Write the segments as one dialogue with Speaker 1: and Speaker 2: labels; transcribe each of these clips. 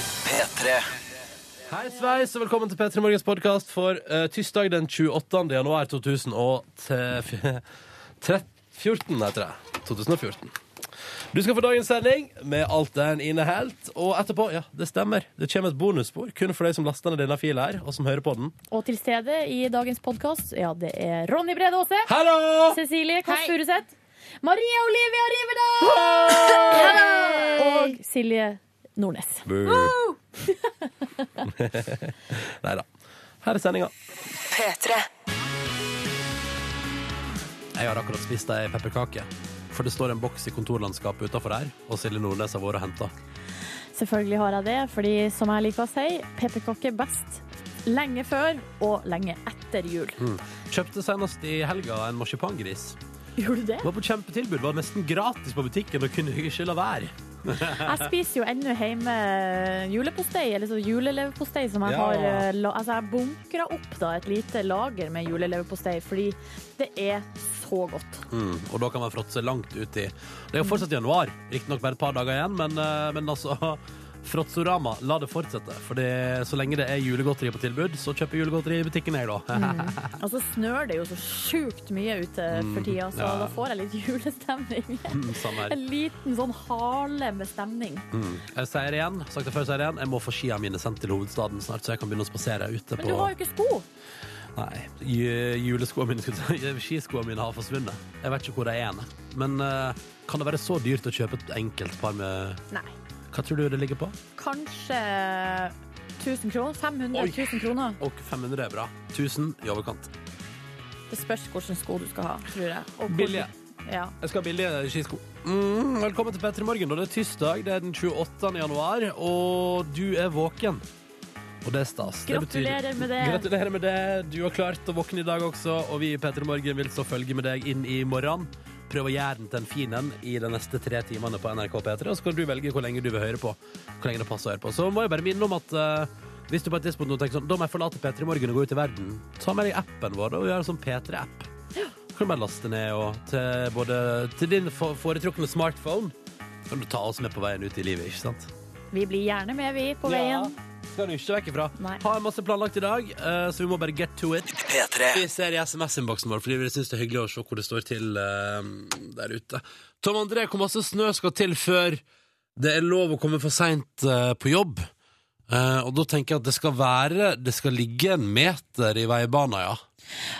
Speaker 1: P3.
Speaker 2: Hei sveis, og velkommen til P3 Morgens podkast for eh, tirsdag den 28. januar 2014. heter det. 2014. Du skal få dagens sending med alt den inneholdt. Og etterpå, ja, det stemmer, det kommer et bonusspor kun for deg som laster ned denne fila her, og som hører på den.
Speaker 3: Og til stede i dagens podkast, ja, det er Ronny Brede Aase.
Speaker 2: Hallo!
Speaker 3: Cecilie Kåss
Speaker 4: Hei.
Speaker 3: Furuseth. Maria Olivia Riverdal! Og Silje Nordnes.
Speaker 2: Nei da. Her er sendinga.
Speaker 5: P3.
Speaker 2: Jeg har akkurat spist ei pepperkake. For det står en boks i kontorlandskapet utafor her, og Silje Nordnes har vært og henta.
Speaker 3: Selvfølgelig har jeg det, fordi som jeg liker å si, pepperkaker best lenge før og lenge etter jul.
Speaker 2: Kjøpte senest i helga en marsipangris.
Speaker 3: Gjorde du det?
Speaker 2: Var på kjempetilbud, var nesten gratis på butikken og kunne ikke la være.
Speaker 3: Jeg spiser jo ennå hjemme julepostei, eller så juleleverpostei som jeg
Speaker 2: Ja.
Speaker 3: har eh, la, Altså, jeg bunkra opp da et lite lager med juleleverpostei, fordi det er så godt.
Speaker 2: Mm, og da kan man fråtse langt uti. Det er jo fortsatt januar, riktignok bare et par dager igjen, men, eh, men altså Fråtsorama, la det fortsette. For det- så lenge det er julegodteri på tilbud, så kjøper jeg julegodteri i butikken, jeg, da.
Speaker 3: Og så snør det jo så sjukt mye ute for tida, så
Speaker 2: Mm, ja.
Speaker 3: da får jeg litt julestemning.
Speaker 2: Mm, Samme her. Mm.
Speaker 3: En liten sånn hale med stemning.
Speaker 2: Jeg sier det igjen, sagt det før, sier det igjen, jeg må få skia mine sendt til hovedstaden snart, så jeg kan begynne å spasere ute
Speaker 3: Men du har
Speaker 2: på
Speaker 3: jo ikke sko!
Speaker 2: Nei, ju- juleskoene mine, skulle jeg si. Skiskoene mine har forsvunnet. Jeg vet ikke hvor de er. nei. Men eh, kan det være så dyrt å kjøpe et enkelt par med
Speaker 3: Nei.
Speaker 2: Hva tror du det ligger på?
Speaker 3: Kanskje 1000 kroner? 500
Speaker 2: Oi.
Speaker 3: 000 kroner?
Speaker 2: Og 500 er bra. 1000 i overkant.
Speaker 3: Det spørs hvilke sko du skal ha, tror jeg. Og hvor-
Speaker 2: Billige.
Speaker 3: Ja.
Speaker 2: Jeg skal ha billige skisko. Mm, velkommen til Petter i Morgen. og Det er tirsdag, det er den 28. januar, og du er våken. Og det er stas. Det betyr-
Speaker 3: Gratulerer med det.
Speaker 2: Gratulerer med det. Du har klart å våkne i dag også, og vi i Petter i Morgen vil så følge med deg inn i morgen. Prøv å gjøre den til en fin en i de neste tre timene på NRK P3, og så kan du velge hvor lenge du vil høre på. Hvor lenge det passer å høre på. Så må jeg bare minne om at eh, hvis du på et tidspunkt nå tenker sånn, da må jeg forlate P3 i Morgen og gå ut i verden, ta med deg appen vår og gjør en sånn P3-app kan du bare laste ned og til, både til din for- foretrukne smartphone. Kan du ta oss med på veien ut i livet, ikke sant?
Speaker 3: Vi blir gjerne med, vi, på veien.
Speaker 2: Skal du ikke vekk ifra.
Speaker 3: Nei.
Speaker 2: Har masse planlagt i dag, eh, så vi må bare get to it.
Speaker 1: P3.
Speaker 2: Vi ser i SMS-innboksen vår, fordi vi syns det er hyggelig å se hvor det står til eh, der ute. Tom André, hvor masse snø skal til før det er lov å komme for seint eh, på jobb? Eh, og da tenker jeg at det skal være Det skal ligge en meter i veibana, ja.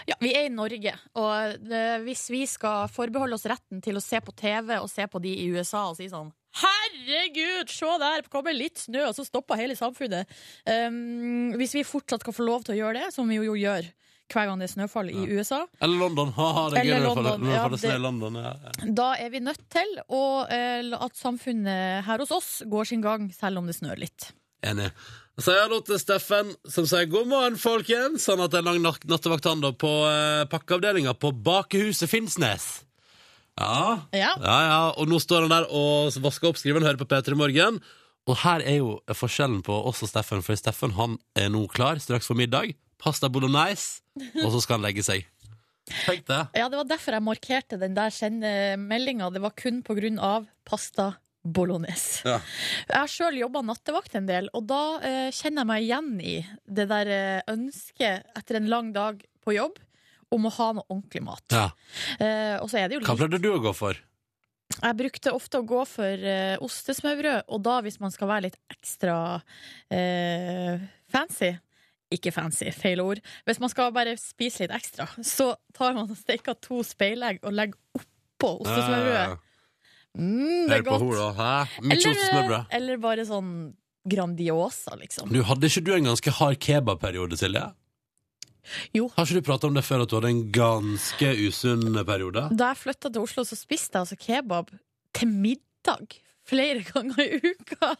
Speaker 4: Ja, vi er i Norge, og det, hvis vi skal forbeholde oss retten til å se på TV og se på de i USA og si sånn Herregud, se der! Kommer litt snø, og så stopper hele samfunnet. Um, hvis vi fortsatt skal få lov til å gjøre det, som vi jo gjør hver gang det er snøfall i USA,
Speaker 2: Eller London. Haha, det er gøy
Speaker 4: Eller
Speaker 2: når du får-
Speaker 4: London,
Speaker 2: når du
Speaker 4: ja,
Speaker 2: får det snø i
Speaker 4: det-
Speaker 2: London. Ja.
Speaker 4: da er vi nødt til å, eh, la- at samfunnet her hos oss går sin gang, selv om det snør litt.
Speaker 2: Enig. Så jeg har lov til Steffen, som sier god morgen, folkens. Han har hatt en lang nak- nattevakt han da på eh, pakkeavdelinga på Bakehuset Finnsnes. Ja.
Speaker 4: Ja.
Speaker 2: ja, ja. Og nå står han der og vasker opp skriveren, hører på P3 Morgen. Og her er jo forskjellen på oss og Steffen, for Steffen han er nå klar straks for middag. Pasta bolognese, og så skal han legge seg. Tenk det.
Speaker 4: Ja, det var derfor jeg markerte den der sendemeldinga. Det var kun på grunn av pasta bolognese.
Speaker 2: Ja.
Speaker 4: Jeg har sjøl jobba nattevakt en del, og da eh, kjenner jeg meg igjen i det der eh, ønsket etter en lang dag på jobb om å ha noe ordentlig mat.
Speaker 2: Ja.
Speaker 4: Eh, og så er det jo
Speaker 2: Hva
Speaker 4: litt
Speaker 2: pleide du å gå for?
Speaker 4: Jeg brukte ofte å gå for eh, ostesmørbrød, og da hvis man skal være litt ekstra eh, fancy ikke fancy, feil ord. Hvis man skal bare spise litt ekstra, så tar man og steker to speilegg og legger oppå ostesmørbrødet. Mm, det
Speaker 2: Ah. Hør
Speaker 4: er
Speaker 2: på
Speaker 4: godt.
Speaker 2: henne, da. Hæ? Mye
Speaker 4: Eller,
Speaker 2: ostesmørbrød.
Speaker 4: eller bare sånn Grandiosa, liksom.
Speaker 2: Du, hadde ikke du en ganske hard kebabperiode, Silje?
Speaker 4: Jo.
Speaker 2: Har ikke du prata om det før, at du hadde en ganske usunn periode?
Speaker 4: Da jeg flytta til Oslo, så spiste jeg altså kebab til middag flere ganger i uka.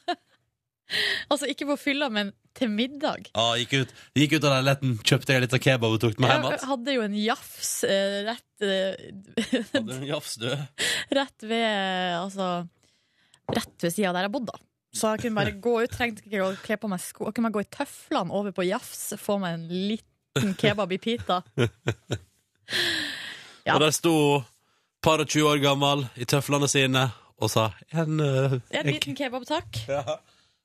Speaker 4: altså ikke på fylla, men til middag.
Speaker 2: Ja, gikk ut, gikk ut av leiligheten, kjøpte jeg litt av kebab og tok den med hjem
Speaker 4: Jeg hadde jo en jafs eh, rett, eh,
Speaker 2: igjen.
Speaker 4: rett ved eh, Altså rett ved sida der jeg bodde, da. Så jeg kunne bare gå ut, trengte ikke å kle på meg sko. Jeg kunne bare gå i tøflene over på jafs, få meg en liten kebab i pita. Ja.
Speaker 2: Og der sto par og 20 år gammel i tøflene sine og sa en, eh,
Speaker 4: En
Speaker 2: en
Speaker 4: liten kebab, takk.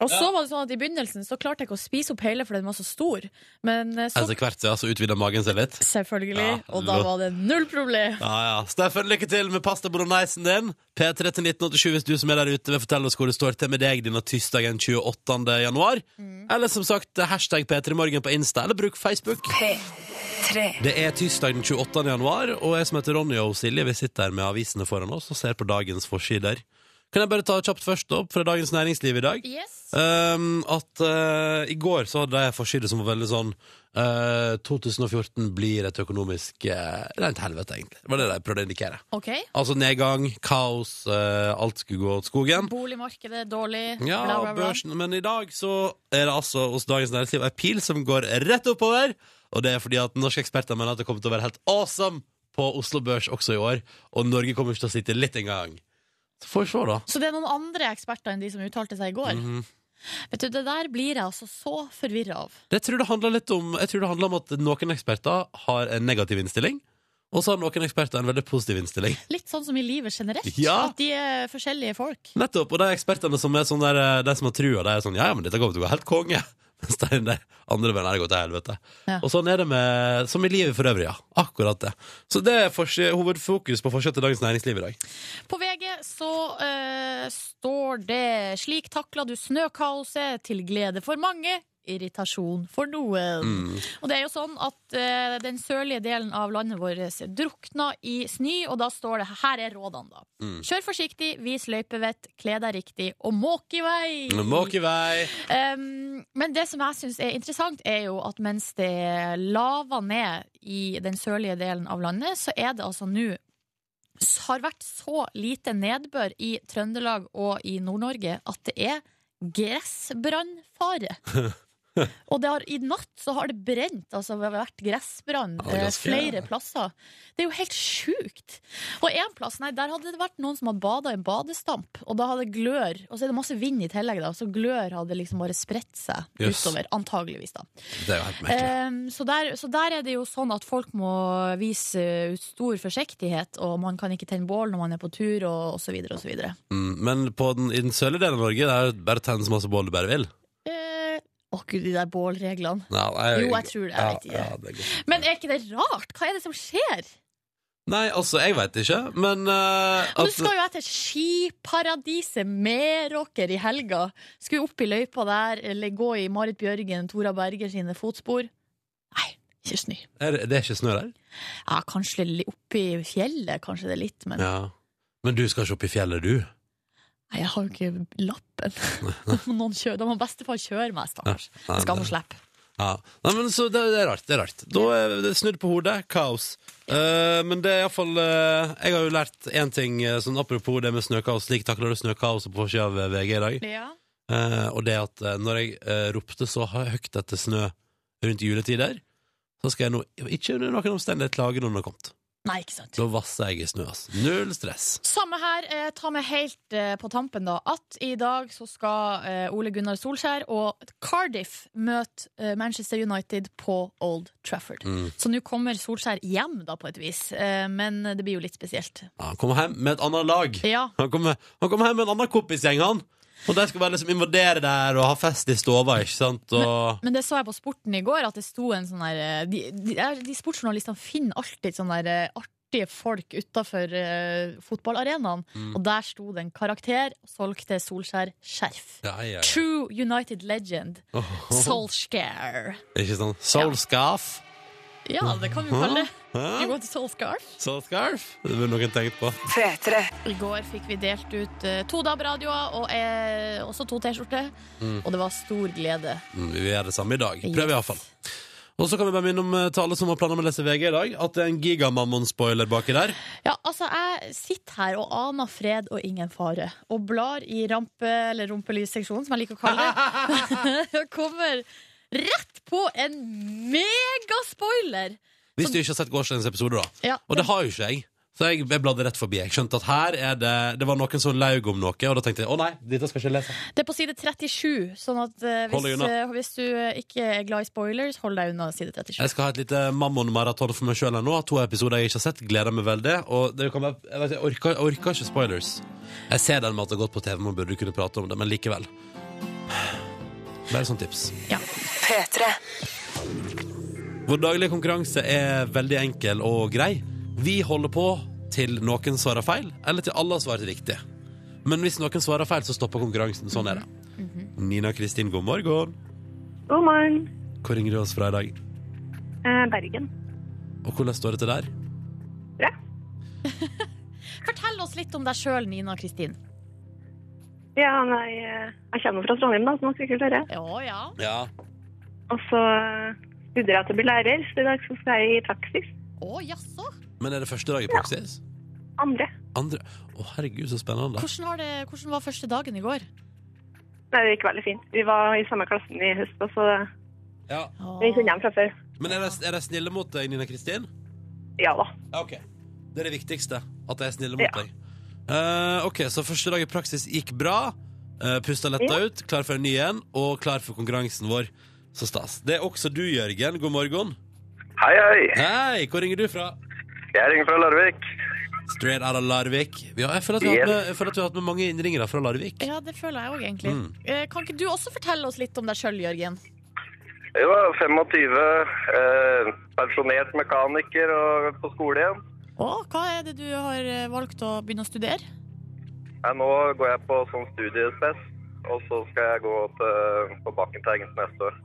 Speaker 4: Og så var det sånn at I begynnelsen så klarte jeg ikke å spise opp hele, for den var så stor. Men eh, så
Speaker 2: Etter hvert ja, så utvider magen seg litt.
Speaker 4: Selvfølgelig.
Speaker 2: Altså, Ja,
Speaker 4: og da
Speaker 2: lo-
Speaker 4: var det null problem.
Speaker 2: Ja, ja. Steffen, lykke til med pasta bolognesen din. P3 til 1987 hvis du som er der ute vil fortelle oss hvor det står til med deg denne tirsdagen 28. januar. Eller som sagt, hashtag P3morgen på Insta, eller bruk Facebook. Det er tirsdag den 28. januar, og jeg som heter Ronny og Silje, vi sitter her med avisene foran oss og ser på dagens forsider. Kan jeg bare ta kjapt først opp fra Dagens Næringsliv i dag? Um, at eh, i går så hadde jeg en forside som var veldig sånn eh, 2014 blir et økonomisk eh, rent helvete, egentlig. Det var det de prøvde å indikere.
Speaker 4: OK.
Speaker 2: Altså nedgang, kaos, eh, alt skulle gå åt skogen.
Speaker 4: Boligmarkedet er dårlig.
Speaker 2: Ja,
Speaker 4: bla, bla, bla.
Speaker 2: børsen. Men i dag så er det altså hos Dagens Næringsliv ei pil som går rett oppover. Og det er fordi at norske eksperter mener at det kommer til å være helt awesome på Oslo Børs også i år. Og Norge kommer ikke til å sitte litt engang. Så får vi se, da.
Speaker 4: Så det er noen andre eksperter enn de som uttalte seg i går.
Speaker 2: Mhm.
Speaker 4: Vet du, Det der blir jeg altså så forvirra av.
Speaker 2: Det tror det handler litt om Jeg tror det handler om at noen eksperter har en negativ innstilling Og så har noen eksperter en veldig positiv innstilling
Speaker 4: Litt sånn som i livet generelt.
Speaker 2: Ja.
Speaker 4: At de er forskjellige folk.
Speaker 2: Nettopp, og de eksperterne som er sånn der eh, De som har trua, de er sånn Ja, ja, men dette kommer til å gå helt konge Mens de der andre venner har gått til helvete
Speaker 4: Ja.
Speaker 2: Og sånn er det med Som i livet for øvrig, ja Akkurat det Så det er forsi- hovedfokus på forskjell til dagens næringsliv i dag
Speaker 4: På VG så eh, står det 'Slik takla du snøkaoset til glede for mange'. Irritasjon for noen.
Speaker 2: Mm.
Speaker 4: Og det er jo sånn at eh, den sørlige delen av landet vårt drukna i snø, og da står det Her er rådene, da.
Speaker 2: Mm.
Speaker 4: Kjør forsiktig, vis løypevett, kle deg riktig og måk i vei!
Speaker 2: Måk i vei
Speaker 4: Um, men det som jeg syns er interessant, er jo at mens det laver ned i den sørlige delen av landet, så er det altså nå har vært så lite nedbør i Trøndelag og i Nord-Norge at det er gressbrannfare. Og det har, i natt så har det brent, altså det har vært gressbrann
Speaker 2: Ja, det er
Speaker 4: eh,
Speaker 2: ganske-
Speaker 4: flere plasser. Det er jo helt sjukt! Og en plass, nei, der hadde det vært noen som hadde bada i en badestamp, og da hadde glør Og så er det masse vind i tillegg, da, så glør hadde liksom bare spredt seg
Speaker 2: Jøss.
Speaker 4: utover. Antageligvis, da.
Speaker 2: Det er jo helt merkelig
Speaker 4: Ehm, så, der, så der er det jo sånn at folk må vise ut stor forsiktighet, og man kan ikke tenne bål når man er på tur, og, og så videre og så videre.
Speaker 2: mm. Men på den, i den sørlige delen av Norge Det er jo bare tenne så masse bål du bare vil
Speaker 4: Eh, Å gud, de der bålreglene.
Speaker 2: Nei, nei,
Speaker 4: Jo, jeg tror det, jeg
Speaker 2: ja,
Speaker 4: vet ikke.
Speaker 2: ja, det er godt.
Speaker 4: Men er ikke det rart? Hva er det som skjer?
Speaker 2: Nei, altså, jeg vet ikke Men eh,
Speaker 4: Og nå
Speaker 2: at-
Speaker 4: skal jo jeg til skiparadiset Meråker i helga. Skulle opp i løypa der, eller gå i Marit Bjørgen, Tora Berger sine fotspor. Nei, ikke snø.
Speaker 2: er, det- Det er ikke snø der?
Speaker 4: Ja, kanskje li- oppe i fjellet, kanskje det er litt, men
Speaker 2: Ja. Men du skal ikke opp i fjellet, du?
Speaker 4: nei, jeg har jo ikke lappen. Da må noen kjøre, da må bestefar kjøre meg, stakkars.
Speaker 2: Nei,
Speaker 4: Skal
Speaker 2: det-
Speaker 4: få slippe.
Speaker 2: ja. Nei, men så det, det er rart. det er rart Da er det snudd på hodet. Kaos. Eh, men det er iallfall uh, Jeg har jo lært én ting eh, sånn apropos det med snøkaos. Slik takler du snøkaoset på forsida av VG i dag.
Speaker 4: Ja.
Speaker 2: Eh, og det at eh, når jeg eh, ropte så høyt etter snø rundt juletider, så skal jeg nå ikke under noen omstendighet klage når den har kommet.
Speaker 4: Nei, ikke sant.
Speaker 2: Da vasser jeg i snø. ass. Null stress.
Speaker 4: Samme her. Eh, ta med helt eh, på tampen da at i dag så skal eh, Ole Gunnar Solskjær og Cardiff møte eh, Manchester United på Old Trafford.
Speaker 2: Mm.
Speaker 4: Så nå kommer Solskjær hjem, da, på et vis. Eh, men det blir jo litt spesielt.
Speaker 2: Ja, han kommer hjem med et annet lag.
Speaker 4: Ja.
Speaker 2: Han kommer han kom hjem med en annen kompisgjeng, han. Og de skal bare liksom invadere der og ha fest i stova, ikke sant? Og
Speaker 4: Men det så jeg på Sporten i går, at det sto en sånn der eh, De, de, er- de sportsjournalistene finner alltid sånne der eh, artige folk utafor eh, fotballarenaen.
Speaker 2: Mm.
Speaker 4: Og der sto det en karakter og solgte Solskjær skjerf.
Speaker 2: ja, ja, ja.
Speaker 4: True United legend.
Speaker 2: Åh,
Speaker 4: Solskjær.
Speaker 2: Ikke sånn sant? Soulscarf.
Speaker 4: Ja, det kan vi kalle det. You
Speaker 2: Hæ?
Speaker 4: go to Soulscarf.
Speaker 2: Soulscarf? Det burde noen tenkt på.
Speaker 4: I går fikk vi delt ut eh, to DAB-radioer og eh, også to T-skjorter. Og det var stor glede.
Speaker 2: Mm, Vi gjør det samme i dag.
Speaker 4: Yes.
Speaker 2: Prøv iallfall. Og så kan vi bare minne om eh, til alle som har planer om å lese VG i dag, at det er en gigamammon-spoiler baki der.
Speaker 4: Ja, altså, jeg sitter her og aner fred og ingen fare. Og blar i rampe- eller rumpelysseksjonen, som jeg liker å kalle det. Og kommer rett på en megaspoiler!
Speaker 2: Hvis du ikke har sett gårsdagens episode, da.
Speaker 4: Ja.
Speaker 2: Og det har jo ikke jeg. Så jeg, jeg bladde rett forbi. Jeg skjønte at her er det Det var noen som laug om noe, og da tenkte jeg å nei, dette skal jeg ikke lese.
Speaker 4: Det er på side 37, sånn at eh,
Speaker 2: Hold deg
Speaker 4: hvis,
Speaker 2: unna.
Speaker 4: eh, hvis du eh, ikke er glad i spoilers, hold deg unna side 37.
Speaker 2: Jeg skal ha et lite Mammon-maraton for meg sjøl nå. To episoder jeg ikke har sett. Gleder meg veldig. Og det kan være, jeg, vet, jeg, orker, jeg orker ikke spoilers. Jeg ser den med at det har gått på TV, man burde kunne prate om det, men likevel. Bare sånn tips.
Speaker 4: Ja.
Speaker 2: Vår daglige konkurranse er veldig enkel og grei. Vi holder på til noen svarer feil, eller til alle har svart riktig. Men hvis noen svarer feil, så stopper konkurransen. Sånn er det. Nina Kristin, god morgen.
Speaker 1: God morgen.
Speaker 2: Hvor ringer du oss fra i dag?
Speaker 1: Eh, Bergen.
Speaker 2: Og hvordan står det til der?
Speaker 4: Fortell oss litt om deg sjøl, Nina Kristin.
Speaker 1: Ja, nei, eh, jeg kommer fra Trondheim, da, som dere sikkert hører.
Speaker 4: Ja, ja.
Speaker 2: Ja.
Speaker 1: Og så eh, studerer jeg til å bli lærer, så i dag så skal jeg i praksis.
Speaker 4: Å, jaså?
Speaker 2: Men er det første dag i praksis?
Speaker 1: Andre.
Speaker 2: Andre Å, herregud, så spennende.
Speaker 4: Hvordan, har det, hvordan var første dagen i går?
Speaker 1: Nei, det gikk veldig fint. Vi var i samme klassen i høst, og så
Speaker 2: Ja.
Speaker 1: vi kjenner dem fra før.
Speaker 2: Men er de, er de snille mot deg, Nina Kristin?
Speaker 1: Ja da.
Speaker 2: Ja, OK. Det er det viktigste. At de er snille mot
Speaker 1: Ja.
Speaker 2: deg. Eh, OK, så første dag i praksis gikk bra. Uh, Pusta letta
Speaker 1: Ja.
Speaker 2: ut, klar for en ny en, og klar for konkurransen vår. Så stas. Det er også du, Jørgen. God morgen.
Speaker 5: Hei, hei.
Speaker 2: Hei, hvor ringer du fra?
Speaker 5: Jeg ringer fra Larvik.
Speaker 2: Straight out of Larvik. Ja, jeg, føler at vi har hatt med, jeg føler at vi har hatt med mange innringere fra Larvik.
Speaker 4: Ja, det føler jeg òg, egentlig.
Speaker 2: Mm.
Speaker 4: Eh, Kan ikke du også fortelle oss litt om deg sjøl, Jørgen?
Speaker 5: Jeg var 25, eh, pensjonert mekaniker og på skole igjen.
Speaker 4: Å, hva er det du har eh, valgt å begynne å studere?
Speaker 5: Nei, nå går jeg på sånn studiespes, og så skal jeg gå til, på Bakkenteigen til neste år.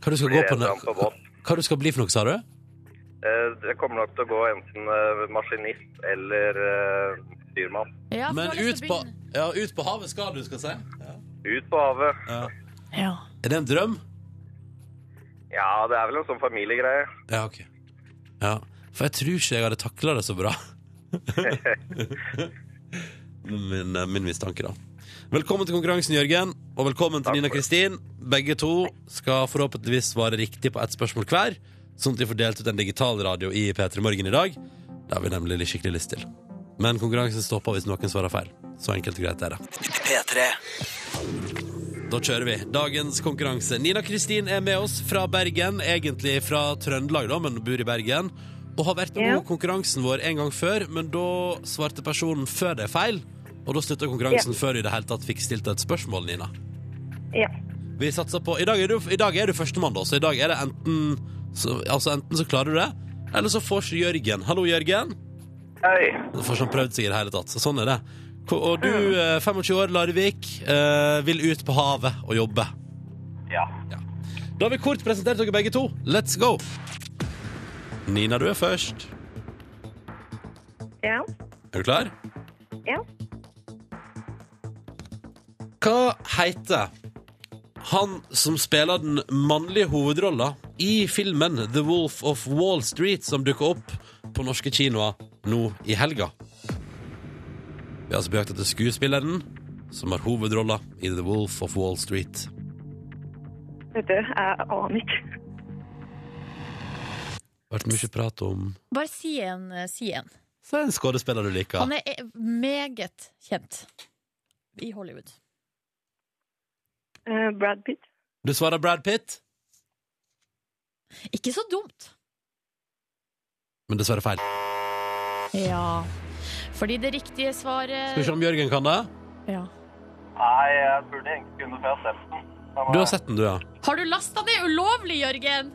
Speaker 2: Hva du skal gå
Speaker 5: Blir
Speaker 2: på,
Speaker 5: jeg fram på
Speaker 2: nå-
Speaker 5: båt.
Speaker 2: hva du skal bli for noe, sa du?
Speaker 5: Eh, jeg kommer nok til å gå enten eh, maskinist eller eh, styrmann.
Speaker 4: Ja, for
Speaker 2: Men
Speaker 4: du har lyst
Speaker 2: ut
Speaker 4: til
Speaker 2: på,
Speaker 4: å begynne-
Speaker 2: ja, ut på havet skal du, skal jeg si. Ja.
Speaker 5: Ut på havet.
Speaker 2: Ja.
Speaker 4: Ja.
Speaker 2: Er det en drøm?
Speaker 5: Ja, det er vel en sånn familiegreie.
Speaker 2: Ja, ok. Ja, for jeg tror ikke jeg hadde takla det så bra. min, eh, min mistanke, da. Velkommen til konkurransen, Jørgen. Og velkommen til
Speaker 5: Takk
Speaker 2: Nina
Speaker 5: for det.
Speaker 2: Kristin. Begge to skal forhåpentligvis svare riktig på ett spørsmål hver, sånn at de får delt ut en digital radio i P3 Morgen i dag. Det har vi nemlig litt skikkelig lyst til. Men konkurransen stopper hvis noen svarer feil. Så enkelt og greit er det. Da kjører vi dagens konkurranse. Nina Kristin er med oss fra Bergen, egentlig fra Trøndelag, da, men bor i Bergen. Og har vært med
Speaker 1: Ja.
Speaker 2: på konkurransen vår en gang før, men da svarte personen før det feil. Og da slutta konkurransen før du i det hele tatt fikk stilt et spørsmål, Nina.
Speaker 1: Ja.
Speaker 2: Vi satser på I dag er du, i dag er du førstemann, da, så i dag er det enten så, Altså enten så klarer du det, eller så får ikke Jørgen. Hallo, Jørgen.
Speaker 5: Hei.
Speaker 2: Du får ikke prøvd seg i det hele tatt. Så sånn er det. Og du, eh, 25 år, Larvik, eh, vil ut på havet og jobbe.
Speaker 5: Ja.
Speaker 2: Da har vi kort presentert dere begge to. Let's go! Nina, du er først.
Speaker 1: Ja.
Speaker 2: Er du klar?
Speaker 1: Ja.
Speaker 2: Hva heter han som spiller den mannlige hovedrolla i filmen The Wolf of Wall Street, som dukker opp på norske kinoer nå i helga? Vi har altså på jakt etter skuespilleren som har hovedrolla i The Wolf of Wall Street.
Speaker 1: Vet du, jeg aner ikke.
Speaker 2: Det har vært mye prat om
Speaker 4: Bare si en. eh, Si en.
Speaker 2: Så er det en skuespiller du liker.
Speaker 4: Han er eh, meget kjent i Hollywood.
Speaker 1: Eh, Brad Pitt.
Speaker 2: Du svarer Brad Pitt,
Speaker 4: Ikke så dumt.
Speaker 2: men dessverre feil.
Speaker 4: Ja. Fordi det riktige svaret
Speaker 2: Skal vi se om Jørgen kan det?
Speaker 4: ja.
Speaker 5: Nei, jeg burde egentlig kunne få sett den.
Speaker 2: Du har sett den, du, ja.
Speaker 4: Har du lasta ned ulovlig, Jørgen?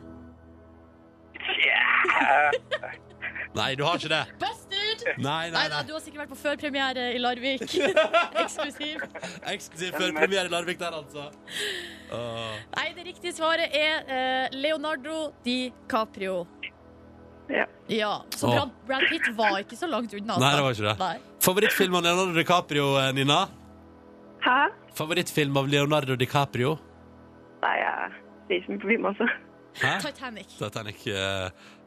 Speaker 2: Nei, du har ikke det.
Speaker 4: Busted!
Speaker 2: Nei, nei,
Speaker 4: Nei da, du har sikkert vært på førpremiere i Larvik. Eksklusiv.
Speaker 2: Eksklusiv førpremiere i Larvik der, altså. Åh.
Speaker 4: Nei, det riktige svaret er eh, Leonardo DiCaprio.
Speaker 1: Ja.
Speaker 4: Ja, Så
Speaker 2: Åh.
Speaker 4: Brad, Brad Pitt var ikke så langt unna. altså.
Speaker 2: Nei, det var ikke det.
Speaker 4: Nei.
Speaker 2: Favorittfilm av Leonardo DiCaprio, eh, Nina?
Speaker 1: Hæ?
Speaker 2: Favorittfilm av Leonardo DiCaprio?
Speaker 1: Nei, jeg ser ikke mye på film, altså.
Speaker 2: Hæ?
Speaker 4: Titanic.
Speaker 2: Titanic. eh,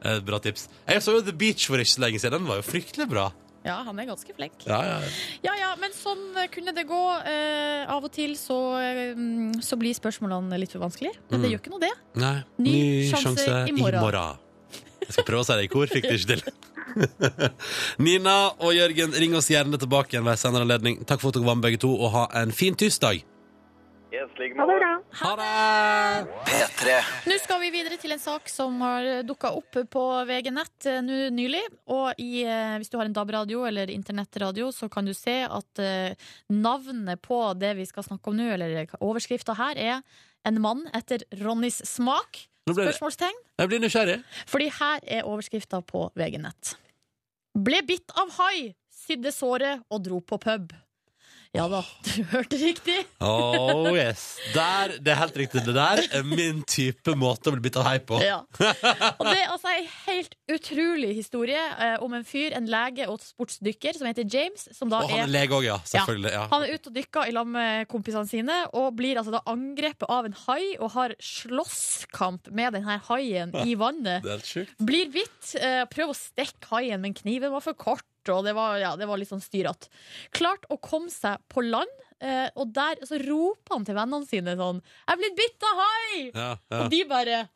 Speaker 2: eh, bra tips. Jeg så jo The Beach for ikke så lenge siden. Den var jo fryktelig bra.
Speaker 4: Ja, han er ganske flink.
Speaker 2: Ja, ja.
Speaker 4: Ja ja, men sånn eh, kunne det gå. Eh, av og til så, eh, mm, så blir spørsmålene litt for vanskelige. Men det
Speaker 2: Mm.
Speaker 4: gjør ikke noe, det.
Speaker 2: Nei.
Speaker 4: Ny sjanse i morgen.
Speaker 2: Jeg skal prøve å si det i kor, fikk det ikke til. Nina og Jørgen, ring oss gjerne tilbake igjen ved senere anledning. Takk for at dere var med, begge to, og ha en fin tirsdag.
Speaker 5: Yes, yes, like
Speaker 1: Ha det
Speaker 5: måte.
Speaker 1: bra.
Speaker 2: Ha det!
Speaker 6: P3
Speaker 4: Nå skal vi videre til en sak som har dukka opp på VG Nett eh, nå nylig. Og i, eh, hvis du har en DAB-radio eller internettradio, så kan du se at eh, navnet på det vi skal snakke om nå, eller overskrifta her, er 'En mann etter Ronnys smak'?
Speaker 2: Nå ble det.
Speaker 4: Spørsmålstegn.
Speaker 2: Jeg blir nysgjerrig.
Speaker 4: Fordi her er overskrifta på VG Nett. Ble bitt av hai, sydde såret og dro på pub. Ja da, du hørte riktig.
Speaker 2: Oh yes. Der, det er helt riktig. Det der er min type måte å bli bitt av hei på.
Speaker 4: Ja. Og det er altså ei helt utrolig historie eh, om en fyr, en lege og sportsdykker som heter James, som da
Speaker 2: Og han er
Speaker 4: er
Speaker 2: lege òg, ja. Selvfølgelig. Ja.
Speaker 4: han er ute og dykker i lag med kompisene sine og blir altså da angrepet av en hai og har slåsskamp med denne haien i vannet.
Speaker 2: Det er helt sjukt.
Speaker 4: Blir bitt. eh, Prøv å stikke haien, men kniven var for kort. Og det var, ja, det var litt sånn styrete. Klart å komme seg på land, eh, og der så roper han til vennene sine sånn 'Jeg er blitt bitt av hai!'
Speaker 2: Ja, ja.
Speaker 4: Og de bare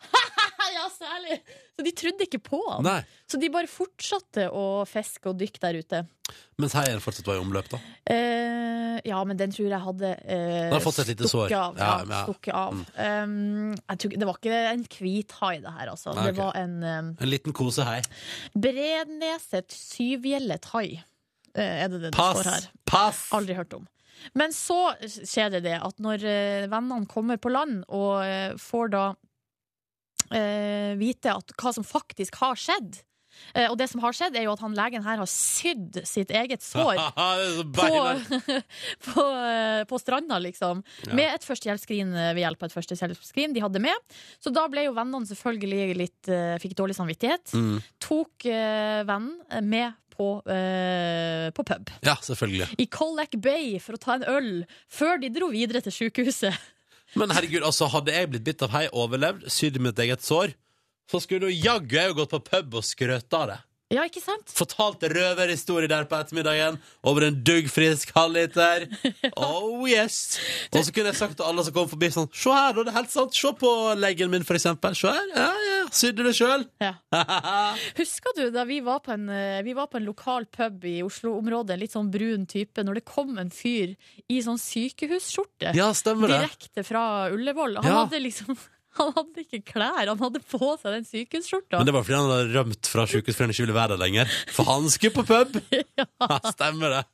Speaker 4: Ja, særlig! Så de trodde ikke på han.
Speaker 2: Nei.
Speaker 4: Så de bare fortsatte å fiske og dykke der ute.
Speaker 2: Mens heien fortsatt var i omløp, da.
Speaker 4: Eh, ja, men den tror jeg hadde eh,
Speaker 2: Den har fått seg et lite sår.
Speaker 4: stukket Av, ja,
Speaker 2: Ja, men ja. Mm.
Speaker 4: Stukket av. Um, jeg tror, ikke- det var ikke en hvit hai, det her, altså.
Speaker 2: Nei, ok.
Speaker 4: Det var en um,
Speaker 2: En liten kosehei.
Speaker 4: bredneset syvgjellet hai. eh, er det det det står her?
Speaker 2: Pass! Pass!
Speaker 4: Aldri hørt om. Men så skjer det det at når eh, vennene kommer på land og eh, får da eh, vite at, hva som faktisk har skjedd eh, Og det som har skjedd, er jo at han legen her har sydd sitt eget sår.
Speaker 2: det er så
Speaker 4: På,
Speaker 2: beinhardt.
Speaker 4: på, eh, på stranda, liksom.
Speaker 2: Ja.
Speaker 4: Med et førstehjelpsskrin eh, ved hjelp av et førstehjelpsskrin de hadde med. Så da ble jo vennene selvfølgelig litt eh, Fikk dårlig samvittighet.
Speaker 2: Mm.
Speaker 4: Tok eh, vennen med på, eh, på pub
Speaker 2: Ja, selvfølgelig.
Speaker 4: i Collac Bay for å ta en øl, før de dro videre til sykehuset.
Speaker 2: Men herregud, altså, hadde jeg blitt bitt av hei, overlevd, sydd mitt eget sår, så skulle jo jaggu jeg jo gått på pub og skrøt av det.
Speaker 4: Ja, ikke sant?
Speaker 2: Fortalte røverhistorie der på ettermiddagen over en duggfrisk halvliter. Oh yes! Og så kunne jeg sagt til alle som kom forbi sånn Se her, da, det er helt sant. Se på leggen min, for eksempel. Se her. Ja, ja. Sydde det sjøl.
Speaker 4: Ja. Husker du da vi var på en, eh, vi var på en lokal pub i Oslo-området, en litt sånn brun type, når det kom en fyr i sånn sykehusskjorte
Speaker 2: ja, stemmer det.
Speaker 4: direkte fra Ullevål? Han
Speaker 2: Ja.
Speaker 4: hadde liksom han hadde ikke klær, han hadde på seg den sykehusskjorta.
Speaker 2: Men det var fordi han hadde rømt fra sjukehus fordi han ikke ville være der lenger. For han skulle på pub! Stemmer det.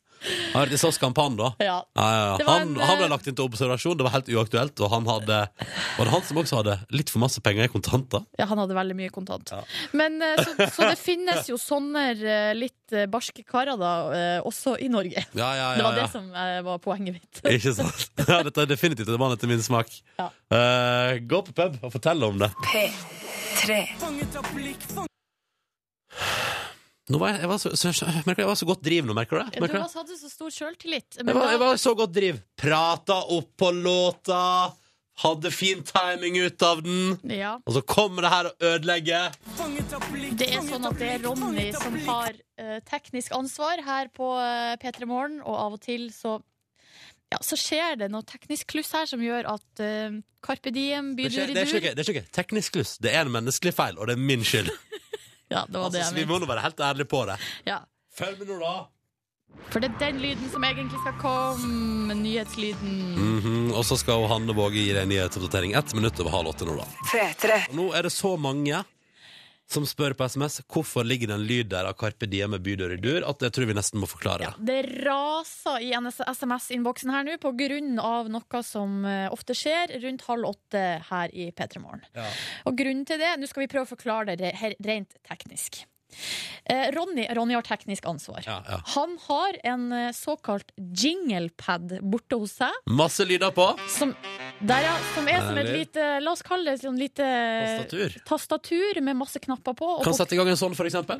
Speaker 2: Han hørte i SAS Kampan, da.
Speaker 4: Ja.
Speaker 2: Ja, ja, ja.
Speaker 4: Det var
Speaker 2: Han,
Speaker 4: en,
Speaker 2: han ble
Speaker 4: eh,
Speaker 2: lagt inn til observasjon, det var helt uaktuelt. Og han hadde Var det han som også hadde litt for masse penger i kontanter?
Speaker 4: Ja, han hadde veldig mye kontant.
Speaker 2: Ja.
Speaker 4: Men, eh, så, så det finnes jo sånne eh, litt eh, barske karer da, eh, også i Norge.
Speaker 2: Ja, ja, ja,
Speaker 4: Det var
Speaker 2: ja.
Speaker 4: det som eh, var poenget mitt.
Speaker 2: Ikke sant? Ja, dette er definitivt en mann etter min smak.
Speaker 4: Ja.
Speaker 2: Eh, gå på pub og fortell om det. Nå var jeg, jeg, var så, så, så, merker du, jeg var så godt driv nå, merker du det?
Speaker 4: Du
Speaker 2: Merker du det?
Speaker 4: var- hadde så stor sjøltillit.
Speaker 2: Jeg var, jeg var i så godt driv. Prata opp på låta, hadde fin timing ut av den.
Speaker 4: Ja,
Speaker 2: Og så kommer det her og ødelegger.
Speaker 4: det er sånn at det er Ronny som har eh, teknisk ansvar her på eh, P3 Morgen, og av og til så ja, så skjer det noe teknisk kluss her som gjør at eh, Carpe Diem,
Speaker 2: Det
Speaker 4: bydur
Speaker 2: skjer-
Speaker 4: i
Speaker 2: det er ikke
Speaker 4: dur
Speaker 2: ok, det er ikke ok. teknisk kluss. Det er en menneskelig feil, og det er min skyld.
Speaker 4: Ja, det var
Speaker 2: Altså,
Speaker 4: det
Speaker 2: så vi
Speaker 4: jeg
Speaker 2: må
Speaker 4: mente.
Speaker 2: nå være helt ærlige på det.
Speaker 4: Ja.
Speaker 2: Følg med nå, da.
Speaker 4: For det er den lyden som egentlig skal komme. Nyhetslyden.
Speaker 2: Mhm, Og så skal Hanne Våge gi deg en nyhetsoppdatering ett minutt over halv åtte nå, da. Og nå er det så mange som spør på SMS hvorfor ligger det en lyd der av Carpe Diem med bydør i dur, at jeg tror vi nesten må forklare. det.
Speaker 4: Det raser i SMS-innboksen her nå på grunn av noe som eh, ofte skjer rundt halv åtte her i P3 Morgen.
Speaker 2: Ja.
Speaker 4: Og grunnen til det, nå skal vi prøve å forklare det her rent teknisk. Eh, Ronny, Ronny har teknisk ansvar.
Speaker 2: Ja, ja.
Speaker 4: Han har en eh, såkalt jinglepad borte hos seg,
Speaker 2: Masse lyder på.
Speaker 4: som, der, ja, som er som et
Speaker 2: Eller-
Speaker 4: lite La oss kalle det et sånn lite
Speaker 2: Tastatur.
Speaker 4: tastatur med masse knapper på. Og
Speaker 2: Kan
Speaker 4: på,
Speaker 2: sette i gang en sånn, for eksempel.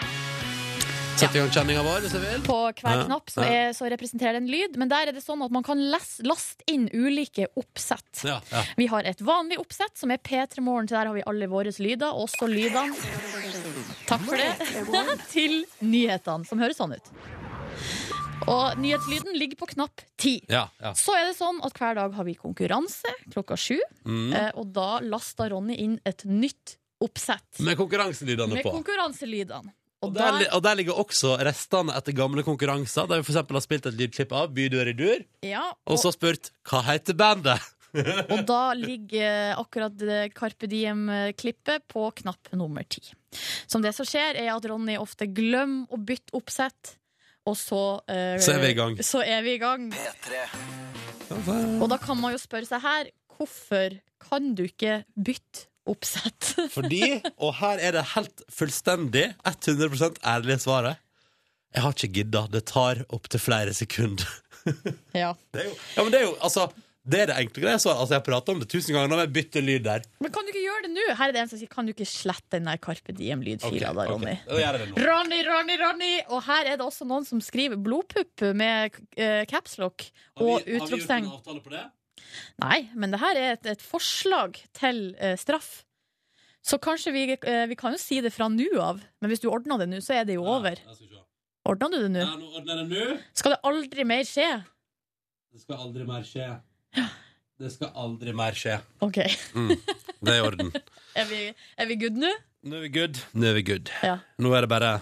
Speaker 2: Sette i gang kjenninga vår, hvis jeg vil.
Speaker 4: på hver
Speaker 2: Ja,
Speaker 4: knapp så,
Speaker 2: ja.
Speaker 4: er, så representerer det en lyd, men der er det sånn at man kan les, laste inn ulike oppsett.
Speaker 2: Ja, ja.
Speaker 4: Vi har et vanlig oppsett som er P3 Morgen, så der har vi alle våre lyder, også lydene Takk for det. Til nyhetene, som høres sånn ut. Og nyhetslyden ligger på knapp ti.
Speaker 2: ja, ja.
Speaker 4: Så er det sånn at hver dag har vi konkurranse klokka sju,
Speaker 2: Mm.
Speaker 4: eh, og da lasta Ronny inn et nytt oppsett
Speaker 2: Med konkurranselydene Mm.
Speaker 4: med
Speaker 2: på.
Speaker 4: konkurranselydene. Og
Speaker 2: Og der,
Speaker 4: der,
Speaker 2: li- og der ligger også restene etter gamle konkurranser, der vi for eksempel har spilt et lydklipp av Bydør i dur,
Speaker 4: ja,
Speaker 2: og
Speaker 4: og,
Speaker 2: så spurt hva heter bandet?
Speaker 4: Og da ligger akkurat det Carpe Diem-klippet på knapp nummer ti. Som det som skjer, er at Ronny ofte glemmer å bytte oppsett, og så eh,
Speaker 2: Så er vi i gang.
Speaker 4: Så er vi i gang. Og da kan man jo spørre seg her, hvorfor kan du ikke bytte oppsett?
Speaker 2: Fordi, og her er det helt fullstendig 100 ærlige svaret Jeg har ikke gidda. Det tar opptil flere sekunder.
Speaker 4: ja.
Speaker 2: Det er jo, ja, men det er jo, altså det er det enkle greia. Så, altså, jeg har prata om det tusen ganger. Nå må jeg bytte lyd der.
Speaker 4: Men kan du ikke gjøre det nå? Her er det en som sier, kan du ikke slette den der Carpe
Speaker 2: Ok,
Speaker 4: Diem-lydfila da,
Speaker 2: ok.
Speaker 4: Ronny?
Speaker 2: Da gjør jeg det nå.
Speaker 4: Ronny, Ronny, Ronny! Og her er det også noen som skriver 'blodpupp' med eh, capslock
Speaker 2: Har vi-
Speaker 4: og
Speaker 2: har vi gjort en
Speaker 4: utropstegn.
Speaker 2: avtale på det?
Speaker 4: Nei, men det her er et, et forslag til eh, straff. Så kanskje vi, eh, vi kan jo si det fra nå av, men hvis du ordner det nå, så er det jo over.
Speaker 2: Ja, jeg skal se.
Speaker 4: Ordner du det nå?
Speaker 2: Ja, nå ordner jeg det nå.
Speaker 4: Skal det aldri mer skje?
Speaker 2: Det skal aldri mer skje. Det skal aldri mer skje.
Speaker 4: OK.
Speaker 2: Mm. Det er i orden.
Speaker 4: Er vi, er vi good nå?
Speaker 2: Nå er vi good. Nå er vi good.
Speaker 4: Ja.
Speaker 2: Nå er det bare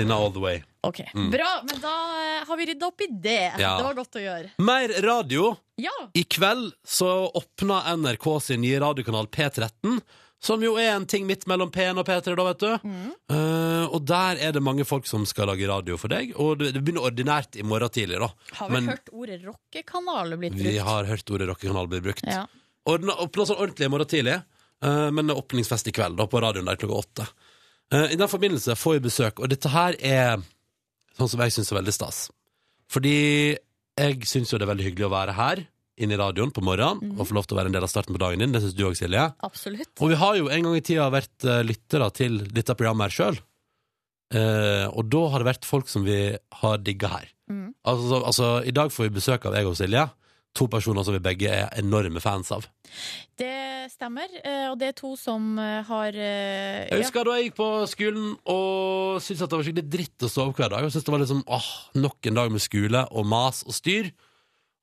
Speaker 2: dinner all the way.
Speaker 4: OK. Bra, men da eh, har vi rydda opp i det.
Speaker 2: Mm. Ja.
Speaker 4: Det var godt å gjøre.
Speaker 2: Mer radio.
Speaker 4: Ja.
Speaker 2: I kveld så åpna NRK sin nye radiokanal P13. Som jo er en ting midt mellom P1 og P3, da, vet du.
Speaker 4: Mm.
Speaker 2: Eh, og der er det mange folk som skal lage radio for deg. Og det, det begynner ordinært i morgen tidlig, da.
Speaker 4: Har vel hørt ordet rockekanal blitt
Speaker 2: vi
Speaker 4: brukt?
Speaker 2: har hørt ordet rockekanal bli brukt.
Speaker 4: Ja.
Speaker 2: Ordna, åpna sånn ordentlig i morgen tidlig, eh, men det er åpningsfest i kveld da, på radioen der klokka åtte. Eh, I den forbindelse får vi besøk, og dette her er sånn som jeg syns er veldig stas. Fordi jeg syns jo det er veldig hyggelig å være her inne i radioen på morgenen og få lov til å være en del av starten på dagen din. Det syns du òg, Silje.
Speaker 4: Absolutt.
Speaker 2: Og vi har jo en gang i tida vært eh, lyttere til dette programmet her sjøl. og da har det vært folk som vi har digga her.
Speaker 4: Mhm.
Speaker 2: Altså, så- altså, I dag får vi besøk av jeg og Silje. To personer som vi begge er enorme fans av.
Speaker 4: Det stemmer, eh, og det er to som eh, har eh,
Speaker 2: Jeg
Speaker 4: ja.
Speaker 2: husker da jeg gikk på skolen og syntes at det var skikkelig dritt å stå opp hver dag. Jeg syntes det var liksom, åh, Nok en dag med skole og mas og styr.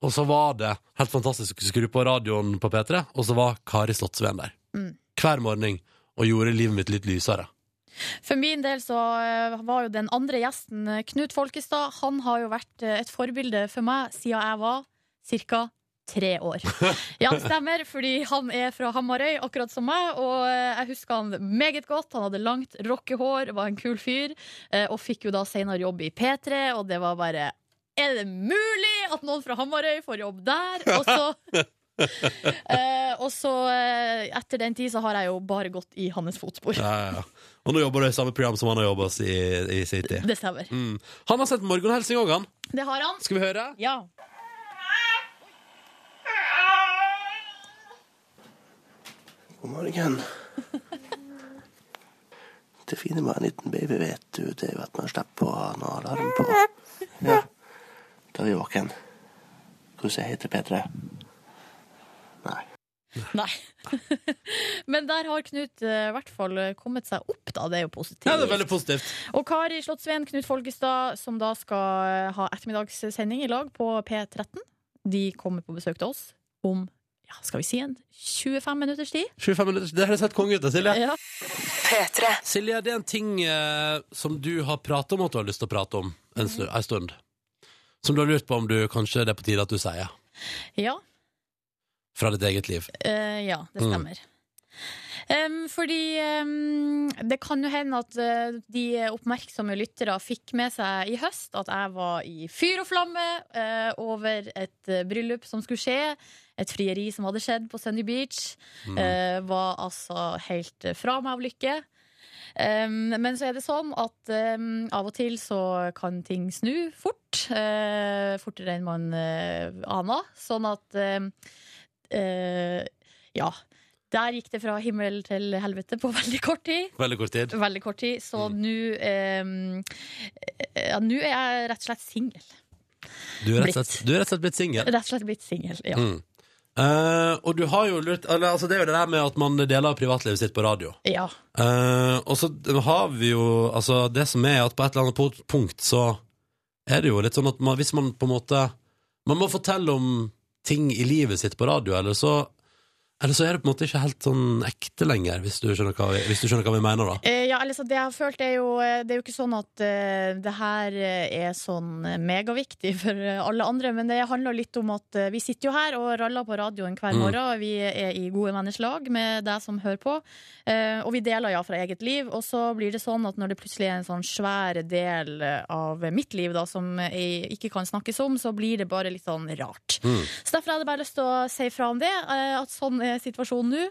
Speaker 2: Og så var det helt fantastisk å skru på radioen på P3, og så var Kari Slottsveen der.
Speaker 4: Mm.
Speaker 2: Hver morgen. Og gjorde livet mitt litt lysere.
Speaker 4: For min del så eh, var jo den andre gjesten eh, Knut Folkestad, han har jo vært eh, et forbilde for meg siden jeg var ca. Tre år. Ja, det stemmer, fordi han er fra Hamarøy, akkurat som meg. Og eh, jeg husker han meget godt. Han hadde langt, rockehår, var en kul fyr. eh, Og fikk jo da senere jobb i P3, og det var bare Er det mulig at noen fra Hamarøy får jobb der? Og så Eh, Og så, eh, etter den tid, så har jeg jo bare gått i hans fotspor.
Speaker 2: Ja, ja, ja. Og nå jobber du i samme program som han har jobba i, i City.
Speaker 4: Det stemmer.
Speaker 2: Mm. Han har sett Morgenhelsing òg, han.
Speaker 4: Det har han.
Speaker 2: Skal vi høre?
Speaker 4: Ja.
Speaker 6: God morgen. Det fine med en liten baby, vet du, det er jo at man slipper å ha noe alarm på. Ja. Da er vi våken. Hvordan heter P3? Nei.
Speaker 4: Nei. Men der har Knut eh, i hvert fall kommet seg opp, da. Det er jo positivt.
Speaker 2: Ja, det er veldig positivt.
Speaker 4: Og Kari Slottsveen, Knut Folkestad, som da skal eh, ha ettermiddagssending i lag på P13, de kommer på besøk til oss om ja, skal vi si en 25 minutters tid?
Speaker 2: 25 minutter. Det høres helt konge ut, da, Silje.
Speaker 4: Ja.
Speaker 2: Silje, det er en ting eh, som du har pratet om at du har lyst til å prate om en, snu, en stund. Som du har lurt på om du kanskje det er på tide at du sier.
Speaker 4: ja.
Speaker 2: Fra ditt eget liv.
Speaker 4: Eh, ja, det
Speaker 2: Mm.
Speaker 4: stemmer. Em, fordi em, det kan jo hende at eh, de oppmerksomme lyttere fikk med seg i høst at jeg var i fyr og flamme eh, over et eh, bryllup som skulle skje. Et frieri som hadde skjedd på Sunny Beach.
Speaker 2: Mm.
Speaker 4: Eh, var altså helt eh, fra meg av lykke. Em, men så er det sånn at em, av og til så kan ting snu fort. eh, fortere enn man eh, aner. Sånn at em, eh, Ja. Der gikk det fra himmel til helvete på veldig kort tid.
Speaker 2: Veldig kort tid.
Speaker 4: Veldig kort tid, så nå em, ja, Nå er jeg rett og slett singel.
Speaker 2: Du er rett og slett,
Speaker 4: Blitt.
Speaker 2: du er rett og slett blitt singel.
Speaker 4: Rett og slett blitt singel, ja.
Speaker 2: Mm. Eh, og du har jo lurt eller, altså Det er jo det der med at man deler privatlivet sitt på radio.
Speaker 4: ja.
Speaker 2: Eh, og så har vi jo altså Det som er at på et eller annet po- punkt så er det jo litt sånn at man, hvis man på en måte Man må fortelle om ting i livet sitt på radio, eller så Eller så er det på en måte ikke helt sånn ekte lenger, hvis du skjønner hva vi, hvis du skjønner hva vi mener, da.
Speaker 4: Eh, ja, eller så det jeg har følt er jo eh, Det er jo ikke sånn at eh, det her eh, er sånn eh, megaviktig for eh, alle andre, men det handler litt om at eh, vi sitter jo her og raller på radioen hver
Speaker 2: Mm.
Speaker 4: morgen. og Vi er i gode venners lag med deg som hører på, eh, og vi deler ja fra eget liv. Og så blir det sånn at når det plutselig er en sånn svær del eh, av mitt liv da, som jeg ikke kan snakkes om, så blir det bare litt sånn rart.
Speaker 2: Mm.
Speaker 4: Så derfor hadde jeg bare lyst til å si fra om det, eh, at sånn er situasjonen nå.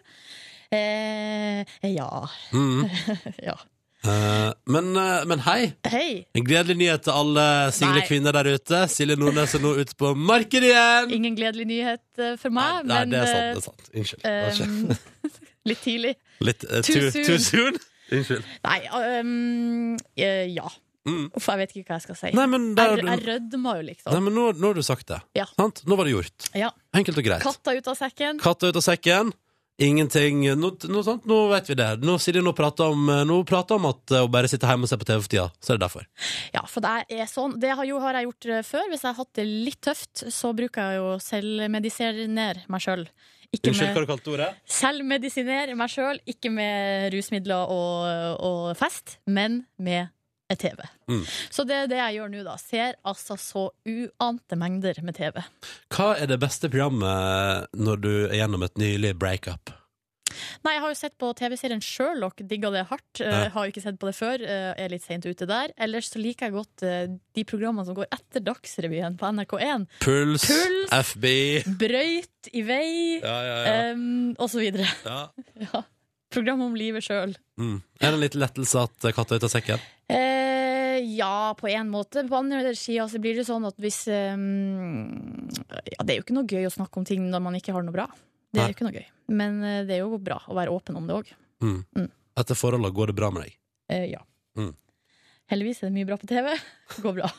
Speaker 4: Eh, ja.
Speaker 2: Mm.
Speaker 4: ja.
Speaker 2: Eh, men, eh, men hei!
Speaker 4: Hei!
Speaker 2: En gledelig nyhet til alle single
Speaker 4: Nei.
Speaker 2: kvinner der ute. Silje Nordnes er nå ute på markedet igjen!
Speaker 4: Ingen gledelig nyhet eh, for meg,
Speaker 2: Nei,
Speaker 4: men
Speaker 2: det er sant. det er sant Unnskyld. Det var
Speaker 4: eh,
Speaker 2: ikke-
Speaker 4: eh, Litt tidlig.
Speaker 2: Litt eh,
Speaker 4: too
Speaker 2: too, too soon? Unnskyld.
Speaker 4: Nei, um, eh, ja.
Speaker 2: Mm.
Speaker 4: Uff, jeg vet ikke hva jeg skal si.
Speaker 2: Nei, men, der,
Speaker 4: jeg, jeg rødma jo,
Speaker 2: nei,
Speaker 4: liksom.
Speaker 2: men nå, nå har du sagt det.
Speaker 4: Ja.
Speaker 2: Sant? Nå var det gjort.
Speaker 4: Ja.
Speaker 2: Enkelt og greit.
Speaker 4: Katta ut av sekken.
Speaker 2: Katta ut av sekken. Ingenting eh, Nå, nå, sant? nå vet vi det. Nå Silje nå prater om, nå prater om at eh, å bare sitte hjemme og se på TV for tida. Så er det derfor.
Speaker 4: Ja, for det er sånn. Det har, jo, har jeg gjort eh, før. Hvis jeg har hatt det litt tøft, så bruker jeg jo å selvmedisinere meg sjøl. Ikke
Speaker 2: Unnskyld, hva
Speaker 4: med,
Speaker 2: har du kalte ordet?
Speaker 4: selvmedisinere meg sjøl, ikke med rusmidler og, og fest, men med et TV.
Speaker 2: Mm.
Speaker 4: Så det er det jeg gjør nå, da. Ser altså så uante mengder med TV.
Speaker 2: Hva er det beste programmet når du er gjennom et nylig breakup?
Speaker 4: Nei, jeg har jo sett på TV-serien Sherlock, digga det hardt. Eh,
Speaker 2: Ja.
Speaker 4: har jo ikke sett på det før, eh, er litt seint ute der. Ellers så liker jeg godt eh, de programmene som går etter Dagsrevyen på NRK1.
Speaker 2: Puls,
Speaker 4: Puls.
Speaker 2: FBI
Speaker 4: Brøyt i vei,
Speaker 2: Ja, ja,
Speaker 4: Eh.
Speaker 2: ja.
Speaker 4: em, og så videre.
Speaker 2: ja.
Speaker 4: Ja. Program om livet sjøl.
Speaker 2: Mm. Er det en liten lettelse at eh, katta er ute av sekken?
Speaker 4: Eh, ja, på en måte. På andre sida så blir det sånn at hvis em, Ja, det er jo ikke noe gøy å snakke om ting når man ikke har noe bra. Det
Speaker 2: Nei.
Speaker 4: er jo ikke noe gøy. Men eh, det er jo bra å være åpen om det òg.
Speaker 2: Mm.
Speaker 4: Mm.
Speaker 2: Etter forholdet går det bra med deg?
Speaker 4: Eh, ja.
Speaker 2: Mm.
Speaker 4: Heldigvis er det mye bra på TV. Det går bra.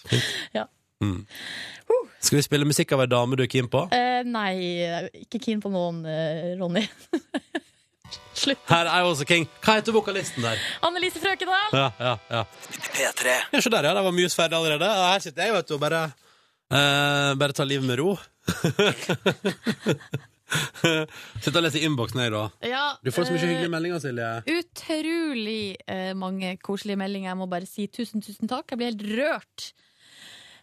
Speaker 2: Så fint.
Speaker 4: Ja.
Speaker 2: Mm. Skal vi spille musikk av ei dame du er keen på?
Speaker 4: Eh, nei, jeg er ikke keen på noen, eh, Ronny. Slutt.
Speaker 2: Her er I Was A King. Hva heter vokalisten der?
Speaker 4: Annelise Frøkedal!
Speaker 2: Ja, ja, ja.
Speaker 6: P3.
Speaker 2: Ja, se der, ja. Det var mus ferdig allerede. Og her sitter jeg, vet du, og bare eh, Bare ta livet med ro. sitter og leser innboksen, jeg, da.
Speaker 4: Ja,
Speaker 2: Du får så mye
Speaker 4: eh,
Speaker 2: hyggelige meldinger, Silje.
Speaker 4: Utrolig eh, mange koselige meldinger. Jeg må bare si tusen, tusen takk. Jeg blir helt rørt.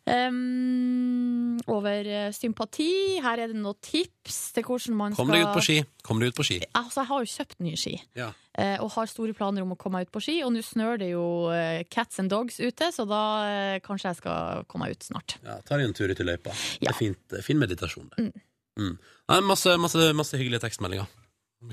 Speaker 4: Em, over eh, sympati. Her er det noen tips til hvordan man
Speaker 2: Kom
Speaker 4: skal
Speaker 2: deg ut på ski. Kom deg ut på ski.
Speaker 4: Altså, jeg har jo kjøpt nye ski.
Speaker 2: Ja.
Speaker 4: eh, og har store planer om å komme meg ut på ski. Og nå snør det jo eh, cats and dogs ute, så da eh, kanskje jeg skal komme meg ut snart.
Speaker 2: ja ta deg en tur ut i løypa. Det
Speaker 4: Ja.
Speaker 2: er fint, det er fin meditasjon, det.
Speaker 4: Mm.
Speaker 2: Mm. Nei, masse, masse, masse hyggelige tekstmeldinger.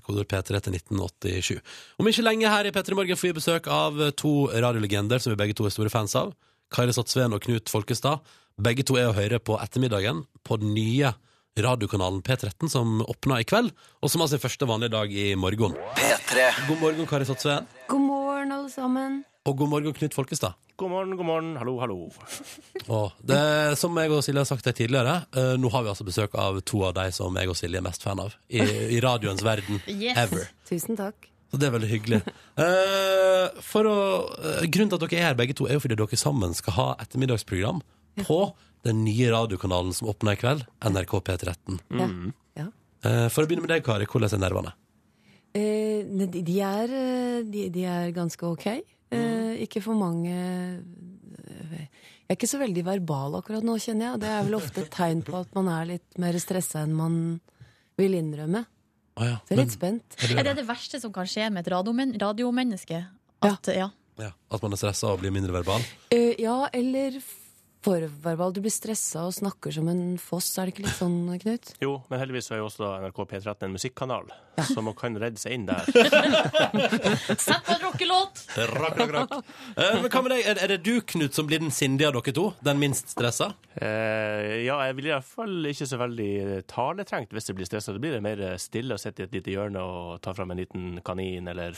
Speaker 2: Koder P3 til 1987. Om ikke lenge her i P3 Morgen får vi besøk av to radiolegender som vi begge to er store fans av. Kari Sattsveen og Knut Folkestad. Begge to er å høre på ettermiddagen på den nye radiokanalen P13, som åpna i kveld, og som har sin første vanlige dag i morgen.
Speaker 6: P3.
Speaker 2: God morgen, Kari Sattsveen.
Speaker 7: God morgen, alle sammen.
Speaker 2: Og god morgen, Knut Folkestad.
Speaker 8: God morgen, god morgen. Hallo, hallo.
Speaker 2: Og det, som jeg og Silje har sagt det tidligere, eh, nå har vi altså besøk av to av de som jeg og Silje er mest fan av i, i radioens verden
Speaker 4: Yes.
Speaker 2: ever.
Speaker 7: Tusen takk.
Speaker 2: Så det er veldig hyggelig. Eh, for å, eh, grunnen til at dere er her begge to, er jo fordi dere sammen skal ha ettermiddagsprogram på den nye radiokanalen som åpner i kveld, NRK P13.
Speaker 7: Ja. Ja.
Speaker 2: Eh, for å begynne med deg, Kari, hvordan er nervene?
Speaker 7: Eh, ne- de, de, er, eh, de, de er ganske ok. Eh, ikke for mange eh, Jeg er ikke så veldig verbal akkurat nå, kjenner jeg. Og det er vel ofte et tegn på at man er litt mer stressa enn man vil innrømme.
Speaker 2: Å ja,
Speaker 7: Så jeg er
Speaker 2: men-
Speaker 7: litt spent.
Speaker 4: Er det det verste som kan skje med et radiomen- radiomenneske? At, ja.
Speaker 2: ja, at man er stressa og blir mindre verbal?
Speaker 7: Eh, ja, eller for verbal. Du blir stressa og snakker som en foss. Er det ikke litt sånn, Knut?
Speaker 8: Jo, men heldigvis så er jo også NRK P13 en musikkanal, så man kan redde seg inn der.
Speaker 4: Sett på en rockelåt!
Speaker 2: Rakk, rakk, rakk. Eh, men hva med deg? Er, er det du, Knut, som blir den sindige av dere to? Den minst stressa?
Speaker 8: Eh, ja, jeg blir i hvert fall ikke så veldig taletrengt hvis jeg blir stressa. Da blir det mer stille å sitte i et lite hjørne og ta fram en liten kanin eller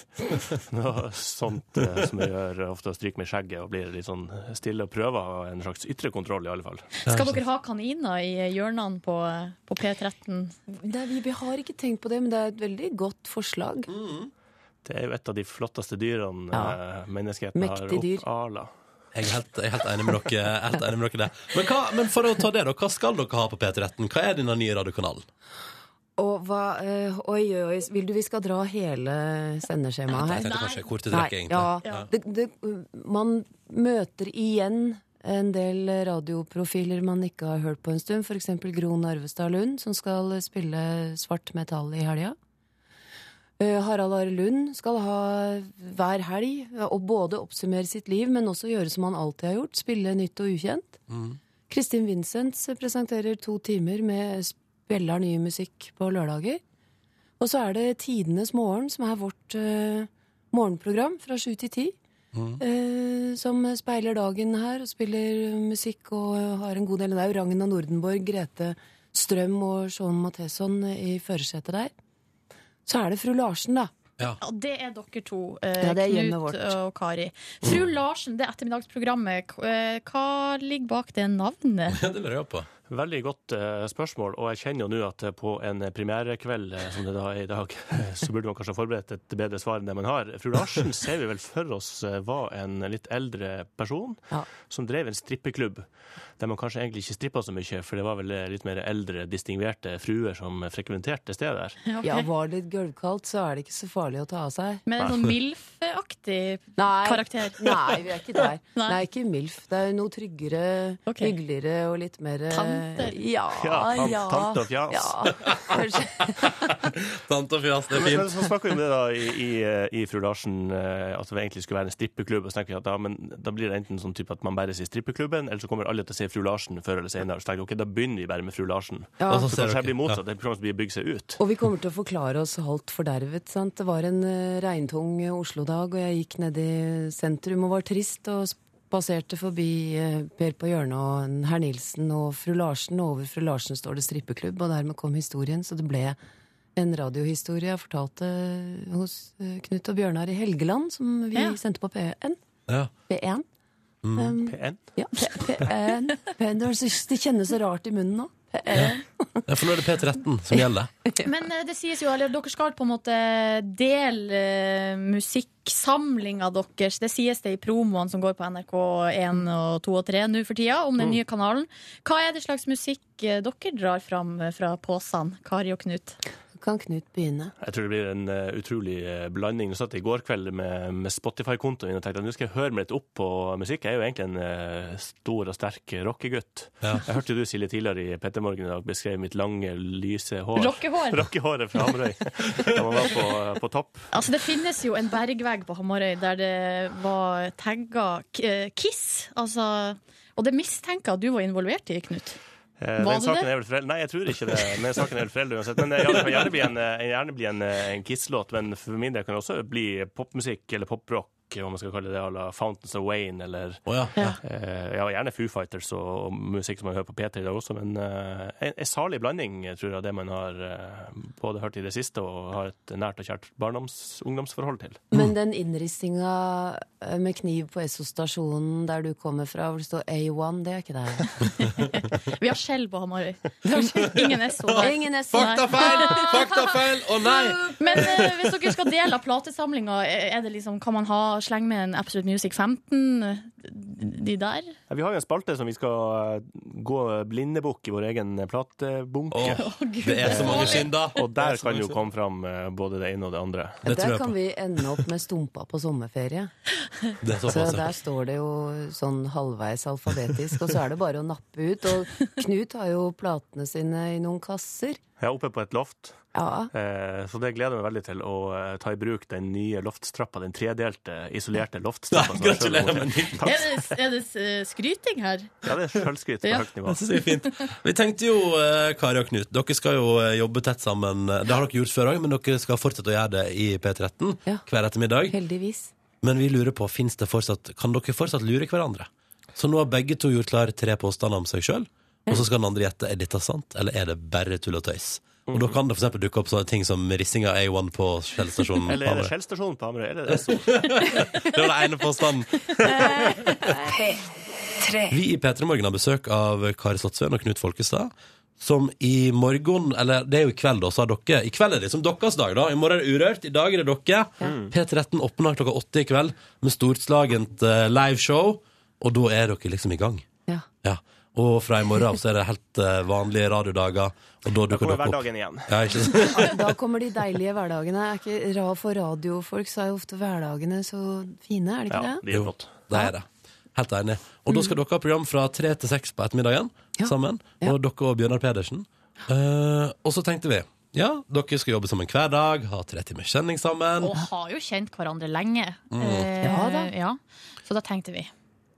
Speaker 8: noe sånt eh, som jeg gjør ofte, og stryker med skjegget og blir litt sånn stille og prøver en slags ytre kontroll, i alle fall.
Speaker 4: Skal dere ha kaniner i hjørnene på, på P13?
Speaker 7: Nei, vi, vi har ikke tenkt på det, men det er et veldig godt forslag.
Speaker 8: Det er jo et av de flotteste dyrene
Speaker 7: Ja.
Speaker 8: eh, menneskeheten har
Speaker 7: Mektig dyr.
Speaker 8: oppala.
Speaker 2: Jeg er helt, jeg er helt enig med dere. jeg er Helt enig med dere der. Men, hva, men for å ta det, da. Hva skal dere ha på P13? Hva er denne nye radiokanalen?
Speaker 7: Og hva eh, Oi, oi, oi. Vil du vi skal dra hele sendeskjemaet
Speaker 2: Jeg
Speaker 7: her?
Speaker 2: tenkte kanskje kortet trekk, egentlig.
Speaker 7: ja, det, det, man møter igjen en del radioprofiler man ikke har hørt på en stund. F.eks. Gro Narvestad Lund, som skal spille svart metall i helga. Eh, Harald Are Lund skal ha hver helg ja, og både oppsummere sitt liv, men også gjøre som han alltid har gjort, spille nytt og ukjent. Kristin Vincents presenterer to timer med spiller ny musikk på lørdager. Og så er det Tidenes morgen, som er vårt eh, morgenprogram fra sju til ti. eh, som speiler dagen her og spiller musikk og eh, har en god del. Det er jo Ragna Nordenborg, Grete Strøm og Sean Matheson i førersetet der. Så er det fru Larsen, da.
Speaker 4: Ja, det er dere to. eh,
Speaker 7: Ja, det er hjemmet
Speaker 4: Knut
Speaker 7: vårt.
Speaker 4: og Kari. Fru Larsen, det ettermiddagsprogrammet, k- eh, hva ligger bak det navnet?
Speaker 2: Ja, det lurer jeg på.
Speaker 8: Veldig godt eh, spørsmål, og jeg kjenner jo nå at eh, på en premierekveld eh, som det da er i dag, så burde man kanskje ha forberedt et bedre svar enn det man har. Fru Larsen ser vi vel for oss eh, var en litt eldre person
Speaker 7: Ja.
Speaker 8: som drev en strippeklubb, der man kanskje egentlig ikke strippa så mye, for det var vel eh, litt mer eldre, distingverte fruer som frekventerte stedet der.
Speaker 4: ok.
Speaker 7: Ja, Var det litt gulvkaldt, så er det ikke så farlig å ta av seg.
Speaker 4: Men er det noen MILF-aktig
Speaker 7: Nei.
Speaker 4: karakter?
Speaker 7: Nei, vi er ikke der.
Speaker 4: Nei.
Speaker 7: Det er ikke MILF. Det er noe tryggere,
Speaker 4: Ok.
Speaker 7: hyggeligere og litt mer eh,
Speaker 4: Tante.
Speaker 7: Ja,
Speaker 8: Ja, tan-
Speaker 7: ja.
Speaker 8: tante og fjas.
Speaker 7: Ja. Kanskje.
Speaker 2: Tante og fjas, det er
Speaker 8: Men- men
Speaker 2: fint.
Speaker 8: Så snakker vi om det da i, i, i Fru Larsen, eh, at det egentlig skulle være en strippeklubb. Og så tenker vi at da, men da blir det enten sånn type at man bare sier strippeklubben, eller så kommer alle til å si Fru Larsen før eller senere. Så tenker jeg, ok, da begynner vi bare med Fru Larsen.
Speaker 7: Ja.
Speaker 2: Og så
Speaker 8: Så
Speaker 2: ser
Speaker 8: kanskje
Speaker 2: dere.
Speaker 8: jeg blir motsatt. Det programmet blir å bygge seg ut.
Speaker 7: Og vi kommer til å forklare oss halvt fordervet. Sant? Det var en eh, regntung eh, Oslo-dag, og jeg gikk ned i sentrum og var trist. og Passerte forbi eh, Per på hjørnet og en herr Nilsen og fru Larsen. Og over fru Larsen står det strippeklubb, og dermed kom historien. Så det ble en radiohistorie jeg fortalte hos eh, Knut og Bjørnar i Helgeland, som vi
Speaker 4: Ja.
Speaker 7: sendte på P1.
Speaker 2: Ja.
Speaker 7: P1. Um,
Speaker 8: P1.
Speaker 7: ja, P- P1. P1. Det kjennes så rart i munnen nå. P1.
Speaker 2: Ja, For nå er det P13 som gjelder.
Speaker 4: Men eh, det sies jo, eller dere skal på en måte dele eh, musikksamlinga deres. Det sies det i promoene som går på NRK1 og 2 og 3 nå for tida, om den nye kanalen. Hva er det slags musikk eh, dere drar fram eh, fra posene, Kari og Knut?
Speaker 7: Kan Knut begynne?
Speaker 8: Jeg tror det blir en eh, utrolig eh, blanding. Nå satt jeg i går kveld med, med Spotify-kontoen min og tenkte at nå skal jeg høre meg litt opp på musikk. Jeg er jo egentlig en eh, stor og sterk rockegutt. Jeg hørte jo du, Silje, tidligere i Petter Morgen i dag beskrev mitt lange, lyse hår.
Speaker 4: Rockehår.
Speaker 8: Rockehåret fra Hamarøy. Da man var på, på topp.
Speaker 4: Altså, det finnes jo en bergvegg på Hamarøy der det var tagga k- eh, Kiss. Altså, og det mistenker jeg at du var involvert i, Knut.
Speaker 8: Eh,
Speaker 4: Var
Speaker 8: den
Speaker 4: det
Speaker 8: saken
Speaker 4: det?
Speaker 8: Er vel foreld- Nei, jeg tror ikke det. Men saken er vel foreldre uansett. Men eh, ja, det kan gjerne bli en, eh, gjerne bli en, eh, en Kiss-låt, men for min del kan det også bli popmusikk eller poprock, hva man skal kalle det, à la Fountains of Wayne eller
Speaker 2: Å ja.
Speaker 4: Ja.
Speaker 8: eh, ja, gjerne Foo Fighters og, og musikk som man hører på P3 i dag også, men eh, en, en salig blanding, eh, tror jeg, av det man har eh, både hørt i det siste og har et nært og kjært barndoms- ungdomsforhold til.
Speaker 7: Men den innrissinga eh, med kniv på Esso-stasjonen der du kommer fra, hvor det står A1, det er ikke deg.
Speaker 4: Vi har skjell på Hamarøy. Ingen Esso der.
Speaker 7: Ingen Esso.
Speaker 2: Faktafeil! Faktafeil! Å nei!
Speaker 4: Men eh, hvis dere skal dele av platesamlinga, er det liksom, kan man ha slenge med en Absolute Music 15? eh, De der?
Speaker 8: Ja, Vi har jo en spalte som vi skal eh, gå blindebukk i vår egen platebunke.
Speaker 2: Åh, det er så mange synder.
Speaker 8: Og der kan jo komme fram eh, både det ene og det andre.
Speaker 2: Det tror
Speaker 7: Der
Speaker 2: jeg
Speaker 7: kan
Speaker 2: på.
Speaker 7: vi ende opp med stumpa på sommerferie.
Speaker 2: Det er
Speaker 7: Så
Speaker 2: såpass. ja.
Speaker 7: der står det jo sånn halvveis alfabetisk, og så er det bare å nappe ut. Og Knut har jo platene sine i noen kasser.
Speaker 8: Jeg er oppe på et loft,
Speaker 7: Ja.
Speaker 8: eh, så det gleder jeg meg veldig til å eh, ta i bruk den nye loftstrappa. Den tredelte, isolerte loftstrappa. som jeg selv har
Speaker 2: Gratulerer med nytt.
Speaker 4: Er det, er det eh, skryting her?
Speaker 8: Ja, det er selvskryt på
Speaker 4: Ja.
Speaker 8: høyt nivå.
Speaker 2: Det synes jeg er fint. Vi tenkte jo, eh, Kari og Knut, dere skal jo eh, jobbe tett sammen. Det har dere gjort før òg, men dere skal fortsette å gjøre det i P13
Speaker 7: Ja.
Speaker 2: hver ettermiddag.
Speaker 7: Heldigvis.
Speaker 2: Men vi lurer på, finnes det fortsatt, kan dere fortsatt lure hverandre? Så nå har begge to gjort klar tre påstander om seg sjøl, og så skal den andre gjette er dette sant, eller er det bare tull og tøys. Og da kan det f.eks. dukke opp sånne ting som rissinga A1 på Skjellstasjonen.
Speaker 8: Eller er det
Speaker 2: Hamre.
Speaker 8: Skjellstasjonen på Hamarøy? Eller er det Esso?
Speaker 2: Det var den ene påstanden. Vi i P3 Morgen har besøk av Kari Slottsveen og Knut Folkestad. Som i morgen, eller det er jo i kveld, da, så har dere I kveld er det liksom deres dag, da. I morgen er det Urørt. I dag er det dere. P13 åpner klokka åtte i kveld med storslagent eh, liveshow. Og da er dere liksom i gang.
Speaker 7: Ja.
Speaker 2: Ja. Og fra i morgen av så er det helt eh, vanlige radiodager, og da
Speaker 8: Da
Speaker 2: dukker dere
Speaker 8: kommer
Speaker 2: opp.
Speaker 8: hverdagen igjen.
Speaker 2: Ja, ikke sant?
Speaker 7: Da kommer de deilige hverdagene. Er ikke ra for radiofolk, så er jo ofte hverdagene så fine, er det ikke
Speaker 8: Ja,
Speaker 7: det?
Speaker 8: det er flott.
Speaker 2: Det er det. Helt enig. Og da skal dere ha program fra tre til seks på ettermiddagen
Speaker 7: Mm. Ja.
Speaker 2: sammen.
Speaker 7: Ja.
Speaker 2: Og dere og Bjørnar Pedersen. Eh, og så tenkte vi ja, dere skal jobbe sammen hver dag, ha tre timers kjenning sammen.
Speaker 4: Og har jo kjent hverandre lenge.
Speaker 2: Mm.
Speaker 4: Eh,
Speaker 7: Ja da.
Speaker 4: ja. Så da tenkte vi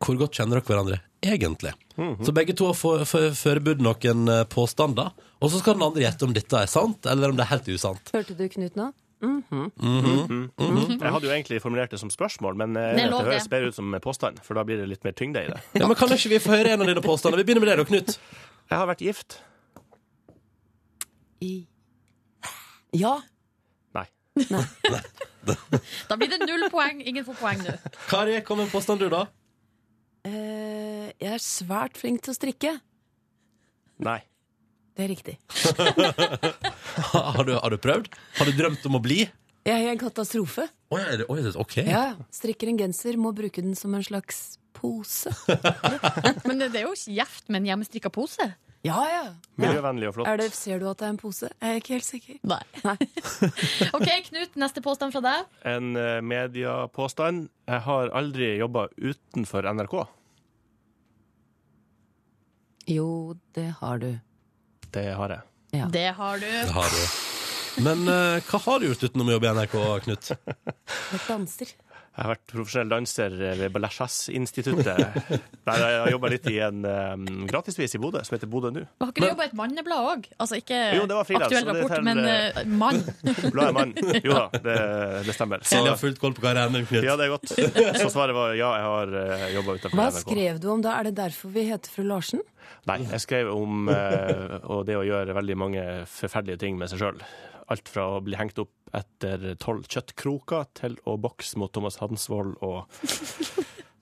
Speaker 2: Hvor godt kjenner dere hverandre egentlig?
Speaker 7: Mhm.
Speaker 2: Så begge to har for- for- forberedt noen eh, påstander. Og så skal den andre gjette om dette er sant, eller om det er helt usant.
Speaker 7: Hørte du Knut nå?
Speaker 8: Jeg hadde jo egentlig formulert det som spørsmål, men eh,
Speaker 4: Det er
Speaker 8: det
Speaker 4: lov, det.
Speaker 8: høres bedre ut som påstand, for da blir det litt mer tyngde i det.
Speaker 2: Ja, men Kan ikke vi få høre en av dine påstander? Vi begynner med deg, da, Knut.
Speaker 8: Jeg har vært gift.
Speaker 7: I Ja.
Speaker 8: Nei.
Speaker 4: Da blir det null poeng. Ingen får poeng nå.
Speaker 2: Kari, kom med en påstand, du, da.
Speaker 7: Eh, jeg er svært flink til å strikke.
Speaker 8: Nei.
Speaker 7: Det er riktig.
Speaker 2: Har du, har du prøvd? Har du drømt om å bli?
Speaker 7: Jeg er en katastrofe.
Speaker 2: Oi, er det- oi, det- ok.
Speaker 7: Ja, ja. Strikker en genser, må bruke den som en slags pose.
Speaker 4: Men det, det er jo ikke gjevt med en hjemmestrikka pose.
Speaker 7: Ja, ja.
Speaker 8: Miljøvennlig og flott.
Speaker 7: Er det, ser du at det er en pose? Jeg er ikke helt sikker.
Speaker 4: Nei.
Speaker 7: Nei.
Speaker 4: OK, Knut, neste påstand fra deg.
Speaker 8: En eh, mediepåstand. Jeg har aldri jobba utenfor NRK.
Speaker 7: Jo, det har du.
Speaker 8: Det har jeg.
Speaker 7: Ja.
Speaker 4: Det har
Speaker 2: Det
Speaker 4: du.
Speaker 2: har du. Men eh, hva har du gjort utenom å jobbe i NRK, Knut?
Speaker 7: Jeg danser.
Speaker 8: Jeg har vært profesjonell danser ved Ballasjas-instituttet. Der jeg har jobba litt i en eh, gratisvis i Bodø, som heter Bodø nå.
Speaker 4: Har ikke du jobba i et manneblad òg? Altså ikke
Speaker 8: Jo, det var frilans,
Speaker 4: aktuell
Speaker 8: så det
Speaker 4: rapport,
Speaker 8: teller-
Speaker 4: men eh, mann.
Speaker 8: Bladet Mann. Jo da, det, det stemmer. Så,
Speaker 2: Silje har fullt koll på karrieren din, Knut.
Speaker 8: ja, det er godt. Så svaret var ja, jeg har jobba utenfor
Speaker 7: Hva
Speaker 8: NRK.
Speaker 7: skrev du om da? Er det derfor vi heter fru Larsen?
Speaker 8: Nei, jeg skrev om eh, og det å gjøre veldig mange forferdelige ting med seg sjøl. Alt fra å bli hengt opp etter tolv kjøttkroker til å bokse mot Thomas Hansvold og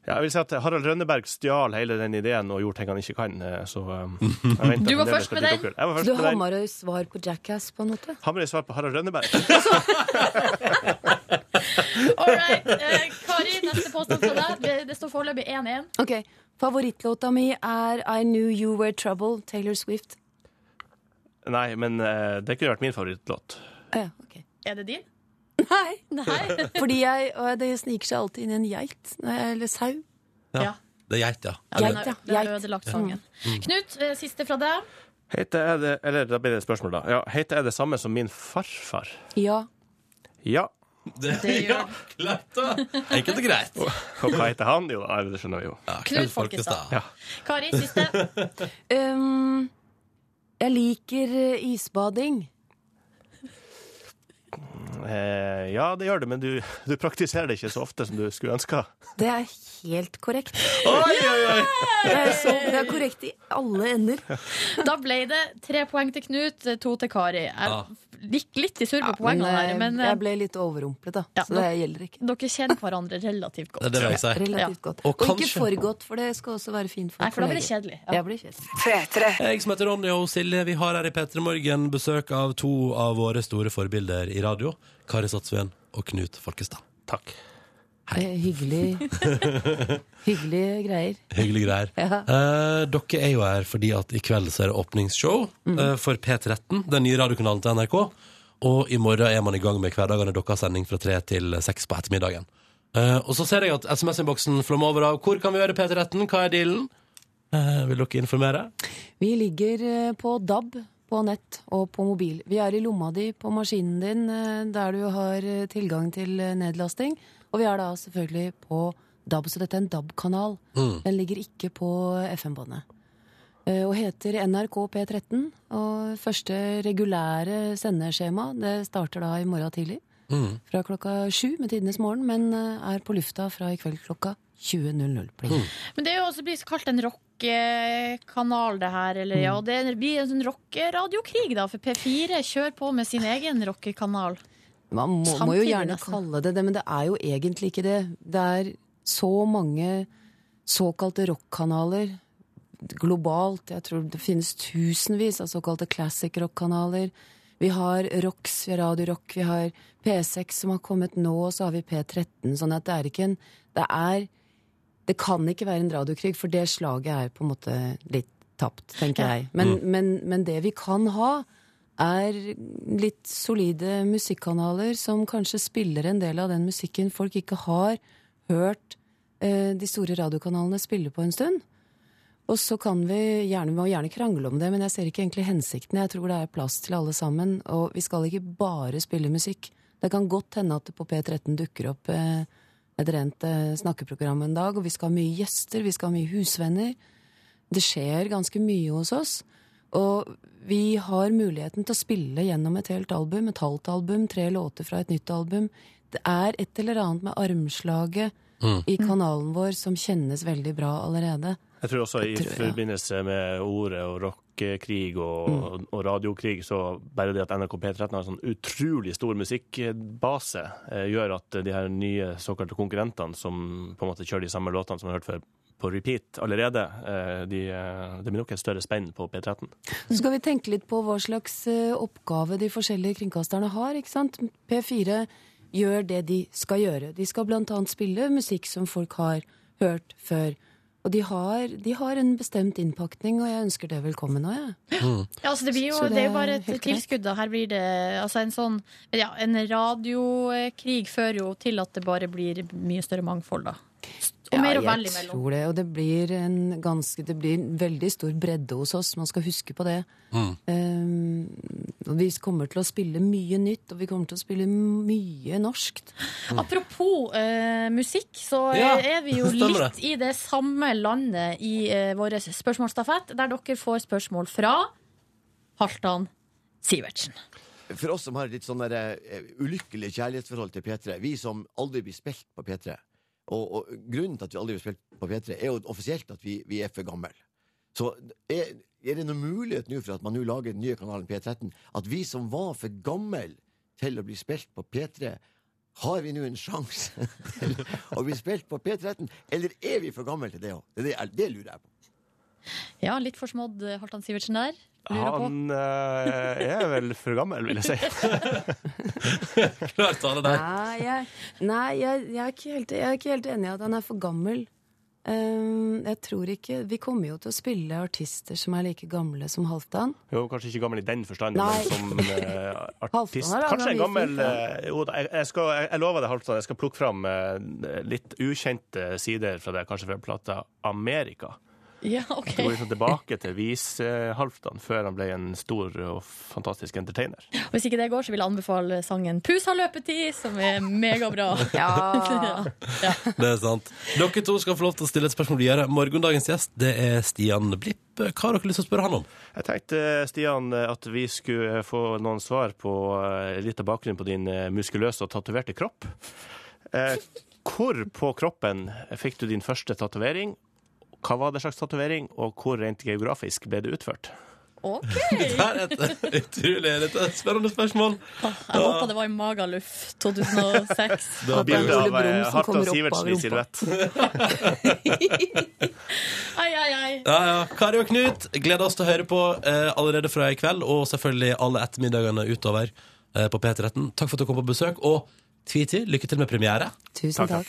Speaker 8: ja, jeg vil si at Harald Rønneberg stjal hele den ideen og gjorde ting han ikke kan. eh, Så eh, jeg venter
Speaker 4: Du var
Speaker 8: fremdeles
Speaker 4: først
Speaker 8: på
Speaker 4: med
Speaker 8: ditt
Speaker 4: den.
Speaker 8: oppgjør. Jeg var
Speaker 7: Så
Speaker 8: først
Speaker 7: du
Speaker 8: med den.
Speaker 7: Hamarøy svar på Jackass, på en måte?
Speaker 8: Hammerøy svar på Harald Rønneberg.
Speaker 4: All right. Eh, Kari, neste påstand fra deg. Det, det står foreløpig 1-1.
Speaker 7: Ok. Favorittlåta mi er I Knew You Were Trouble, Taylor Swift.
Speaker 8: Nei, men eh, det kunne vært min favorittlåt.
Speaker 7: Ah, ja, ok.
Speaker 4: Er det din?
Speaker 7: Nei,
Speaker 4: Nei.
Speaker 7: fordi jeg, og det sniker seg alltid inn i en geit. når jeg- Eller sau.
Speaker 4: Ja.
Speaker 2: Det er geit, ja.
Speaker 4: Ja, den har-
Speaker 7: Geit, ja.
Speaker 4: den har
Speaker 7: Geit.
Speaker 4: ødelagt sangen. Knut, eh, siste fra deg.
Speaker 8: Heter jeg det Eller da blir det et spørsmål, da. Ja, heter jeg det samme som min farfar?
Speaker 7: Ja.
Speaker 8: Ja.
Speaker 2: Det,
Speaker 4: Det
Speaker 2: ja,
Speaker 4: gjør-
Speaker 2: klart da. Enkelt og greit.
Speaker 8: Og hva heter han? Jo da, det skjønner vi jo.
Speaker 2: Ja,
Speaker 4: Knut Folkestad.
Speaker 2: Ja.
Speaker 4: Kari, siste.
Speaker 7: Um, jeg liker eh, isbading.
Speaker 8: Eh, ja, det gjør det, men du, du praktiserer det ikke så ofte som du skulle ønske.
Speaker 7: Det er helt korrekt.
Speaker 2: Oi, oi, oi.
Speaker 7: Det er, så, det er korrekt i alle ender.
Speaker 4: Da ble det tre poeng til Knut, eh, to til Kari.
Speaker 2: Ja.
Speaker 4: Jeg gikk litt i surr på
Speaker 7: Men,
Speaker 4: poengene
Speaker 7: eh,
Speaker 4: her, men eh,
Speaker 7: jeg ble litt overrumplet, da.
Speaker 4: Ja,
Speaker 7: så det gjelder ikke.
Speaker 4: dere kjenner hverandre relativt
Speaker 2: Det
Speaker 4: godt.
Speaker 2: er det jeg sier.
Speaker 7: Relativt godt.
Speaker 2: Og
Speaker 7: Og, ikke
Speaker 2: kanskje-
Speaker 7: for godt, for det skal også være fint for
Speaker 4: Nei, for da blir det
Speaker 7: kolleger.
Speaker 4: kjedelig. Ja.
Speaker 7: Jeg blir kjedelig.
Speaker 2: Jeg som heter Ronny og Silje, vi har her i P3 Morgen besøk av to av våre store forbilder i radio. Kari Sattsveen og Knut Folkestad.
Speaker 8: Takk.
Speaker 7: Eh, Hyggelig. Hyggelige greier.
Speaker 2: Hyggelige greier.
Speaker 7: Ja.
Speaker 2: Eh, dere er jo her fordi at i kveld så er det åpningsshow eh, for P13, den nye radiokanalen til NRK. Og i morgen er man i gang med hverdagene dere har sending fra tre til seks på ettermiddagen. Eh, og så ser jeg at SMS-innboksen flommer over av hvor kan vi gjøre P13, hva er dealen? Eh, vil dere informere?
Speaker 7: Vi ligger eh, på DAB på nett og på mobil. Vi er i lomma di på maskinen din eh, der du har eh, tilgang til eh, nedlasting. Og vi er da selvfølgelig på DAB, så dette er en DAB-kanal. Den ligger ikke på FM-båndet. Eh, Og heter NRK P13. Og første regulære sendeskjema det starter da i morgen tidlig. Fra klokka sju med Tidenes morgen, men eh, er på lufta fra i kveld klokka 20.00. pling.
Speaker 4: Men det er jo også blitt kalt en rockekanal, det her. Eller, ja,
Speaker 7: Mm.
Speaker 4: og det blir en sånn rockeradiokrig, da. For P4 kjører på med sin egen rockekanal.
Speaker 7: Man må, må jo
Speaker 4: Samtidig
Speaker 7: gjerne
Speaker 4: nesten.
Speaker 7: kalle det det, men det er jo egentlig ikke det. Det er så mange såkalte rockkanaler globalt. Jeg tror det finnes tusenvis av såkalte classic rock-kanaler. Vi har Rox, vi har Radio Rock, vi har P6 som har kommet nå, og så har vi P13. Sånn at det er ikke en Det er Det kan ikke være en radiokrig, for det slaget er på en måte litt tapt, tenker jeg. Men, men, men det vi kan ha, er litt solide musikkanaler som kanskje spiller en del av den musikken folk ikke har hørt eh, de store radiokanalene spille på en stund. Og så kan vi gjerne, vi må gjerne krangle om det, men jeg ser ikke egentlig hensikten. Jeg tror det er plass til alle sammen, og vi skal ikke bare spille musikk. Det kan godt hende at det på P13 dukker opp eh, et rent eh, snakkeprogram en dag, og vi skal ha mye gjester, vi skal ha mye husvenner. Det skjer ganske mye hos oss, og vi har muligheten til å spille gjennom et helt album, et halvt album, tre låter fra et nytt album. Det er et eller annet med armslaget i kanalen vår som kjennes veldig bra allerede.
Speaker 8: Jeg tror også i
Speaker 7: Jeg tror, ja.
Speaker 8: forbindelse med ordet og rockekrig og,
Speaker 7: Mm.
Speaker 8: og radiokrig, så bare det at NRK P13 har en sånn utrolig stor musikkbase, eh, gjør at de her nye såkalte konkurrentene som på en måte kjører de samme låtene som man har hørt før på repeat allerede, eh, de, eh, det blir nok et større spenn på P13.
Speaker 7: Så skal vi tenke litt på hva slags eh, oppgave de forskjellige kringkasterne har. ikke sant? P4 gjør det de skal gjøre. De skal bl.a. spille musikk som folk har hørt før. Og de har, de har en bestemt innpakning, og jeg ønsker det velkommen òg, jeg.
Speaker 4: Ja, altså det, blir jo,
Speaker 7: Så
Speaker 4: det,
Speaker 7: det
Speaker 4: er jo bare
Speaker 7: er
Speaker 4: et
Speaker 7: helt greit.
Speaker 4: tilskudd. Da. Her blir det altså en sånn men ja, En radiokrig fører jo til at det bare blir mye større mangfold, da. Og mer å velge
Speaker 7: jeg
Speaker 4: mellom.
Speaker 7: tror det. Og det blir en ganske Det blir en veldig stor bredde hos oss, man skal huske på det. Eh, og vi kommer til å spille mye nytt, og vi kommer til å spille mye norskt.
Speaker 4: Apropos eh, musikk, så eh,
Speaker 2: Ja,
Speaker 4: er vi jo
Speaker 2: stemmer
Speaker 4: litt i det samme landet i eh, vår spørsmålsstafett, der dere får spørsmål fra Halvdan Sivertsen.
Speaker 9: For oss som har litt sånn der, eh, ulykkelig kjærlighetsforhold til P3, vi som aldri blir spilt på P3 og, og grunnen til at vi aldri blir spilt på P3, er jo offisielt at vi, vi er for gamle. Så er, er det noen mulighet nå for at man nå lager den nye kanalen P13, at vi som var for gamle til å bli spilt på P3, har vi nå en sjanse til å bli spilt på P13, eller er vi for gamle til det òg? Det, er det, det lurer jeg på.
Speaker 4: Ja, litt forsmådd eh, Halvdan Sivertsen der. Lurer på.
Speaker 8: Han eh, er vel for gammel, vil jeg si.
Speaker 2: Klart tale der.
Speaker 7: Nei, jeg, nei jeg, jeg, er ikke helt, jeg er ikke helt enig i at han er for gammel. Ehm, jeg tror ikke Vi kommer jo til å spille artister som er like gamle som Halvdan.
Speaker 8: Jo, kanskje ikke gammel i den forstand,
Speaker 7: Nei.
Speaker 8: men som eh, artist.
Speaker 7: Halvdan har laget
Speaker 8: Kanskje en
Speaker 7: mye
Speaker 8: gammel
Speaker 7: fint, da.
Speaker 8: eh, Jo, da, jeg, jeg, skal, jeg, jeg lover deg, Halvdan, jeg skal plukke fram eh, litt ukjente sider fra deg, kanskje fra plata Amerika.
Speaker 4: Ja, ok.
Speaker 8: Du går liksom tilbake til Vis-Halvdan før han ble en stor og fantastisk entertainer.
Speaker 4: Hvis ikke det går, så vil jeg anbefale sangen 'Pus har løpetid', som er megabra. Ja.
Speaker 2: Det er sant. Dere to skal få lov til å stille et spørsmål videre. Morgendagens gjest det er Stian Blipp. Hva har dere lyst til å spørre han om?
Speaker 8: Jeg tenkte, Stian, at vi skulle få noen svar på eh, litt av bakgrunnen på din eh, muskuløse og tatoverte kropp. Eh, Hvor på kroppen fikk du din første tatovering? Hva var det slags tatovering, og hvor rent geografisk ble det utført?
Speaker 4: Ok.
Speaker 2: Det er et utrolig dette er et spennende spørsmål.
Speaker 4: Jeg håper det var i Magaluf 2006.
Speaker 7: At det er
Speaker 8: Bilde
Speaker 7: Ole
Speaker 8: av eh,
Speaker 7: Brumm som
Speaker 8: Halvdan
Speaker 7: kommer opp av
Speaker 8: Sivertsen
Speaker 7: rumpa.
Speaker 8: i silhuett.
Speaker 4: Ai, ai, ai.
Speaker 2: Ja, ja. Kari og Knut, gleder oss til å høre på eh, allerede fra i kveld, og selvfølgelig alle ettermiddagene utover eh, på P13. Takk for at du kom på besøk, og Tviti, lykke til med premiere.
Speaker 7: Tusen takk.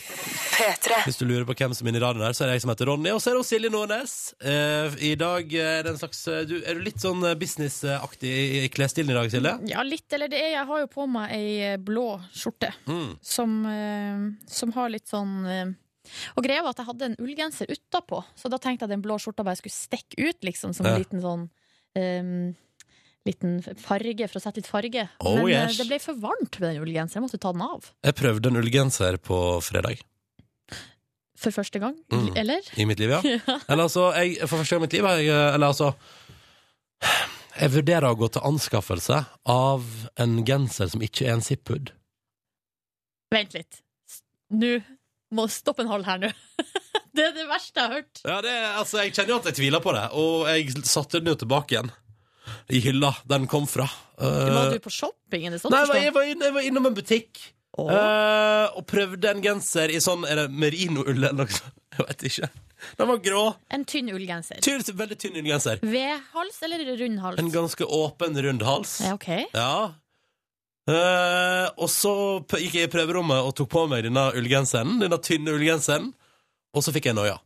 Speaker 2: Hvis du lurer på hvem som er inne i radioen her, så er det jeg som heter Ronny, og så er det hun Silje Nordnes. Eh, I dag er det en slags eh, du, Er du litt sånn eh, businessaktig i- i klesstilen i dag, Silje?
Speaker 4: Ja, litt. Eller det er Jeg har jo på meg ei eh, blå skjorte
Speaker 2: Mm.
Speaker 4: som, eh, som har litt sånn eh, og greia var at jeg hadde en ullgenser utapå, så da tenkte jeg at den blå skjorta bare skulle stikke ut, liksom, som
Speaker 2: Ja.
Speaker 4: en liten sånn eh, Liten farge, for å sette litt farge.
Speaker 2: Oh,
Speaker 4: Men eh,
Speaker 2: yes.
Speaker 4: det ble for varmt med den ullgenseren, jeg måtte ta den av.
Speaker 2: Jeg prøvde en ullgenser på fredag
Speaker 4: For første gang.
Speaker 2: Mm.
Speaker 4: Eller?
Speaker 2: i mitt liv, ja.
Speaker 4: Ja.
Speaker 2: Eller altså, jeg, for første gang i mitt liv har jeg, eh, Eller altså Jeg vurderer å gå til anskaffelse av en genser som ikke er en zip-hood.
Speaker 4: Vent litt. S- Nå må stoppe en halv her nå. det er det verste jeg har hørt.
Speaker 2: Ja, det, er- altså, jeg kjenner jo at jeg tviler på det, og jeg satte den jo tilbake igjen. I hylla den kom fra.
Speaker 4: Var
Speaker 2: Eh,
Speaker 4: du på shopping? Er det sånn?
Speaker 2: nei, jeg var,
Speaker 4: forstå?
Speaker 2: jeg, var inn, jeg var innom en butikk
Speaker 4: Åh.
Speaker 2: eh, og prøvde en genser i sånn Er det merinoull eller noe sånt? Jeg vet ikke. Den var grå.
Speaker 4: En tynn ullgenser.
Speaker 2: Tynn, veldig tynn ullgenser.
Speaker 4: V-hals eller rund hals?
Speaker 2: En ganske åpen, rund hals.
Speaker 4: ja, ok.
Speaker 2: Ja. Eh, og så p- gikk jeg i prøverommet og tok på meg denne ullgenseren, denne tynne ullgenseren, og så fikk jeg noia.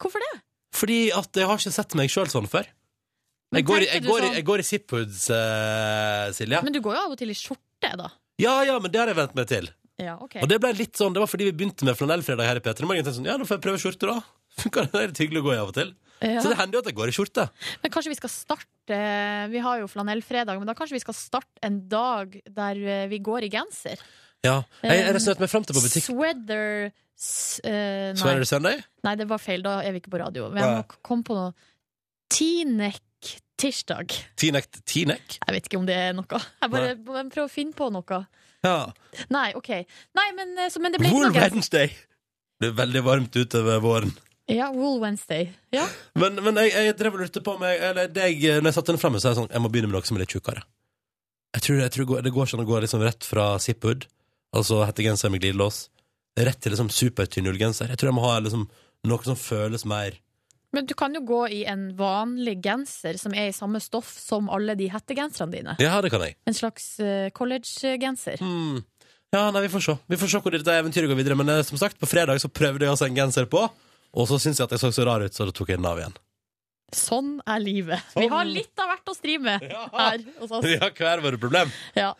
Speaker 4: Hvorfor det?
Speaker 2: Fordi at jeg har ikke sett meg sjøl sånn før. Jeg går, i-
Speaker 4: tenkte
Speaker 2: jeg
Speaker 4: du
Speaker 2: går, i-
Speaker 4: sånn-
Speaker 2: jeg går i zip-hoods, eh, Silje.
Speaker 4: Men du går jo av og til i skjorte, da.
Speaker 2: Ja, ja, men det har jeg vent meg til.
Speaker 4: Ja, ok.
Speaker 2: Og det ble litt sånn, det var fordi vi begynte med flanellfredag her i P3 Morgen. tenkte jeg Sånn, ja, nå får jeg prøve skjorte, da. Funker det? Det er litt hyggelig å gå i av og til.
Speaker 4: Ja. Eh,
Speaker 2: Så det hender jo at jeg går i skjorte.
Speaker 4: Men kanskje vi skal starte Vi har jo flanellfredag, men da kanskje vi skal starte en dag der eh, vi går i genser?
Speaker 2: Ja. Jeg, jeg resonnerte meg fram til på butikk.
Speaker 4: Sweater s- eh,
Speaker 2: Så
Speaker 4: nei.
Speaker 2: er det søndag?
Speaker 4: nei, det var feil. Da er vi ikke på radio. Men jeg
Speaker 2: Nei.
Speaker 4: må k- komme på noe. Tinek tirsdag.
Speaker 2: Tinek. Tinek?
Speaker 4: Jeg vet ikke om det er noe. Jeg bare bare prøver å finne på noe.
Speaker 2: Ja.
Speaker 4: Nei, OK. Nei, men, eh, så, men det ble ikke
Speaker 2: Wool
Speaker 4: noe genser.
Speaker 2: Wednesday! Det er veldig varmt ute ved våren.
Speaker 4: Ja, Wool Wednesday. Ja.
Speaker 2: Men, men jeg, jeg drev og lurte på om jeg, eller deg, eh, når jeg satte den fremme, så er jeg sånn, jeg må begynne med noe som er litt tjukkere. Jeg tror, jeg tror det går- det går sånn å gå liksom rett fra zip-hood, altså hettegenser med glidelås, rett til liksom supertynn ullgenser. Jeg tror jeg må ha liksom noe som føles mer
Speaker 4: Men du kan jo gå i en vanlig genser som er i samme stoff som alle de hettegenserne dine.
Speaker 2: Ja, det kan jeg.
Speaker 4: En slags eh, college-genser.
Speaker 2: Hmm. Ja, nei, vi får se. Vi får se hvor dette eventyret går videre. Men eh, som sagt, på fredag så prøvde jeg altså en genser på, og så syntes jeg at jeg så så rar ut, så da tok jeg den av igjen.
Speaker 4: Sånn er livet. Vi har litt av hvert å stri med her hos oss.
Speaker 2: Vi har hver våre problem.
Speaker 4: Ja.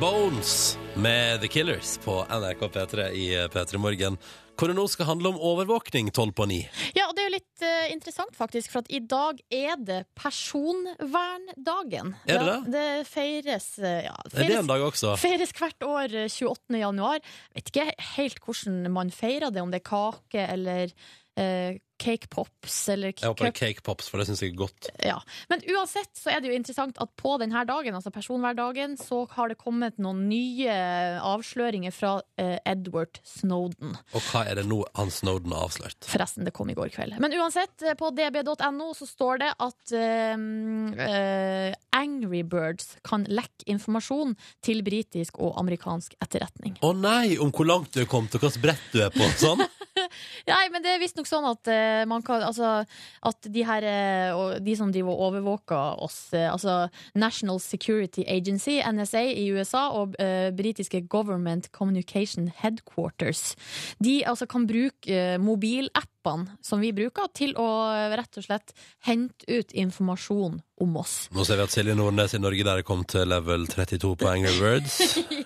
Speaker 2: Bones med The Killers på NRK P3 i P3 Morgen. Hvor det nå skal handle om overvåkning 12 på 9.
Speaker 4: ja, og det er jo litt eh, interessant, faktisk, for at i dag er det personverndagen.
Speaker 2: Er det
Speaker 4: Ja,
Speaker 2: det?
Speaker 4: det feires, eh, ja,
Speaker 2: Er det en
Speaker 4: feires
Speaker 2: dag også?
Speaker 4: Feires hvert år eh, 28. januar. Vet ikke helt hvordan man feirer det, om det er kake eller eh, cake pops eller
Speaker 2: Jeg håper det
Speaker 4: cup
Speaker 2: er cake pops, for det syns jeg er godt.
Speaker 4: Ja. Men uansett så er det jo interessant at på denne dagen, altså personverndagen, så har det kommet noen nye avsløringer fra eh, Edward Snowden.
Speaker 2: Og hva er det nå han Snowden har avslørt?
Speaker 4: Forresten, det kom i går kveld. Men uansett, eh, på db.no så står det at eh, eh, Angry Birds kan lekke informasjon til britisk og amerikansk etterretning.
Speaker 2: Å nei, om hvor langt du er kommet, og hvilket brett du er på. Sånn.
Speaker 4: Nei, men det er visstnok sånn at eh, man kan Altså, at de her eh, og De som driver og overvåker oss, eh, altså National Security Agency, NSA, i USA, og eh, britiske Government Communication Headquarters, de altså kan bruke eh, mobilappene som vi bruker, til å eh, rett og slett hente ut informasjon om oss.
Speaker 2: Nå ser vi at Silje Nordnes i Norge der er kommet til level 32 på Angry Words.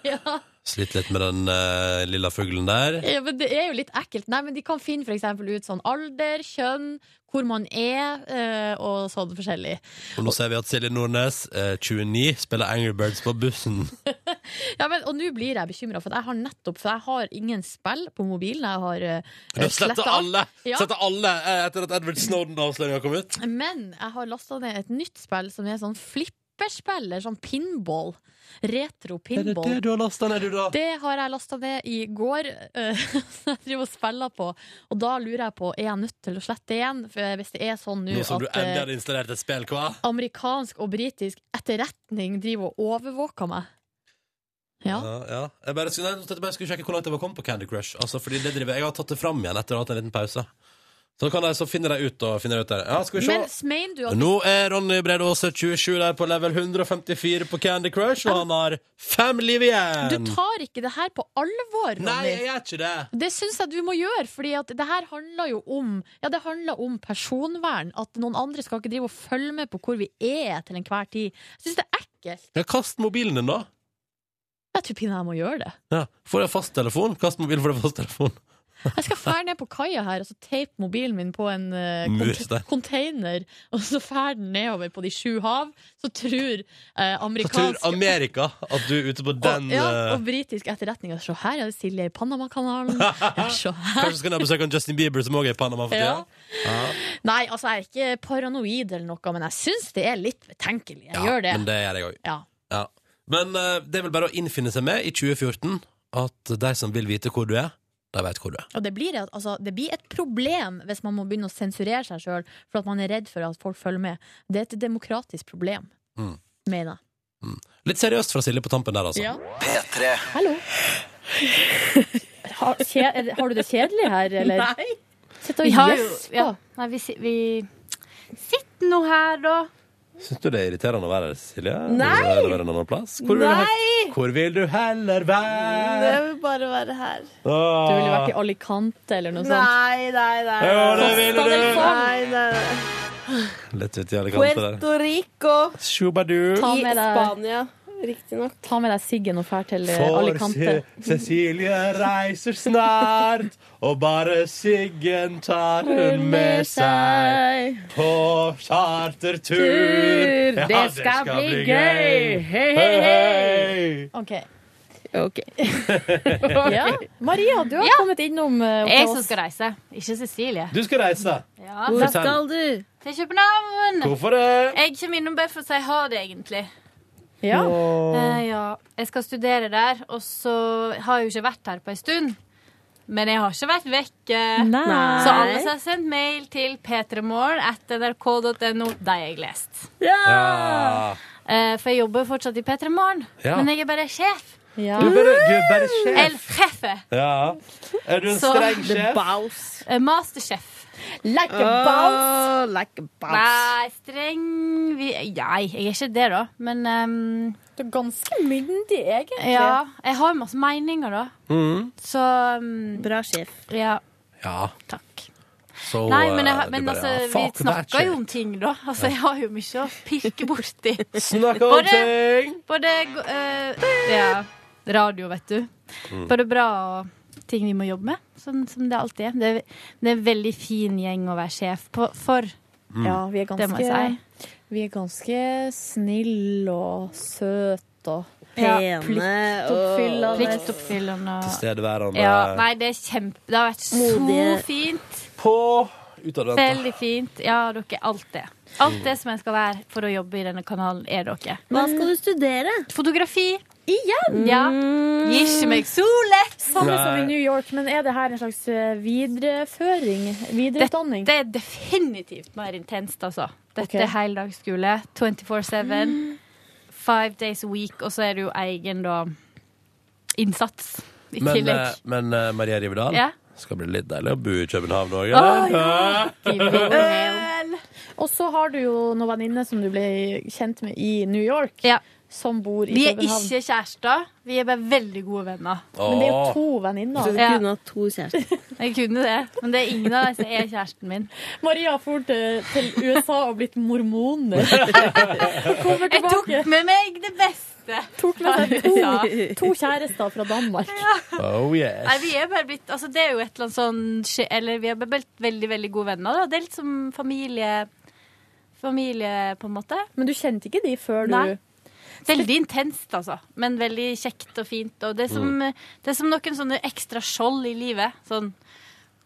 Speaker 4: ja.
Speaker 2: Slitt litt med den eh, lilla fuglen der.
Speaker 4: Ja, men det er jo litt ekkelt. Nei, men De kan finne for eksempel ut sånn alder, kjønn, hvor man er, eh, og sånn forskjellig.
Speaker 2: Og nå ser vi at Silje Nordnes, eh, 29, spiller Angry Birds på bussen.
Speaker 4: Ja, men, og nå blir jeg bekymra, for at jeg har nettopp For jeg har ingen spill på mobilen. Jeg har
Speaker 2: Du
Speaker 4: uh,
Speaker 2: har sletta alle,
Speaker 4: Ja.
Speaker 2: sletta alle eh, etter at Edward Snowden-avsløringa kom ut.
Speaker 4: Men jeg har lasta ned et nytt spill som er sånn flipperspill, eller sånn pinball. Retro
Speaker 2: Er det det
Speaker 4: pinball.
Speaker 2: du har lasta ned, du, da?
Speaker 4: Det har jeg lasta ned i går, eh, som jeg driver og spiller på. Og da lurer jeg på er jeg nødt til å slette igjen, for hvis det er sånn nå
Speaker 2: Nå som du
Speaker 4: at
Speaker 2: endelig
Speaker 4: eh,
Speaker 2: hadde installert et spill, hva?
Speaker 4: amerikansk og britisk etterretning driver og overvåker meg. Ja.
Speaker 2: Ja, ja. Jeg bare skulle, nei, jeg bare skulle sjekke hvor langt jeg var kommet på Candy Crush. Altså, fordi det driver, jeg har tatt det fram igjen etter å ha hatt en liten pause. Så, kan jeg, så finner jeg ut og finner jeg ut der. Ja, skal vi se.
Speaker 4: Men mener du at
Speaker 2: Nå er Ronny Brede Aase 27 der på level 154 på Candy Crush, og han har fem liv
Speaker 4: Du
Speaker 2: igjen!
Speaker 4: tar ikke det her på alvor, Ronny.
Speaker 2: Nei, jeg gjør ikke det!
Speaker 4: Det syns jeg du må gjøre, fordi at det her handler jo om Ja, det handler om personvern. At noen andre skal ikke drive og følge med på hvor vi er til enhver tid. Jeg syns det er ekkelt.
Speaker 2: Ja, kast mobilen din, da.
Speaker 4: Jeg tror pinadø jeg må gjøre det.
Speaker 2: Ja. Får jeg fasttelefon? Kast mobilen, får jeg fasttelefon.
Speaker 4: Jeg skal fære ned på kaia her og så teipe mobilen min på en eh,
Speaker 2: Mur
Speaker 4: kont-
Speaker 2: der.
Speaker 4: container. Og så fære den nedover på de sju hav. Så tror eh,
Speaker 2: Så tror
Speaker 4: amerikansk
Speaker 2: Amerika at du er ute på den
Speaker 4: og, ja,
Speaker 2: eh,
Speaker 4: og britisk etterretning. Og Se her er det Silje i Panamakanalen. Ja, se her.
Speaker 2: Kanskje skal jeg besøke han Justin Bieber, som også er i Panama for tida.
Speaker 4: Ja. Nei, altså, jeg er ikke paranoid eller noe, men jeg syns det er litt betenkelig. Jeg
Speaker 2: Ja,
Speaker 4: gjør det.
Speaker 2: Men det gjør jeg òg.
Speaker 4: Ja.
Speaker 2: Ja. Men eh, det er vel bare å innfinne seg med i 2014 at de som vil vite hvor du er, de vet hvor du er.
Speaker 4: Og det blir, et- altså, det blir et problem hvis man må begynne å sensurere seg sjøl for at man er redd for at folk følger med. Det er et demokratisk problem,
Speaker 2: Mm.
Speaker 4: mener jeg.
Speaker 2: Litt seriøst fra Silje på tampen der, altså.
Speaker 4: Ja.
Speaker 3: Hallo. Har, kje, er det- har du det kjedelig her, eller? Nei. Sitt og
Speaker 10: Vi har jo
Speaker 3: gjesp.
Speaker 10: ja. Nei, vi, si- vi Sitt nå her, da.
Speaker 2: Syns du det er irriterende å være her, Silje?
Speaker 10: Nei!
Speaker 2: Vil du heller være en annen plass? Hvor vil, du, he- hvor vil du heller være?
Speaker 10: Jeg vil bare være her.
Speaker 2: Åh.
Speaker 4: Du ville
Speaker 2: Ah.
Speaker 4: vært i Alicante eller noe sånt.
Speaker 10: Nei, nei, nei.
Speaker 2: Jo, det ville du!
Speaker 10: Nei, nei, nei.
Speaker 2: Litt uti alle kanter der.
Speaker 11: Puerto Rico
Speaker 2: Shubadu.
Speaker 4: Ta
Speaker 11: i
Speaker 4: med deg-
Speaker 11: Spania, riktignok.
Speaker 4: Ta med deg siggen og fær til eh,
Speaker 2: For
Speaker 4: Alicante.
Speaker 2: Ce- Cecilie reiser snart, og bare Siggen tar hun med seg på chartertur.
Speaker 4: Tur. Det skal bli gøy. Hei, hei, hei. OK.
Speaker 11: Ok.
Speaker 4: Ja. Maria, du har kommet innom eh,
Speaker 10: Det er
Speaker 4: til
Speaker 10: jeg som
Speaker 4: oss.
Speaker 10: skal reise, ikke Cecilie.
Speaker 2: Du skal reise.
Speaker 10: Ja.
Speaker 11: Hvor
Speaker 2: Fortell.
Speaker 11: skal du?
Speaker 10: Til København!
Speaker 2: Hvorfor det?
Speaker 10: Jeg kommer innom bare for å si ha det, egentlig.
Speaker 4: Ja.
Speaker 10: Eh, ja. Jeg skal studere der, og så har jeg jo ikke vært her på en stund. Men jeg har ikke vært vekke.
Speaker 4: Nei.
Speaker 10: Så alle som har sendt mail til p3morgen.nrk.no, de har jeg lest.
Speaker 2: Ja.
Speaker 10: Eh, for jeg jobber fortsatt i P3 Morgen,
Speaker 2: Ja.
Speaker 10: men jeg er bare sjef.
Speaker 4: Ja.
Speaker 2: Du er bare, du er bare
Speaker 10: Eller
Speaker 2: sjef.
Speaker 10: treffe.
Speaker 2: Ja. Er du en
Speaker 10: Så-
Speaker 2: streng sjef?
Speaker 11: Baus.
Speaker 10: Eh, masterchef.
Speaker 4: Like a bounce.
Speaker 11: Åh, like a baus.
Speaker 10: Nei, streng vi, Nei, jeg er ikke det, da. Men ehm,
Speaker 4: Du er ganske myndig, egentlig.
Speaker 10: ja, jeg har masse meninger, da.
Speaker 2: Mhm.
Speaker 10: Så ehm,
Speaker 11: Bra sjef.
Speaker 10: ja,
Speaker 2: Ja.
Speaker 10: takk.
Speaker 2: Så
Speaker 10: Nei, men, jeg,
Speaker 2: eh,
Speaker 10: har-
Speaker 2: du
Speaker 10: men
Speaker 2: bare,
Speaker 10: altså,
Speaker 2: ja,
Speaker 10: vi
Speaker 2: fuck that
Speaker 10: snakker
Speaker 2: shit.
Speaker 10: jo om ting, da. Altså, jeg har jo mye å pirke borti.
Speaker 2: Snakker om
Speaker 10: Bare-
Speaker 2: ting!
Speaker 10: Både eh, ja, radio, vet du. Både bra og ting vi må jobbe med, sånn som det alltid er. Det er, det er en veldig fin gjeng å være sjef på, for,
Speaker 11: Mm.
Speaker 4: ja, vi er
Speaker 10: det må
Speaker 4: ganske,
Speaker 10: jeg si.
Speaker 4: vi er ganske snille og søte og
Speaker 11: Pene og
Speaker 4: pliktoppfyllende.
Speaker 10: Pliktoppfyllende og
Speaker 2: Tilstedeværende
Speaker 10: Ja, nei, det er kjempe Det har vært så
Speaker 11: Modige.
Speaker 10: fint.
Speaker 2: på utadvendte.
Speaker 10: Veldig fint. Ja, dere, alt det. Alt det som jeg skal være for å jobbe i denne kanalen, er dere.
Speaker 11: Hva skal du studere?
Speaker 10: Fotografi. Igjen? Ja. Gi ikke meg solet!
Speaker 4: Samme som i
Speaker 2: Nei.
Speaker 4: New York, men er det her en slags eh, videreføring? Videreutdanning?
Speaker 10: Det er definitivt mer intenst, altså. Dette
Speaker 4: Ok.
Speaker 10: er heldagsskole. 24-7. Five days a week, og så er det jo egen, da, innsats i
Speaker 2: Men, eh,
Speaker 10: tillegg.
Speaker 2: men eh, Maria Rivedal,
Speaker 10: Ja.
Speaker 2: skal bli litt deilig å bo i København òg,
Speaker 10: Å,
Speaker 2: eller?
Speaker 4: Og så har du jo noen venninner som du ble kjent med i New York,
Speaker 10: Ja.
Speaker 4: som bor i
Speaker 10: Vi er
Speaker 4: København.
Speaker 10: ikke kjærester. Vi er bare veldig gode venner.
Speaker 4: Men det er jo
Speaker 2: Åh.
Speaker 4: to venninner.
Speaker 11: Så du
Speaker 10: Ja.
Speaker 11: kunne hatt to kjærester.
Speaker 10: Jeg kunne det, men det er ingen av dem som er kjæresten min.
Speaker 4: Maria for til, til USA og blitt mormoner. Og kommer
Speaker 10: Jeg tok
Speaker 4: tilbake.
Speaker 10: med meg det beste.
Speaker 4: Tok med seg to,
Speaker 10: Ja.
Speaker 4: to kjærester fra Danmark.
Speaker 2: Oh yes.
Speaker 10: Nei, vi er bare blitt Altså, det er jo et eller annet sånn skje- Eller vi er bare blitt veldig, veldig gode venner, da. Det er litt som familie Familie, på en måte.
Speaker 4: Men du kjente ikke de før du
Speaker 10: Nei. Veldig intenst, altså. Men veldig kjekt og fint. Og det er som, det er som noen sånne ekstra skjold i livet. Sånn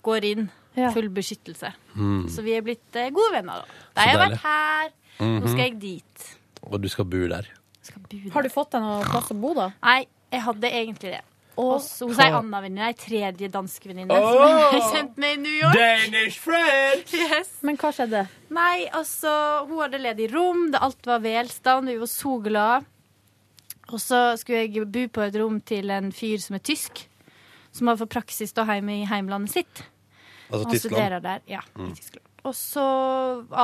Speaker 10: går inn.
Speaker 4: Ja.
Speaker 10: Full beskyttelse.
Speaker 2: Mm.
Speaker 10: Så vi er blitt eh, gode venner, da.
Speaker 2: Så
Speaker 10: Da har jeg
Speaker 2: deilig.
Speaker 10: vært her. Nå skal jeg dit.
Speaker 2: Og du skal bo der.
Speaker 10: Skal bo der.
Speaker 4: Har du fått deg noe plass å bo, da?
Speaker 10: Nei, jeg hadde egentlig det.
Speaker 4: Og-
Speaker 10: Og så hos ei anna venninne, ei tredje dansk venninne, som jeg ble kjent med i New York.
Speaker 2: Danish friend!
Speaker 10: Yes.
Speaker 4: Men hva skjedde?
Speaker 10: Nei, altså, hun hadde ledig rom, det alt var velstand, vi var så glade. Og så skulle jeg bo på et rom til en fyr som er tysk, som har fått praksis da hjemme i heimlandet sitt.
Speaker 2: Altså
Speaker 10: Han
Speaker 2: Tyskland.
Speaker 10: studerer der, ja, i Tyskland. Og så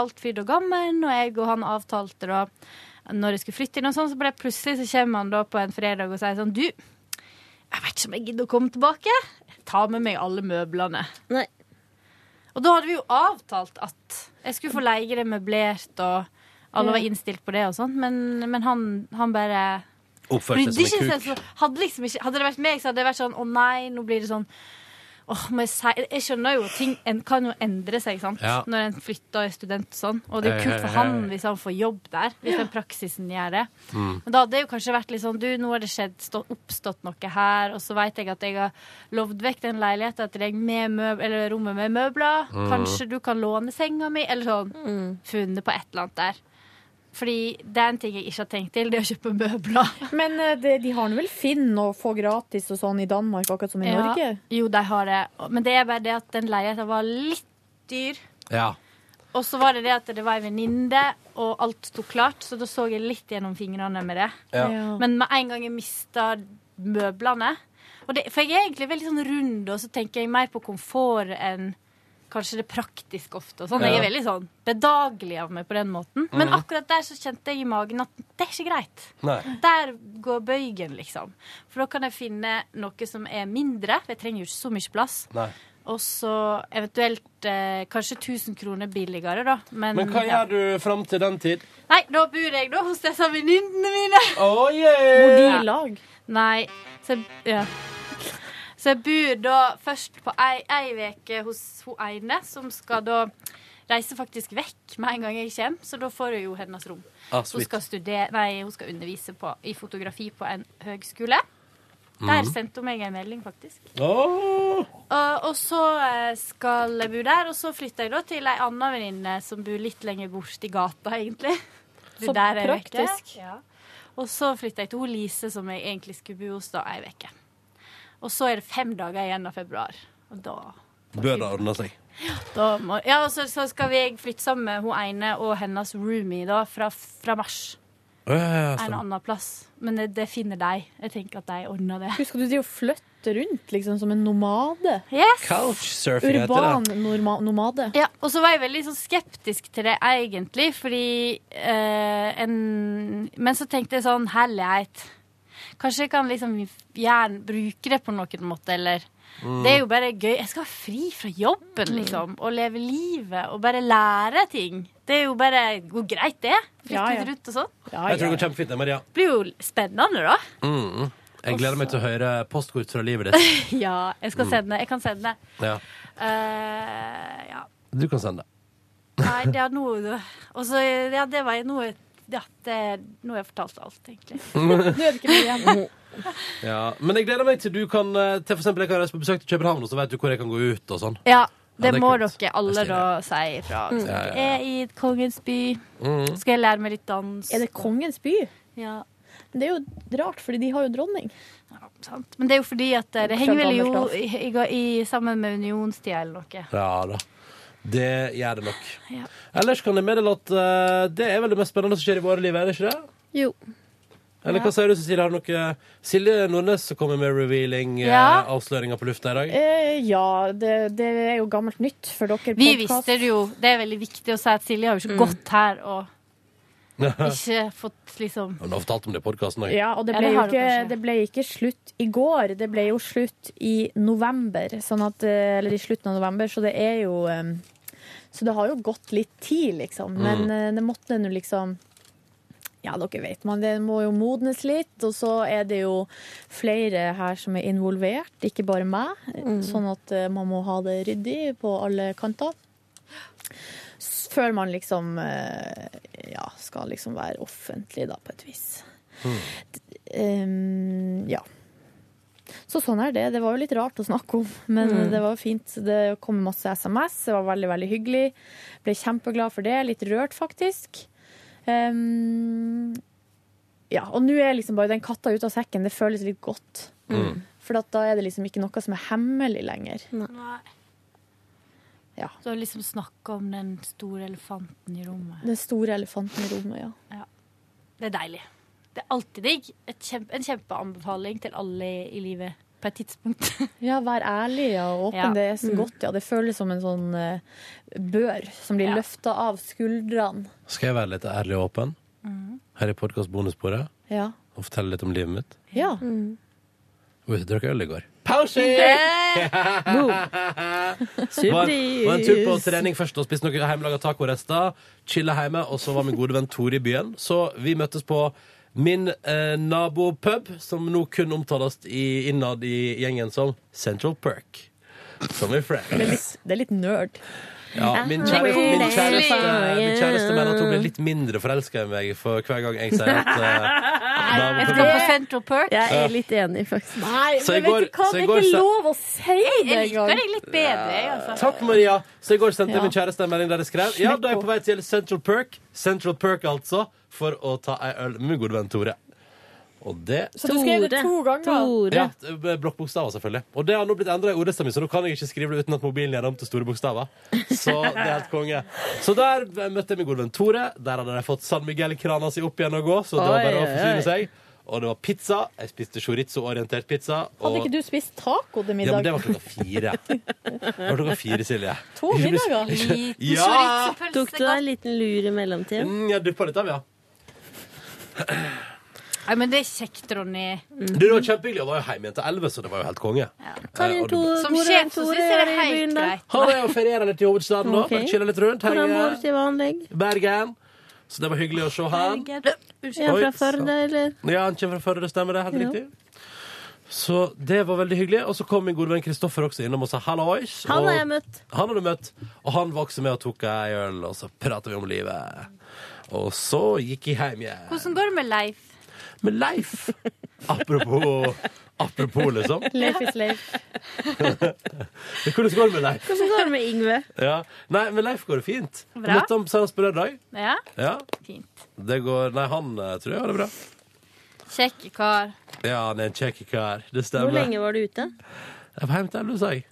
Speaker 10: alt fyrt og gammel, og jeg og han avtalte da når jeg skulle flytte inn og sånn, så ble plutselig så kommer han da på en fredag og sier sånn Du, jeg vet ikke om jeg gidder å komme tilbake. Ta med meg alle møblene.
Speaker 11: Nei.
Speaker 10: Og da hadde vi jo avtalt at jeg skulle få leie det møblert, og alle var innstilt på det og sånn, men, men han, han bare
Speaker 2: Oppførte
Speaker 10: Brydde
Speaker 2: seg som
Speaker 10: ikke
Speaker 2: en
Speaker 10: seg
Speaker 2: kuk.
Speaker 10: så- hadde, liksom ikke, hadde det vært meg, så hadde det vært sånn Å nei, nå blir det sånn Åh, må jeg si Jeg skjønner jo at ting en, kan jo endre seg, sant.
Speaker 2: Ja.
Speaker 10: Når en flytter og er student og sånn. Og det er jo
Speaker 2: Hei,
Speaker 10: kult for
Speaker 2: hei,
Speaker 10: han
Speaker 2: hei. Mm.
Speaker 10: hvis han får jobb der. Hvis den praksisen gjør det. Men da hadde det jo kanskje vært litt sånn Du, nå har det skjedd, stå, oppstått noe her, og så veit jeg at jeg har lovd vekk den leiligheten til deg med møb eller rommet med møbler.
Speaker 2: Mm.
Speaker 10: Kanskje du kan låne senga mi? Eller sånn. Funnet på et eller annet der. Fordi det er en ting jeg ikke har tenkt til, det er å kjøpe møbler.
Speaker 4: Men eh, det, de har nå vel Finn og få gratis og sånn i Danmark, akkurat som i
Speaker 10: Ja.
Speaker 4: Norge?
Speaker 10: Jo, de har det. Men det er bare det at den leiligheten var litt dyr.
Speaker 2: Ja.
Speaker 10: Og så var det det at det var en venninne, og alt sto klart, så da så jeg litt gjennom fingrene med det.
Speaker 2: Ja.
Speaker 10: Men med en gang jeg mista møblene og det, For jeg er egentlig veldig sånn rund, og så tenker jeg mer på komfort enn kanskje det praktiske ofte. Og sånn. Jeg er
Speaker 2: Ja. Mm.
Speaker 10: veldig sånn bedagelig av meg på den måten. Men akkurat der så kjente jeg i magen at det er ikke greit.
Speaker 2: Nei.
Speaker 10: Der går bøygen, liksom. For da kan jeg finne noe som er mindre. for Jeg trenger jo ikke så mye plass.
Speaker 2: Nei.
Speaker 10: Og så eventuelt eh, kanskje 1000 kroner billigere, da. Men,
Speaker 2: Men hva
Speaker 10: ja.
Speaker 2: gjør du fram til den tid?
Speaker 10: Nei, da bor jeg da hos disse venninnene mine.
Speaker 2: Oh, yeah. Bor de i
Speaker 10: lag? Nei. Så jeg, ja. så jeg bor da først på ei, ei uke hos hun ene, som skal da reise faktisk vekk med en gang jeg kommer, så da får jeg jo hennes rom.
Speaker 11: Ah,
Speaker 10: hun,
Speaker 11: sweet.
Speaker 10: skal studere, nei, hun skal undervise på, i fotografi på en høgskole. Der
Speaker 11: Mhm.
Speaker 10: sendte hun meg en melding, faktisk.
Speaker 2: Oh.
Speaker 10: Og, og så eh, skal jeg bo der, og så flytter jeg da til ei anna venninne som bor litt lenger bort i gata, egentlig.
Speaker 12: Så
Speaker 10: Det der er vekk.
Speaker 12: praktisk.
Speaker 10: Ja. Og så flytter jeg til hun Lise, som jeg egentlig skulle bo hos da ei uke. Og så er det fem dager igjen av februar. Og da,
Speaker 2: Bør det ordne seg?
Speaker 10: da må Ja, og så, så skal vi flytte sammen med hun ene og hennes roomie da, fra, fra mars.
Speaker 2: Øh,
Speaker 10: en annen plass. Men det, det finner de. Jeg tenker at de ordner det.
Speaker 4: Husker du de å flytte rundt liksom som en nomade?
Speaker 10: Yes.
Speaker 2: Couchsurfing heter det.
Speaker 4: Urban norma nomade.
Speaker 10: Ja, og så var jeg veldig sånn skeptisk til det egentlig, fordi eh, en, Men så tenkte jeg sånn, herlighet. Kanskje jeg kan liksom gjerne bruke det på noen måte, eller
Speaker 11: Mm.
Speaker 10: Det er jo bare gøy. Jeg skal ha fri fra jobben, liksom. Og leve livet, og bare lære ting. Det er jo bare går greit, det. Flytte
Speaker 12: Ja, ja.
Speaker 10: litt rundt og sånn.
Speaker 2: Jeg tror det går kjempefint, det, Maria.
Speaker 10: Blir jo spennende, da.
Speaker 2: Mm. Jeg gleder meg til å høre postkort fra livet ditt.
Speaker 10: ja, jeg skal
Speaker 2: Mm.
Speaker 10: sende. Jeg kan sende.
Speaker 2: Ja.
Speaker 10: Eh, ja.
Speaker 2: Du kan sende.
Speaker 10: Nei, det er noe Og så, ja, det var noe ja, det, Nå har jeg fortalt alt, egentlig.
Speaker 2: Nå er
Speaker 10: det ikke mye igjen.
Speaker 2: Ja. Men jeg gleder meg til du kan eh, Til for eksempel jeg kan reise på besøk til København, og så vet du hvor jeg kan gå ut og sånn. Ja,
Speaker 10: Ja, det
Speaker 2: det er
Speaker 10: må
Speaker 2: kult.
Speaker 10: dere alle da si ifra.
Speaker 2: Mm. Ja, ja, ja.
Speaker 10: Jeg er i kongens by.
Speaker 2: Mm.
Speaker 10: Skal jeg lære meg litt dans?
Speaker 4: Er det kongens by?
Speaker 10: Ja.
Speaker 4: Det er jo rart, fordi de har jo dronning.
Speaker 10: sant. Men det er jo fordi at det
Speaker 4: Fra
Speaker 10: henger vel
Speaker 4: gammelt
Speaker 10: jo
Speaker 4: av.
Speaker 10: i, i, i, sammen med unionstida eller noe.
Speaker 2: Ja da. Det gjør det nok.
Speaker 10: Ja.
Speaker 2: Ellers kan jeg meddele at eh, det er vel det mest spennende som skjer i våre liv, er det ikke det?
Speaker 10: Jo.
Speaker 2: Eller hva sier du, Cecilie? Har du noe Silje Nordnes som kommer med
Speaker 4: Ja.
Speaker 2: revealing-avsløringer på lufta i dag?
Speaker 4: Eh, ja, det, det er jo gammelt nytt for dere.
Speaker 10: Vi
Speaker 4: podcast.
Speaker 10: visste det jo. Det er veldig viktig å si at Silje har jo ikke gått her og Eh, ikke fått liksom
Speaker 2: Hun har fortalt om det i podkasten òg.
Speaker 4: Ja, og det
Speaker 10: Ja,
Speaker 4: ble,
Speaker 10: det
Speaker 4: jo
Speaker 10: har du
Speaker 4: ikke,
Speaker 10: kanskje.
Speaker 4: det ble ikke slutt i går, det ble jo slutt i november. Sånn at, eh, eller i slutten av november, så det er jo eh, Så det har jo gått litt tid, liksom. Men
Speaker 11: Mm.
Speaker 4: eh, det måtte nå liksom ja, dere vet man, det må jo modnes litt, og så er det jo flere her som er involvert, ikke bare meg.
Speaker 10: Mm.
Speaker 4: Sånn at eh, man må ha det ryddig på alle kanter. S- Før man liksom eh, ja, skal liksom være offentlig, da, på et vis. Ehm, ja. Så sånn er det. Det var jo litt rart å snakke om, men
Speaker 11: Mm.
Speaker 4: det var fint. Det kom masse SMS, det var veldig, veldig hyggelig. Ble kjempeglad for det. Litt rørt, faktisk. Ehm, ja, og nå er liksom bare den katta ute av sekken. Det føles litt godt.
Speaker 11: Mm.
Speaker 4: For at da er det liksom ikke noe som er hemmelig lenger.
Speaker 10: Nei.
Speaker 4: Ja.
Speaker 10: Du har liksom snakka om den store elefanten i rommet.
Speaker 4: Den store elefanten i rommet, ja.
Speaker 10: Det er deilig. Det er alltid digg. Et kjempe, en kjempeanbefaling til alle i livet på et tidspunkt.
Speaker 4: Ja, vær ærlig ja, og åpen.
Speaker 10: Ja.
Speaker 4: Det er så
Speaker 10: Mm.
Speaker 4: godt, ja. Det føles som en sånn eh, bør som blir løfta av skuldrene.
Speaker 2: Skal jeg være litt ærlig og åpen?
Speaker 10: Mm.
Speaker 2: Her i podkast-bonusbordet
Speaker 4: Ja.
Speaker 2: og fortelle litt om livet mitt?
Speaker 4: ja.
Speaker 2: Oi, jeg drakk øl i går.
Speaker 4: Boom.
Speaker 2: Var, var en tur på trening først og spiste noen hjemmelaga tacorester. Chilla hjemme, og så var min gode venn Tore i byen. Så vi møttes på min eh, nabopub, som nå kun omtales i, innad i gjengen som Central Perk. Som i
Speaker 4: Det er
Speaker 2: Friends.
Speaker 4: litt, det er litt nerd.
Speaker 2: Ja, min kjæreste, min kjæreste, min kjæreste mener at hun blir litt mindre forelska i meg for hver gang jeg sier at eh,
Speaker 10: Jeg
Speaker 2: nabopub
Speaker 10: skal på Central Perk.
Speaker 11: Jeg
Speaker 2: Ja.
Speaker 11: er litt enig, faktisk.
Speaker 4: Nei,
Speaker 2: Så men i vet går- du hva? så i Det er går ikke sa- lov
Speaker 4: å si
Speaker 10: Jeg liker deg litt bedre, jeg, altså.
Speaker 2: Takk, Maria. Så i går sendte jeg
Speaker 10: Ja.
Speaker 2: min kjæreste en melding der jeg skrev Ja, da er jeg på vei til Central Perk, Central Perk altså, for å ta ei øl med min gode venn Tore. Og det
Speaker 4: Så du skrev det Tore. to ganger? Tore.
Speaker 2: Ja, med blokkbokstaver, selvfølgelig. Og det har nå blitt endra i ordlista mi, så nå kan jeg ikke skrive det uten at mobilen gjør om til store bokstaver. Så det er helt konge. Så der eh, møtte jeg min gode venn Tore. Der hadde de fått San Miguel-krana si opp igjen og gå, så det var
Speaker 4: Oi,
Speaker 2: bare å
Speaker 4: oi, oi.
Speaker 2: forsyne seg. Og det var pizza. Jeg spiste chorizo-orientert pizza.
Speaker 4: Hadde
Speaker 2: Og
Speaker 4: ikke du spist taco til
Speaker 2: ja,
Speaker 4: middag?
Speaker 2: men det var klokka fire. Det var klokka fire, Silje.
Speaker 4: To
Speaker 2: Ikke bli-
Speaker 4: middager.
Speaker 2: ikke-
Speaker 4: Liten
Speaker 2: Ja!
Speaker 11: Tok du deg en liten lur i mellomtiden?
Speaker 2: Mm, jeg duppa litt av, ja.
Speaker 7: Nei, men det er kjekt, Ronny.
Speaker 2: Mm. Du, det var kjempehyggelig. Jeg var jo hjemme igjen til elleve, så det var jo helt konge.
Speaker 7: Ta
Speaker 2: Eh,
Speaker 7: din
Speaker 2: og det-
Speaker 11: to-
Speaker 7: Som
Speaker 11: Hvor er
Speaker 7: sjef så
Speaker 11: Tore?
Speaker 7: syns jeg
Speaker 11: Er
Speaker 7: det er
Speaker 11: det i byen
Speaker 7: helt
Speaker 11: da?
Speaker 7: greit.
Speaker 2: Han er jo og ferierer litt i hovedstaden nå.
Speaker 11: Ok.
Speaker 2: Chiller litt rundt.
Speaker 11: Hvordan bor du
Speaker 2: Henger
Speaker 11: til vanlig?
Speaker 2: Bergen. Så det var hyggelig å se han.
Speaker 11: Er han
Speaker 2: Oi,
Speaker 11: fra Førde, eller?
Speaker 2: Ja, han kommer fra Førde, det stemmer det. Helt
Speaker 11: Ja.
Speaker 2: riktig. Så det var veldig hyggelig. Og så kom min gode venn Kristoffer også innom og sa hallois.
Speaker 11: Han har
Speaker 2: og-
Speaker 11: jeg møtt.
Speaker 2: Han har du møtt. Og han var også med og tok ei øl, og så prata vi om livet. Og så gikk jeg hjem igjen.
Speaker 7: Hvordan går det med Leif?
Speaker 2: Men Leif Apropos, apropos liksom.
Speaker 4: Leif is Leif.
Speaker 2: Hvordan går det med Leif?
Speaker 11: Hvordan går det med Yngve?
Speaker 2: Ja. Nei, men Leif går det fint. Jeg
Speaker 7: Bra.
Speaker 2: Møtte ham senest på lørdag.
Speaker 7: Ja,
Speaker 2: Ja,
Speaker 7: fint.
Speaker 2: det går Nei, han eh, tror jeg har det bra.
Speaker 7: Kjekk kar.
Speaker 2: Ja, han er en kjekk kar. Det
Speaker 11: Hvor
Speaker 2: stemmer.
Speaker 11: lenge var du ute?
Speaker 2: Jeg var hjemme til elleve, sa jeg.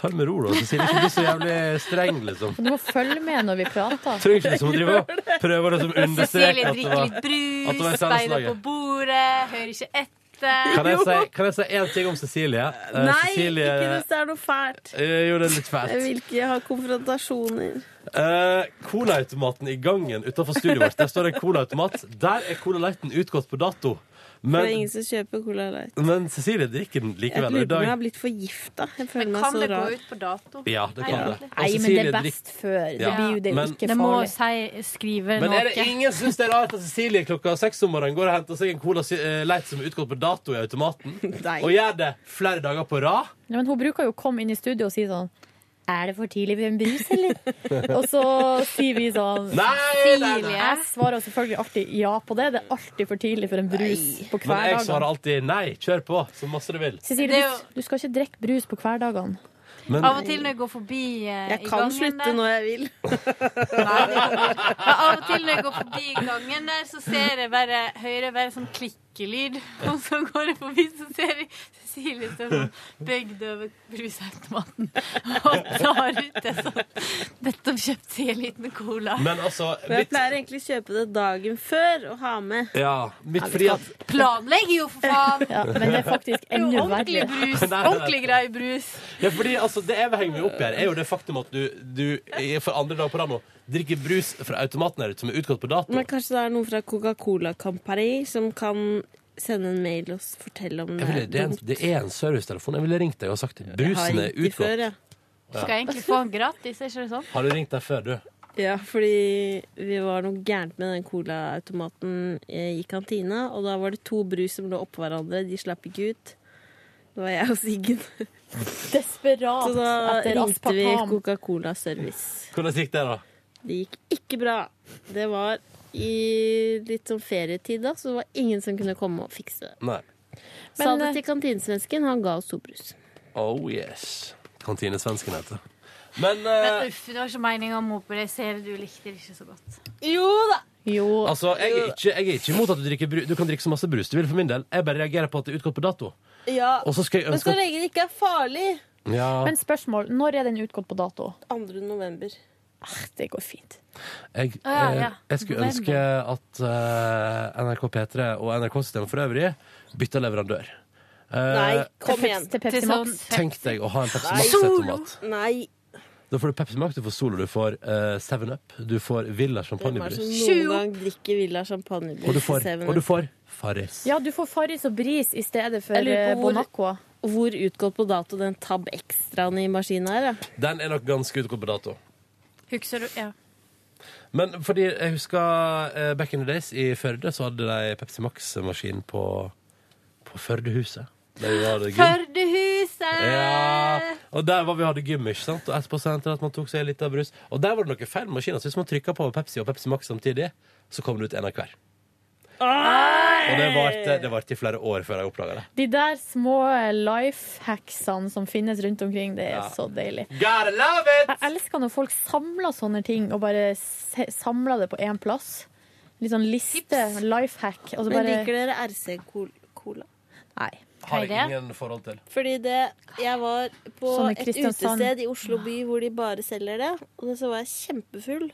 Speaker 2: Ta det med ro, da. Cecilie, ikke bli så jævlig streng, liksom.
Speaker 4: Du må følge med når vi prater.
Speaker 2: Trenger ikke liksom å drive og prøve å liksom understreke
Speaker 7: Cecilie
Speaker 2: at det
Speaker 7: drikker
Speaker 2: var
Speaker 7: litt
Speaker 2: at det var i
Speaker 7: brus,
Speaker 2: sendeslaget.
Speaker 7: beina på bordet, hører ikke etter.
Speaker 2: Kan jeg si, kan jeg si én ting om Cecilie? Eh,
Speaker 11: Nei,
Speaker 2: Cecilie
Speaker 11: ikke hvis det er noe fælt.
Speaker 2: eh, gjorde det litt
Speaker 11: Jeg
Speaker 2: fælt.
Speaker 11: vil ikke ha konfrontasjoner.
Speaker 2: Eh, Colaautomaten i gangen utenfor studioet vårt, der står det en colaautomat. Der er Cola Lighten utgått på dato.
Speaker 11: Det er
Speaker 2: Men,
Speaker 11: ingen som kjøper Cola Light.
Speaker 2: men Cecilie drikker den
Speaker 11: Jeg
Speaker 2: likevel. og
Speaker 11: lurer
Speaker 2: I
Speaker 11: på om jeg har
Speaker 2: dag
Speaker 11: blitt forgifta. Jeg føler
Speaker 7: Men
Speaker 11: meg
Speaker 7: kan
Speaker 11: så
Speaker 7: det gå
Speaker 11: rar.
Speaker 7: ut på dato?
Speaker 2: Ja, det kan det. Og
Speaker 4: Nei, men det
Speaker 2: Cecilie
Speaker 4: er
Speaker 2: drikker-
Speaker 4: best før. Det
Speaker 2: Ja.
Speaker 4: blir jo det
Speaker 2: Men-
Speaker 4: ikke
Speaker 7: Det må
Speaker 4: farlig.
Speaker 7: si, skrive
Speaker 2: Men er det
Speaker 7: noe.
Speaker 2: ingen som syns det er rart at Cecilie klokka seks om morgenen går og henter seg en Cola si- eh, Light som er utgått på dato i automaten,
Speaker 11: Nei.
Speaker 2: og gjør det flere dager på rad?
Speaker 4: Ja, men hun bruker jo å komme inn i studio og si sånn Er det for tidlig med en brus, eller? og så sier vi sånn
Speaker 2: Nei, nei, nei.
Speaker 7: Cecilie.
Speaker 4: Jeg svarer selvfølgelig alltid ja på det. Det er alltid for tidlig for en brus på
Speaker 2: Men jeg svarer
Speaker 4: hverdagene.
Speaker 2: alltid nei. Kjør på så masse du vil.
Speaker 4: Cecilie,
Speaker 7: Det er
Speaker 4: du, du skal ikke drikke brus på hverdagene.
Speaker 2: Men
Speaker 7: Av og til når jeg går forbi eh,
Speaker 11: Jeg
Speaker 7: i
Speaker 11: kan
Speaker 7: gangen
Speaker 11: slutte
Speaker 7: der-
Speaker 11: når jeg vil.
Speaker 7: Ja, av og til når jeg går forbi i gangen der, så ser jeg bare hører bare sånn klikkelyd. Og så går jeg forbi, så ser jeg Cecilie står sånn bøyd over brusautomaten og tar ut det sånn. Nettopp kjøpt seg en liten cola.
Speaker 2: Men altså
Speaker 11: Men jeg
Speaker 2: mitt,
Speaker 11: pleier egentlig å kjøpe det dagen før og ha med.
Speaker 2: ja, mitt fordi at
Speaker 7: Planlegger jo, for faen!
Speaker 4: Ja, men det er faktisk
Speaker 7: Det er eh, jo
Speaker 4: enda
Speaker 7: ordentlig
Speaker 4: verre.
Speaker 7: brus.
Speaker 2: Nei, nei, nei.
Speaker 7: Ordentlig grei brus.
Speaker 2: Ja, fordi altså, Det jeg vil henge meg opp i her, er jo det faktum at du, du i- for andre dag på rad nå drikker brus fra automaten her ute som er utgått på dato.
Speaker 11: Men kanskje det er noen fra Coca-Cola Campari som kan sende en mail og s- fortelle om det
Speaker 2: Jeg ville,
Speaker 11: er
Speaker 2: det, er en,
Speaker 11: dumt.
Speaker 2: det er en servicetelefon. Jeg ville ringt deg og sagt
Speaker 11: Jeg har
Speaker 2: brusen er
Speaker 11: ringt de
Speaker 2: utgått.
Speaker 11: før, ja.
Speaker 7: Skal jeg egentlig få den gratis, er ikke det sånn?
Speaker 2: Har du ringt deg før, du?
Speaker 11: Ja, fordi vi var noe gærent med den colaautomaten eh, i kantina, og da var det to brus som lå oppå hverandre, de slapp ikke ut. Det var jeg og Siggen. Så
Speaker 4: Desperat
Speaker 11: da
Speaker 4: etter
Speaker 11: ringte vi
Speaker 4: aspartam.
Speaker 11: Coca-Cola Service.
Speaker 2: Hvordan gikk det, da?
Speaker 11: Det gikk ikke bra. Det var i litt sånn ferietid, da, så det var ingen som kunne komme og fikse det.
Speaker 2: Nei.
Speaker 11: Sa
Speaker 4: Men,
Speaker 11: det
Speaker 4: eh,
Speaker 11: til kantinesvensken, han ga oss to brus.
Speaker 2: Oh yes. Kantinesvensken heter det. Men eh,
Speaker 7: Men uff, det var ikke meninga å mope det. Jeg ser du likte det ikke så godt.
Speaker 11: Jo da!
Speaker 4: Jo,
Speaker 2: altså, jeg er, ikke, jeg er ikke imot at du drikker brus. Du kan drikke så masse brus du vil, for min del. Jeg bare reagerer på at det er utgått på dato.
Speaker 11: Ja.
Speaker 2: Og så skal jeg
Speaker 11: Men så
Speaker 2: ønske at
Speaker 11: lenge det ikke er farlig.
Speaker 2: ja,
Speaker 4: men spørsmål. Når er den utgått på dato?
Speaker 11: 2. november.
Speaker 4: Ah, Det går fint.
Speaker 2: jeg,
Speaker 7: Å, ja, ja.
Speaker 2: eh, jeg skulle ønske at eh, NRK P3 og NRK-systemet for øvrig bytta leverandør. Eh,
Speaker 11: Nei, kom
Speaker 4: Peps-
Speaker 11: igjen.
Speaker 4: Til
Speaker 7: Til
Speaker 4: Pepsi
Speaker 7: sånn
Speaker 4: Max.
Speaker 2: Tenk deg å ha en Pepsi
Speaker 11: Nei.
Speaker 2: Max-automat.
Speaker 11: Nei.
Speaker 2: Da får du Pepsi Max, du får Solo, du får eh, Seven Up, du får Villa
Speaker 11: Hvem er det som
Speaker 2: champagnebrus.
Speaker 11: noen gang drikker Villa champagnebrus?
Speaker 2: Og du får,
Speaker 11: i 7-Eleven?
Speaker 2: og du får Farris.
Speaker 4: Ja, du får Farris og Bris i stedet for
Speaker 11: Jeg lurer på
Speaker 4: eh,
Speaker 11: hvor-
Speaker 4: Bon Aqua.
Speaker 11: Hvor utgått på dato den Tab Extraen i maskinen her? da?
Speaker 2: Den er nok ganske utgått på dato.
Speaker 7: Husker du? Ja.
Speaker 2: Men fordi jeg husker eh, back in the days i Førde, så hadde de Pepsi Max-maskin på, på Førdehuset. Der vi hadde gym.
Speaker 7: Førdehuset!
Speaker 2: Ja, og der var vi hadde gym, ikke sant? Og etterpå så hendte det at man tok seg litt av brus. Og der var det noen feil maskiner, så hvis man trykket på Pepsi og Pepsi Max samtidig, så kom det ut en av hver. Og det varte, det varte i flere år før jeg oppdaget det.
Speaker 4: De der små life hacksene som finnes rundt omkring, det er
Speaker 2: Ja.
Speaker 4: så deilig.
Speaker 2: Gotta love it!
Speaker 4: Jeg elsker når folk samler sånne ting og bare se- samler det på én plass. Litt sånn liste,
Speaker 7: Tips.
Speaker 4: life hack, og så
Speaker 11: Men
Speaker 4: bare
Speaker 11: liker dere RC-cola?
Speaker 4: Nei.
Speaker 2: Har
Speaker 7: Hva er
Speaker 2: jeg
Speaker 7: det?
Speaker 2: ingen forhold til.
Speaker 11: Fordi det, jeg var på
Speaker 4: Sånn i
Speaker 11: et
Speaker 4: Kristiansand.
Speaker 11: utested i Oslo by hvor de bare selger det, og så var jeg kjempefull.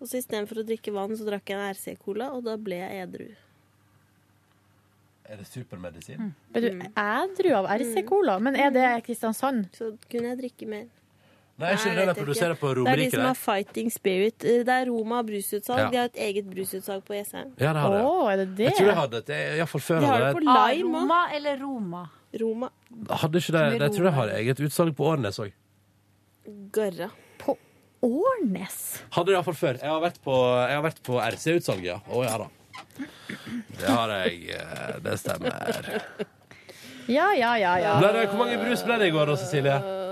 Speaker 11: Og så istedenfor å drikke vann, så drakk jeg en RC-cola, og da ble jeg edru.
Speaker 2: Er det supermedisin?
Speaker 11: Hmm.
Speaker 7: Mm.
Speaker 4: Ble du ædru av RC Cola? Men er det Kristiansand?
Speaker 11: Så kunne jeg drikke mer.
Speaker 2: Nei, ikke
Speaker 11: jeg
Speaker 2: det
Speaker 11: vet
Speaker 2: de produserer på
Speaker 11: Det er de
Speaker 2: Romerike,
Speaker 11: som
Speaker 2: det.
Speaker 11: har Fighting Spirit. Eh, Det er Roma brusutsalg.
Speaker 2: Ja.
Speaker 11: De har et eget brusutsalg på E Jessheim.
Speaker 2: Ja, det har det.
Speaker 11: Å, er
Speaker 2: Jeg tror jeg hadde det. Iallfall før.
Speaker 11: De har
Speaker 2: hadde jeg-
Speaker 11: det på lime
Speaker 7: Ah, Roma eller Roma?
Speaker 11: Roma.
Speaker 2: Hadde ikke det, jeg tror jeg har eget utsalg på Årnes òg.
Speaker 11: Garra.
Speaker 4: På Årnes?
Speaker 2: Hadde det iallfall før. Jeg har vært på, jeg har vært på RC-utsalget, ja. Å ja da. Det har jeg. eh, Det stemmer.
Speaker 4: Ja, ja, ja, ja.
Speaker 2: Ble det, hvor mange brus ble det i går da, Cecilie?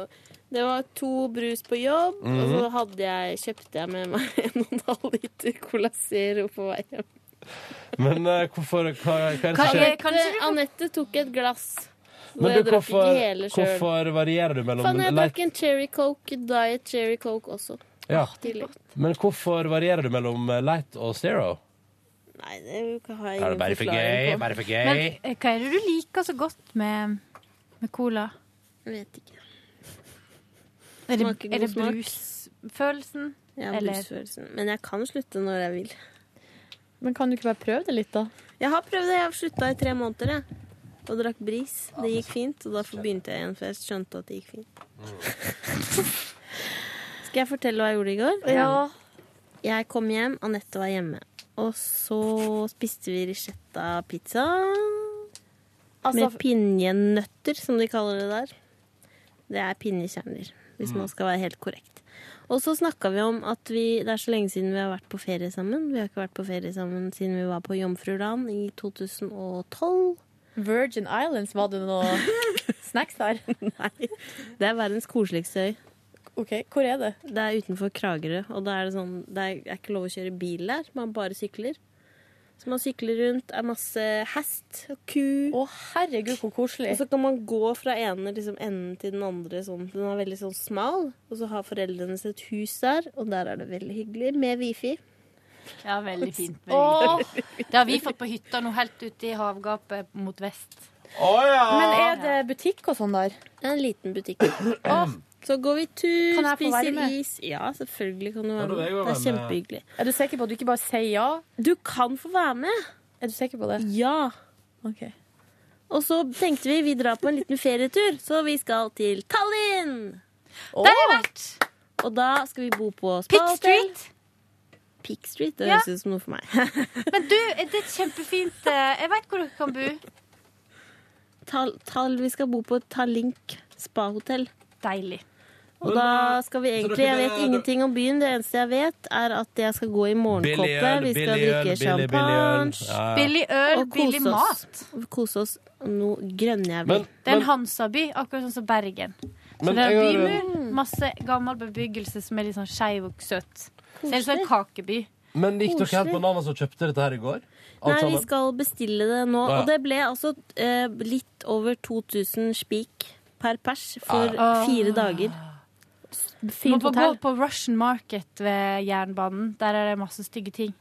Speaker 11: Det var to brus på jobb, og så
Speaker 2: Mhm.
Speaker 11: hadde jeg, kjøpte jeg med meg en og en halv liter Cola Zero på vei hjem.
Speaker 2: Men eh, hvorfor Hva, hva er det som skjer?
Speaker 11: Anette, Eh, Anette tok et glass. Og
Speaker 2: Men
Speaker 11: jeg
Speaker 2: du,
Speaker 11: drakk
Speaker 2: hvorfor,
Speaker 11: ikke hele sjøl.
Speaker 2: hvorfor varierer du mellom
Speaker 11: Faen, jeg
Speaker 2: light-
Speaker 11: drakk en cherry coke, diet cherry coke også.
Speaker 2: Ja.
Speaker 11: Tidlig.
Speaker 2: Men hvorfor varierer du mellom eh, light og zero?
Speaker 11: Nei, det har
Speaker 2: Er
Speaker 11: jeg
Speaker 2: det
Speaker 11: ingen
Speaker 2: bare for
Speaker 11: forklaring
Speaker 2: gøy?
Speaker 11: på.
Speaker 2: Bare for
Speaker 7: Men
Speaker 2: gøy?
Speaker 7: eh, hva er det du liker så godt med, med cola?
Speaker 11: Vet ikke.
Speaker 7: Er det,
Speaker 11: Smaker god
Speaker 7: er det
Speaker 11: smak.
Speaker 7: brusfølelsen?
Speaker 11: Ja,
Speaker 7: Eller-
Speaker 11: brusfølelsen. Men jeg kan slutte når jeg vil.
Speaker 4: Men kan du ikke bare prøve det litt, da?
Speaker 11: Jeg har prøvd det. Jeg har slutta i tre måneder, jeg. Og drakk bris. Det gikk fint, og derfor begynte jeg igjen, for jeg skjønte at det gikk fint. Skal jeg fortelle hva jeg gjorde i går?
Speaker 4: Ja.
Speaker 11: Jeg kom hjem, Anette var hjemme. Og så spiste vi ricetta pizza
Speaker 4: altså,
Speaker 11: med pinjenøtter, som de kaller det der. Det er pinjekjerner, hvis
Speaker 7: Mm.
Speaker 11: man skal være helt korrekt. Og så snakka vi om at vi, det er så lenge siden vi har vært på ferie sammen. Vi har ikke vært på ferie sammen siden vi var på Jomfruland i 2012.
Speaker 4: Virgin Islands, var det noe snacks der?
Speaker 11: Nei. Det er verdens koseligste øy.
Speaker 4: Ok, Hvor er det?
Speaker 11: Det er utenfor Kragerø. Og da er det sånn Det er, er ikke lov å kjøre bil der. Man bare sykler. Så man sykler rundt. Er masse hest og ku.
Speaker 4: Å, herregud, hvor koselig.
Speaker 11: Mm. Og så kan man gå fra ene liksom, enden til den andre. Sånn. Den er veldig sånn smal. Og så har foreldrene sitt hus der, og der er det veldig hyggelig med wifi.
Speaker 7: Ja, veldig fint. med
Speaker 11: Åh!
Speaker 7: wifi. Det har vi fått på hytta nå, helt ute i havgapet mot vest.
Speaker 4: Men er det butikk og sånn der?
Speaker 11: En liten butikk. Så går vi tur,
Speaker 4: Kan jeg få være
Speaker 11: spiser
Speaker 4: med?
Speaker 11: is. Ja, selvfølgelig kan du
Speaker 4: Ja,
Speaker 11: være
Speaker 4: da vil
Speaker 11: med.
Speaker 4: jeg jo
Speaker 11: Det er
Speaker 4: være med.
Speaker 11: kjempehyggelig.
Speaker 4: Er du sikker på at du ikke bare sier ja?
Speaker 11: Du kan få være med.
Speaker 4: Er du sikker på det?
Speaker 11: Ja. Og så tenkte vi vi drar på en liten ferietur, så vi skal til Tallinn.
Speaker 7: Der har jeg vært!
Speaker 11: Og da skal vi bo på
Speaker 7: Pick
Speaker 11: Spa Hotel.
Speaker 7: Street.
Speaker 11: Pick Street, det
Speaker 7: Ja.
Speaker 11: høres ut som noe for meg.
Speaker 7: Men du, det er et kjempefint eh, Jeg vet hvor dere kan bo.
Speaker 11: Tal, tal, vi skal bo på Tallink spahotell.
Speaker 7: Deilig.
Speaker 11: Og da skal vi egentlig Jeg vet ingenting om byen. Det eneste jeg vet, er at jeg skal gå i morgenkåpe. Vi skal drikke champagne.
Speaker 7: Billig øl, billig mat.
Speaker 11: Kose oss noe grønnjævlig.
Speaker 7: Det er en Hansaby, akkurat sånn som Bergen. Så
Speaker 11: Men
Speaker 7: det er
Speaker 11: jeg har-
Speaker 7: bymur, masse gammel bebyggelse som er litt sånn skeiv og søt. Så det er en sånn kakeby.
Speaker 2: Men gikk dere helt
Speaker 7: Koselig.
Speaker 2: bananas og kjøpte dette her i går? Alt
Speaker 11: Nei, vi
Speaker 2: sammen?
Speaker 11: skal bestille det
Speaker 2: Ah,
Speaker 11: nå.
Speaker 2: ja.
Speaker 11: Og det ble altså eh, litt over 2000 spik per pers for
Speaker 7: Ah, ja.
Speaker 11: fire dager.
Speaker 7: Må bare gå på Russian Market ved jernbanen. Der er det masse stygge ting.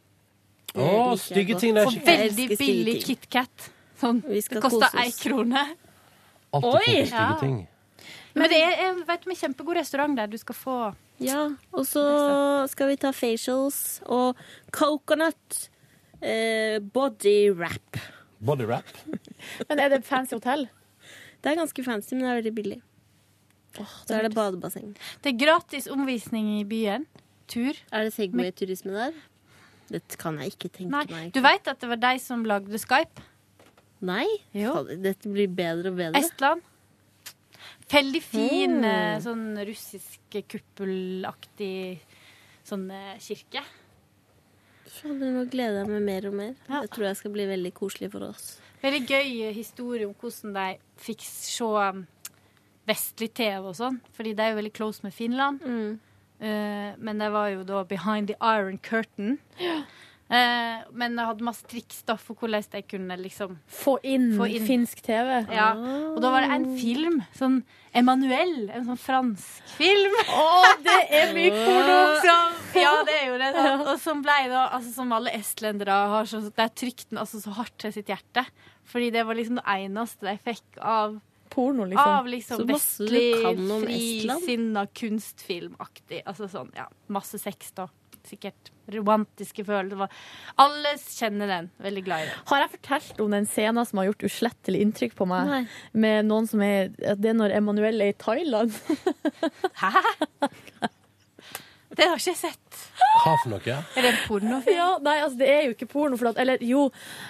Speaker 2: Å, stygge ting. Det er
Speaker 7: Og
Speaker 2: ikke
Speaker 7: veldig billig KitKat. Sånn, det
Speaker 11: kose oss.
Speaker 7: koster ei krone.
Speaker 2: Alltid
Speaker 7: Oi!
Speaker 2: kjøpte stygge
Speaker 7: Ja.
Speaker 2: ting.
Speaker 7: Men det er jeg vet, om en kjempegod restaurant der du skal få
Speaker 11: Ja, og så skal vi ta facials og coconut eh, body wrap.
Speaker 2: Body wrap.
Speaker 4: Men er det et fancy hotell?
Speaker 11: Det er ganske fancy, men det er veldig billig. så er det badebasseng.
Speaker 7: Det er gratis omvisning i byen. Tur.
Speaker 11: Er det Segway-turisme der? Det kan jeg ikke tenke
Speaker 7: Nei.
Speaker 11: meg.
Speaker 7: Du veit at det var de som lagde Skype?
Speaker 11: Nei? Fader, Dette blir bedre og bedre.
Speaker 7: Estland. Veldig fin
Speaker 11: Mm.
Speaker 7: eh, sånn russisk kuppelaktig sånn eh, kirke.
Speaker 11: Fader, nå gleder jeg meg mer og mer. Jeg tror jeg skal bli veldig koselig for oss.
Speaker 7: Veldig gøy eh, historie om hvordan de fikk se um, vestlig TV og sånn. Fordi de er jo veldig close med Finland.
Speaker 11: Mm.
Speaker 7: Eh, men de var jo da behind the iron curtain. Eh, men de hadde masse triks da for hvordan de kunne liksom
Speaker 4: Få inn,
Speaker 7: Få inn.
Speaker 4: finsk TV?
Speaker 7: Ja. Og da var det en film. Sånn Emanuel. En sånn fransk film.
Speaker 4: Å, det er mye porno!
Speaker 7: Som, ja, det er jo det. Sant? Og som blei da, altså som alle estlendere har, så de trykte den altså så hardt til sitt hjerte. Fordi det var liksom det eneste de fikk av
Speaker 4: Porno, liksom.
Speaker 7: Av liksom
Speaker 4: Så masse du
Speaker 7: vestlig,
Speaker 4: kan om Estland.
Speaker 7: frisinna kunstfilmaktig. Altså sånn, ja. Masse sex, da. sikkert romantiske følelser. Alle kjenner den. Veldig glad i den.
Speaker 4: Har jeg fortalt om den scenen som har gjort uslettelig inntrykk på meg? Med noen som er at Det er når Emanuel er i Thailand.
Speaker 7: Det har ikke jeg sett.
Speaker 2: Hva for noe?
Speaker 7: Er det en pornofilm?
Speaker 4: Ja, nei, altså, det er jo ikke porno. For at, eller jo,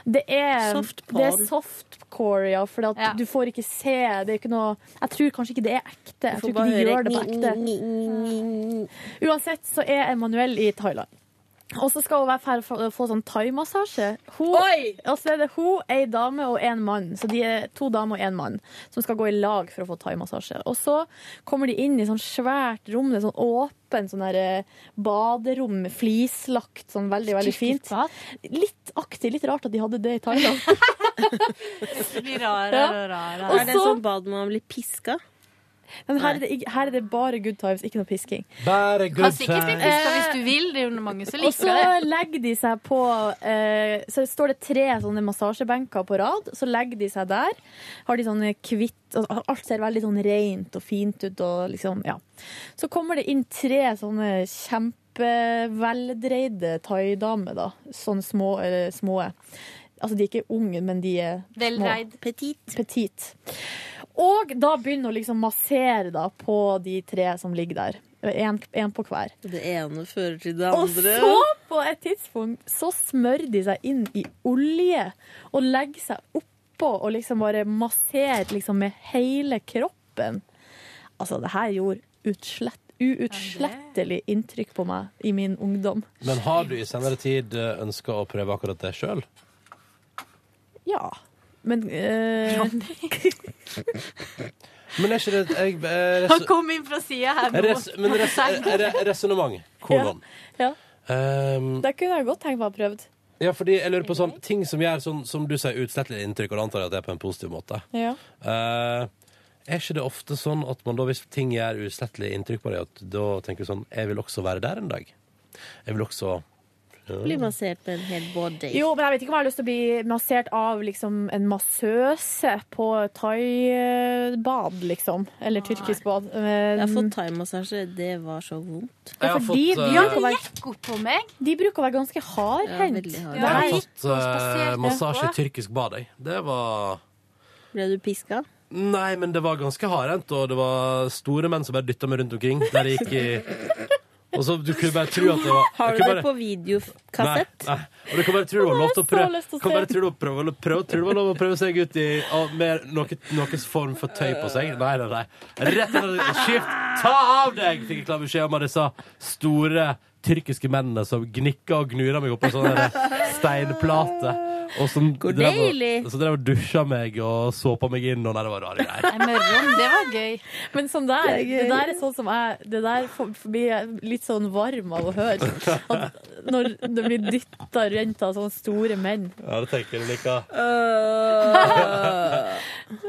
Speaker 4: det er
Speaker 11: Softporn.
Speaker 4: Det er softcore, ja. For at du får ikke se Det er ikke noe Jeg tror kanskje ikke det er ekte. Jeg
Speaker 11: får
Speaker 4: tror
Speaker 11: bare
Speaker 4: ikke de
Speaker 11: høre
Speaker 4: gjør det på ekte. Uansett så er Emanuel i Thailand. Og så skal hun være ferdig for å få sånn thaimassasje. Hun- Og så er det hun, ei dame og en mann. Så de er to damer og en mann som skal gå i lag for å få thaimassasje. Og så kommer de inn i sånn svært rom, det er sånn åpen sånn der eh, baderom, med flislagt, sånn veldig, veldig fint. Litt aktig, litt rart at de hadde det i Thailand.
Speaker 7: Det blir rarere
Speaker 4: Ja.
Speaker 7: og rarere.
Speaker 4: Og
Speaker 11: Er det
Speaker 4: så-
Speaker 11: sånn bad man blir piska?
Speaker 4: Men her er, det, ikke- her er det bare good times, ikke noe pisking.
Speaker 2: Bare
Speaker 7: Kan
Speaker 2: good
Speaker 7: sikkert bli
Speaker 2: times.
Speaker 7: piska hvis du vil. Det er jo mange som
Speaker 4: Og
Speaker 7: liker
Speaker 4: så
Speaker 7: det.
Speaker 4: legger de seg på eh, Så står det tre sånne massasjebenker på rad. Så legger de seg der. Har de sånne kvitt og Alt ser veldig sånn rent og fint ut. Og liksom, ja. Så kommer det inn tre sånne kjempeveldreide thaidamer, da. Sånne små, eh, små. Altså, de er ikke unge, men de er små.
Speaker 7: Velreid.
Speaker 11: Petit.
Speaker 4: Petit. Og da begynner hun liksom massere da, på de tre som ligger der. Én på hver.
Speaker 11: Det ene fører til det
Speaker 4: Og
Speaker 11: andre.
Speaker 4: så, på et tidspunkt, så smører de seg inn i olje og legger seg oppå og liksom bare masserer liksom med hele kroppen. Altså, det her gjorde utslett, uutslettelig inntrykk på meg i min ungdom.
Speaker 2: Men har du i senere tid ønska å prøve akkurat det sjøl?
Speaker 4: Ja. Men eh,
Speaker 2: Men er ikke det jeg, eh,
Speaker 7: Han
Speaker 2: res,
Speaker 7: kom inn fra sida her. nå.
Speaker 2: res, men res, resonnement. Hvordan?
Speaker 4: ja,
Speaker 2: Um,
Speaker 4: det kunne jeg godt tenkt meg å ha prøvd.
Speaker 2: ja, fordi jeg lurer på sånn ting som gjør sånn som du sier utslettelig inntrykk, og da antar jeg at det er på en positiv måte.
Speaker 4: Ja.
Speaker 2: Eh, er ikke det ofte sånn at man da, hvis ting gjør uslettelig inntrykk på deg, at da tenker du sånn Jeg vil også være der en dag. Jeg vil også
Speaker 11: Blir massert med en hel body.
Speaker 4: Jo, men jeg vet ikke om jeg har lyst til å bli massert av liksom, en massøse på thaibad, liksom. Eller tyrkisk bad. eh,
Speaker 11: Jeg
Speaker 4: Men,
Speaker 11: har fått thaimassasje. Det var så vondt.
Speaker 2: Jeg har
Speaker 4: fordi
Speaker 2: fått, eh,
Speaker 4: de, bruker å være,
Speaker 7: Gikk opp på meg.
Speaker 4: de bruker å være ganske hardhendt.
Speaker 11: veldig hard.
Speaker 4: Der.
Speaker 2: Jeg har
Speaker 7: Nei.
Speaker 2: fått
Speaker 11: sånn
Speaker 2: eh,
Speaker 7: Spasert
Speaker 2: massasje i
Speaker 7: etterpå.
Speaker 2: tyrkisk bad, jeg. Det var
Speaker 11: Ble du piska?
Speaker 2: Nei, men det var ganske hardhendt, og det var store menn som bare dytta meg rundt omkring. Der jeg gikk i Og så du kunne bare tro at det var
Speaker 11: Har du
Speaker 2: kunne bare-
Speaker 11: det på videokassett?
Speaker 2: Nei, nei. Og du kan bare tro det var lov til å
Speaker 4: Jeg har så
Speaker 2: prøve
Speaker 4: lyst til å
Speaker 2: Kan
Speaker 4: se.
Speaker 2: bare tro det var prøve, prøve, tro det var lov å prøve seg ut i av mer, noe, noen form for tøy på seg. Nei, nei, nei. Rett og slett skift! Ta av deg! Fikk jeg klar beskjed om av disse store tyrkiske mennene som gnikka og gnura meg opp på sånne der steinplater. Og som
Speaker 11: Hvor
Speaker 2: drev og-
Speaker 11: deilig.
Speaker 2: som drev og dusja meg og såpa meg inn, og nei, det var rare greier.
Speaker 7: Nei, men Ron, Ah, det var gøy.
Speaker 4: Men sånn der,
Speaker 11: Det er gøy.
Speaker 4: det der er sånn som jeg Det der får- blir jeg litt sånn varm av å høre. At når det blir dytta rundt av sånne store menn.
Speaker 2: Ja, det tenker jeg du liker.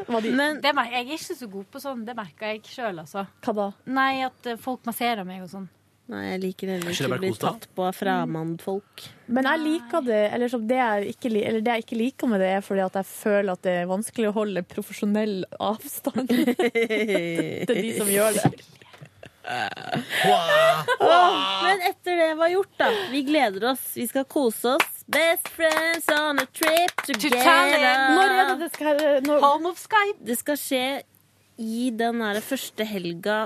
Speaker 4: Var de,
Speaker 11: Men
Speaker 7: Det mer- jeg er ikke så god på sånn. Det merka jeg sjøl, altså.
Speaker 4: hva da?
Speaker 7: Nei, at eh, folk masserer meg og sånn.
Speaker 11: Nei, jeg liker heller
Speaker 2: Er ikke det
Speaker 11: ikke å
Speaker 2: bare
Speaker 11: bli
Speaker 2: kos, da?
Speaker 11: tatt på av fremmedfolk.
Speaker 4: Men jeg liker det Eller som det jeg ikke, li- eller det jeg ikke liker med det, er fordi at jeg føler at det er vanskelig å holde profesjonell avstand til de som gjør det.
Speaker 11: Men etter det var gjort, da. Vi gleder oss. Vi skal kose oss. Best friends on a trip
Speaker 4: Når er
Speaker 11: together.
Speaker 4: det det skal når,
Speaker 7: Home of Skype!
Speaker 11: Det skal skje i den der første helga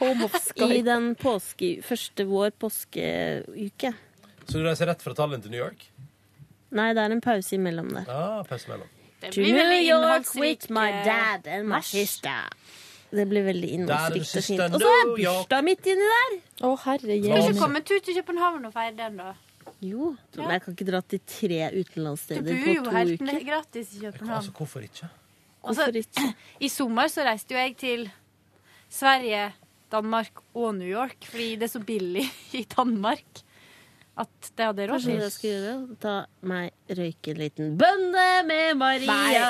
Speaker 4: Home of
Speaker 11: i
Speaker 4: Sky.
Speaker 11: den påske, første vår påskeuke.
Speaker 2: Så du reiser rett fra Tallinn til New York?
Speaker 11: Nei, det er en pause imellom der.
Speaker 2: Ja, pass mellom.
Speaker 7: Det
Speaker 11: To
Speaker 7: blir
Speaker 11: New
Speaker 7: veldig
Speaker 11: York with
Speaker 7: innholdsrik,
Speaker 11: my
Speaker 7: eh,
Speaker 11: dad and my
Speaker 7: mars.
Speaker 11: sister. Det blir veldig
Speaker 2: Der er det
Speaker 11: innholdsrikt Mm, og
Speaker 2: siste
Speaker 11: fint. Og så er
Speaker 2: New York.
Speaker 11: bursdag midt inni der!
Speaker 4: Å, herre
Speaker 7: Skal ikke
Speaker 4: jemine.
Speaker 7: komme en tur til København og feire den, da.
Speaker 11: Jo, men jeg kan ikke dra til tre
Speaker 7: Du
Speaker 11: utenlandssteder
Speaker 7: bor
Speaker 11: på
Speaker 7: jo
Speaker 11: to
Speaker 7: helt
Speaker 11: uker.
Speaker 7: ne- gratis i København.
Speaker 2: Altså, hvorfor ikke?
Speaker 7: Altså,
Speaker 11: Hvorfor ikke?
Speaker 7: I sommer så reiste jo jeg til Sverige, Danmark og New York, fordi det er så billig i Danmark at det hadde jeg råd
Speaker 11: Kanskje
Speaker 7: til.
Speaker 11: jeg skal gjøre Ta meg røyke en liten bønne med Maria.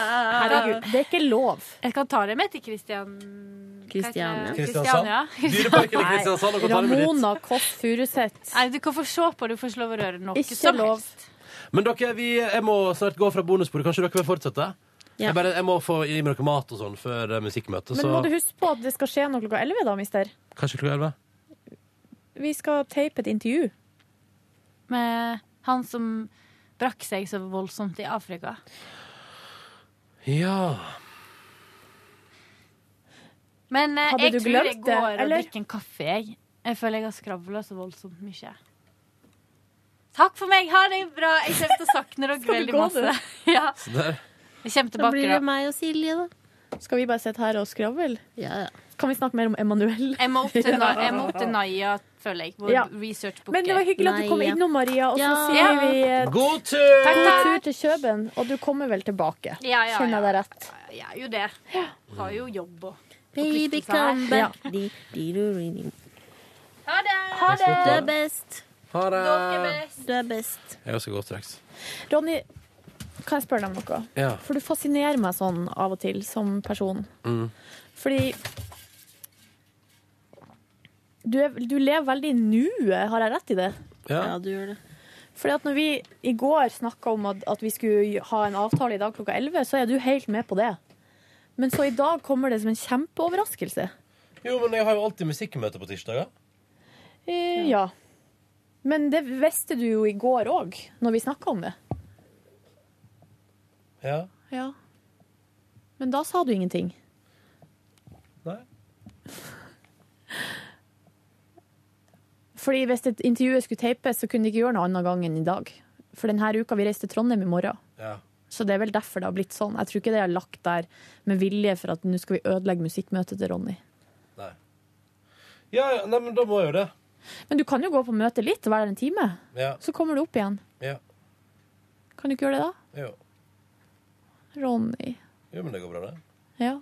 Speaker 4: Herregud, det er ikke lov.
Speaker 7: Jeg kan ta det med til Christian...
Speaker 11: Kristiania.
Speaker 7: Hva heter det? Kristiania.
Speaker 2: Kristiansand? Dyreparken i Kristiansand. og Katarina Blitz.
Speaker 4: Ramona Kåss Furuseth.
Speaker 7: Nei, du kan få se på, du får ikke lov å røre noe
Speaker 4: Ikke
Speaker 7: som
Speaker 4: lov.
Speaker 7: helst.
Speaker 2: Men dere, vi, jeg må snart gå fra bonusbordet. Kanskje dere vil fortsette?
Speaker 11: Ja.
Speaker 2: Jeg, bare, jeg må få i meg noe mat og sånn før eh, musikkmøtet.
Speaker 4: Men
Speaker 2: Så
Speaker 4: må du huske på at det skal skje noe klokka 11 da, mister.
Speaker 2: kanskje klokka elleve?
Speaker 4: Vi skal tape et intervju.
Speaker 7: Med han som brakk seg så voldsomt i Afrika.
Speaker 2: Ja
Speaker 7: Men eh,
Speaker 4: Hadde
Speaker 7: jeg
Speaker 4: du
Speaker 7: tror jeg
Speaker 4: glemt det,
Speaker 7: går og
Speaker 4: eller?
Speaker 7: drikker en kaffe, jeg. Jeg føler jeg har skravla så voldsomt mye. Takk for meg, ha det bra. Jeg kommer til å sakne dere
Speaker 4: Skal du
Speaker 7: veldig
Speaker 4: gå, du?
Speaker 7: masse. Ja,
Speaker 2: Så der.
Speaker 7: jeg kommer
Speaker 11: Da
Speaker 7: tilbake
Speaker 11: blir
Speaker 7: da.
Speaker 11: det meg og Silje, da.
Speaker 4: Skal vi bare sitte her og skravle?
Speaker 11: Ja, ja.
Speaker 4: Kan vi snakke mer om Emanuel?
Speaker 7: Jeg må opp til, Na jeg må opp til Naya, føler jeg. Vår
Speaker 4: Ja.
Speaker 7: researchbooker.
Speaker 4: Men det var hyggelig at du kom
Speaker 11: Nei, ja.
Speaker 4: innom, Maria. Og så
Speaker 11: Ja.
Speaker 4: sier vi eh,
Speaker 2: God tur!
Speaker 7: Takk,
Speaker 4: god
Speaker 7: takk.
Speaker 4: tur til Kjøben, og du kommer vel tilbake?
Speaker 7: Ja, ja,
Speaker 4: Kjenner jeg
Speaker 7: ja.
Speaker 4: deg rett?
Speaker 7: Jeg er jo det. Har jo jobb og
Speaker 11: Baby
Speaker 7: forpliktelser her.
Speaker 11: come back. Di- di- du- di- di.
Speaker 7: Ha det!
Speaker 11: Du er best.
Speaker 2: Ha det.
Speaker 7: Dere er best.
Speaker 11: Du er best.
Speaker 2: Jeg skal gå straks.
Speaker 4: Ronny, kan jeg spørre deg om noe?
Speaker 2: Ja.
Speaker 4: For du fascinerer meg sånn av og til som person. Fordi du, er, du lever veldig i nuet, har jeg rett i det?
Speaker 2: Ja.
Speaker 11: Ja, du gjør det.
Speaker 4: Fordi at når vi i går snakka om at, at vi skulle ha en avtale i dag klokka 11, så er du helt med på det. Men så i dag kommer det som en kjempeoverraskelse.
Speaker 2: Jo, men jeg har jo alltid musikkmøte på tirsdager.
Speaker 4: Eh, ja. Men det visste du jo i går òg, når vi snakka om det.
Speaker 2: Ja.
Speaker 4: Ja. Men da sa du ingenting.
Speaker 2: Nei.
Speaker 4: Fordi hvis et intervjuet skulle teipes, så kunne de ikke gjøre noe annen gang enn i dag. For denne uka vi reiste til Trondheim i morgen.
Speaker 2: Ja.
Speaker 4: Så det er vel derfor det har blitt sånn. Jeg tror ikke det er lagt der med vilje for at nå skal vi ødelegge musikkmøtet til Ronny.
Speaker 2: Nei. Ja, ja, nei, men da må jeg jo det.
Speaker 4: Men du kan jo gå på møte litt, være der en time.
Speaker 2: Ja.
Speaker 4: Så kommer du opp igjen.
Speaker 2: ja.
Speaker 4: Kan du ikke gjøre det da?
Speaker 2: Jo.
Speaker 4: Ronny.
Speaker 2: jo, men det går bra, det.
Speaker 4: Ja.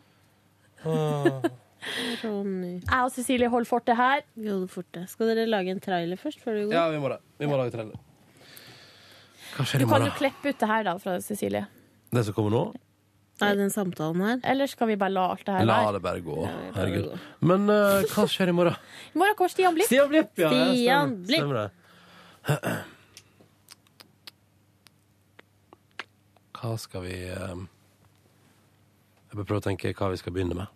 Speaker 11: Ronny,
Speaker 4: Jeg og Cecilie holder fortet her.
Speaker 11: vi holder fort det. Skal dere lage en trailer først før du går?
Speaker 2: Ja, vi må det. Vi må lage trailer. Hva skjer
Speaker 4: Du
Speaker 2: i
Speaker 4: kan jo
Speaker 2: morgen?
Speaker 4: klippe ut det her da fra Cecilie.
Speaker 2: Det som kommer nå?
Speaker 11: Nei, den samtalen her.
Speaker 4: Eller skal vi bare la alt det her
Speaker 2: La
Speaker 4: være?
Speaker 2: det bare gå.
Speaker 11: det bare
Speaker 2: Herregud.
Speaker 11: gå.
Speaker 2: Men eh, hva skjer i morgen?
Speaker 4: I morgen kommer Stian Blipp.
Speaker 2: Stian Blipp, ja. ja,
Speaker 11: Stian
Speaker 2: stemmer,
Speaker 11: Blipp.
Speaker 2: Stemmer det. Hva skal vi eh, Jeg bør prøve å tenke hva vi skal begynne med.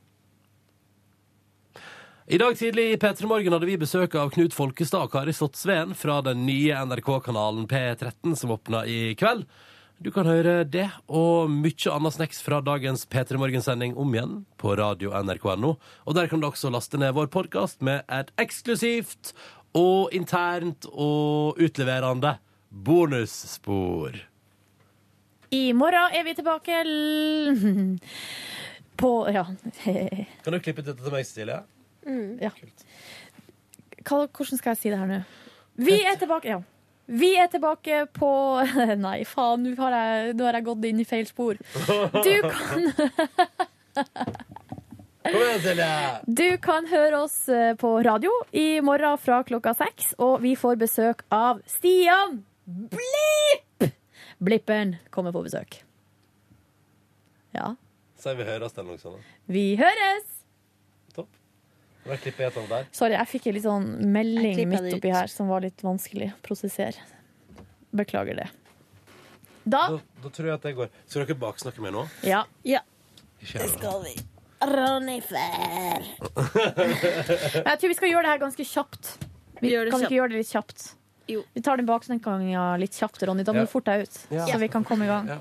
Speaker 2: I dag tidlig i P3 Morgen hadde vi besøk av Knut Folkestad og Kari Slottsveen fra den nye NRK-kanalen P13 som åpna i kveld. Du kan høre det og mye annet snacks fra dagens P3 Morgen-sending om igjen på radio nrk.no. Og der kan du også laste ned vår podkast med et eksklusivt og internt og utleverende bonusspor.
Speaker 4: I morgen er vi tilbake l- på Ja.
Speaker 2: Kan du klippe dette til meg, Cecilie?
Speaker 4: Hva, hvordan skal jeg si det her nå? Vi er tilbake ja. Vi er tilbake på Nei, faen, nå har jeg, nå har jeg gått inn i feil spor. Du kan,
Speaker 2: Kom igjen, Silje!
Speaker 4: du kan høre oss eh, på radio i morgen fra klokka seks, og vi får besøk av Stian Blipp! Blipperen kommer på besøk. Ja.
Speaker 2: Sier vi høres eller noe sånt.
Speaker 4: Vi høres!
Speaker 2: Topp. Da klipper jeg et sånt der.
Speaker 4: Sorry, jeg fikk en litt sånn melding
Speaker 11: Jeg klippet
Speaker 4: midt
Speaker 11: det
Speaker 4: oppi
Speaker 11: ut.
Speaker 4: her som var litt vanskelig å prosessere. Beklager det. Da
Speaker 2: Da, da tror jeg at det går. Skal dere baksnakke meg nå?
Speaker 4: Ja.
Speaker 11: Ja,
Speaker 2: Ikke gjør det.
Speaker 11: skal vi. Ronny Fair.
Speaker 4: Jeg tror vi skal gjøre det her ganske kjapt. Vi
Speaker 11: Vi gjør det
Speaker 4: kan vi
Speaker 11: kjapt.
Speaker 4: ikke gjøre det litt kjapt.
Speaker 11: Jo.
Speaker 4: Vi tar den baksnakkinga litt kjapt, Ronny. Da må
Speaker 2: Ja.
Speaker 4: du forte deg ut,
Speaker 2: Ja.
Speaker 4: så vi kan komme i gang.
Speaker 2: Ja.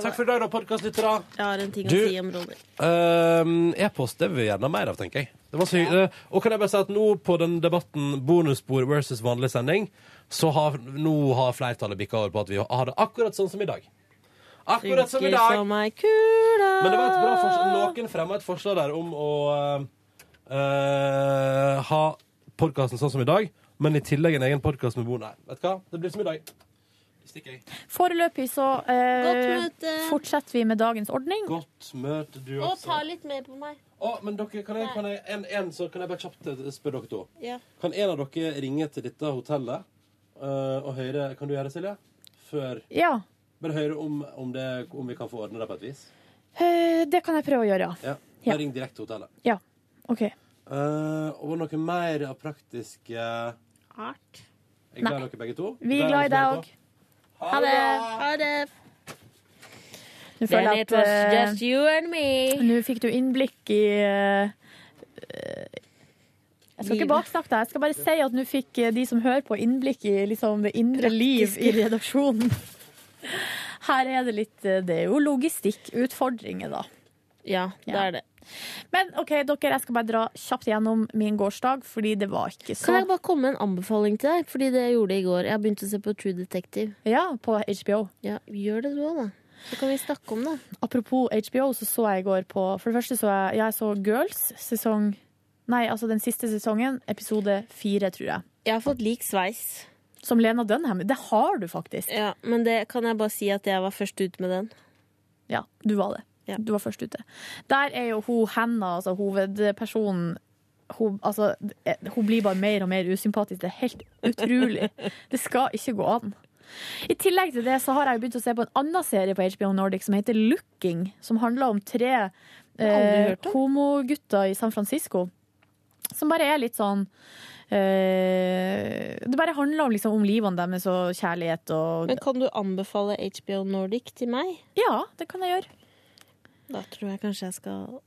Speaker 2: Takk for i dag, da, podkastlyttere.
Speaker 11: Jeg har en ting å
Speaker 2: Du-
Speaker 11: si om Ronny.
Speaker 2: Ehm, E-post det vil vi gjerne ha mer av, tenker jeg. Det var så hyggelig. Og kan jeg bare si at nå på den debatten bonusspor versus vanlig sending, så har, nå har flertallet bikka over på at vi har det akkurat sånn som i dag. Akkurat som i
Speaker 11: Funker
Speaker 2: dag!
Speaker 11: som ei kule.
Speaker 2: Men det var et bra forslag. Noen fremma et forslag der om å eh, ha podkasten sånn som i dag, men i tillegg en egen podkast med Bo. Nei, vet du hva? Det blir som i dag. Stikker jeg.
Speaker 4: Foreløpig så eh,
Speaker 11: Godt møte.
Speaker 4: fortsetter vi med dagens ordning.
Speaker 2: Godt møte, du
Speaker 11: Og
Speaker 2: også.
Speaker 11: ta litt mer på meg.
Speaker 2: Å, men dere, kan jeg, kan jeg, en, en, så kan jeg bare kjapt eh, spørre dere to.
Speaker 11: Ja.
Speaker 2: Kan en av dere ringe til dette hotellet eh, og høre Kan du gjøre det, Silje? Før
Speaker 4: Ja.
Speaker 2: Bare høre om, om, det, om vi kan få ordne det på et vis.
Speaker 4: Eh, Det kan jeg prøve å gjøre, ja.
Speaker 2: Ja.
Speaker 4: Ja.
Speaker 2: Bare ring direkte til hotellet.
Speaker 4: ja. OK.
Speaker 2: Eh, og var det noe mer av praktisk eh,
Speaker 11: Art.
Speaker 2: Jeg er glad i dere begge to.
Speaker 4: Vi er glad i deg òg.
Speaker 2: Ha det!
Speaker 11: Ha det.
Speaker 4: Nå føler jeg at eh,
Speaker 11: you and me.
Speaker 4: Nå fikk du innblikk i eh, Jeg skal ikke baksnakke deg. Jeg skal bare si at nå fikk eh, de som hører på, innblikk i liksom, det indre liv i redaksjonen. Her er det litt eh, Det er jo logistikkutfordringer, da.
Speaker 7: Ja, det er det.
Speaker 4: Men OK, dere, jeg skal bare dra kjapt gjennom min gårsdag, fordi det var ikke så
Speaker 7: Kan jeg bare komme med en anbefaling til deg? Fordi det jeg gjorde i går. Jeg har begynt å se på True Detective.
Speaker 4: Ja, på HBO.
Speaker 7: Ja, gjør det du òg, da. Så kan vi snakke om det.
Speaker 4: Apropos HBO, så så jeg i går på For det første så jeg, jeg så Girls sesong Nei, altså den siste sesongen, episode fire, tror jeg.
Speaker 7: Jeg har fått lik sveis.
Speaker 4: Som Lena Dunham. Det har du faktisk.
Speaker 7: Ja, Men det kan jeg bare si at jeg var først ut med den.
Speaker 4: Ja, du var det. Du var først ute. Der er jo hun Hannah, altså hovedpersonen hun, altså, eh, hun blir bare mer og mer usympatisk. Det er helt utrolig. Det skal ikke gå an. I tillegg til det så har jeg jo begynt å se på en annen serie på HBO Nordic som heter Looking, som handler om tre eh, homogutter i San Francisco. Som bare er litt sånn eh, Det bare handler om, liksom, om livene deres og kjærlighet og
Speaker 7: Men kan du anbefale HBO Nordic til meg?
Speaker 4: Ja, det kan jeg gjøre.
Speaker 7: Da tror jeg kanskje jeg skal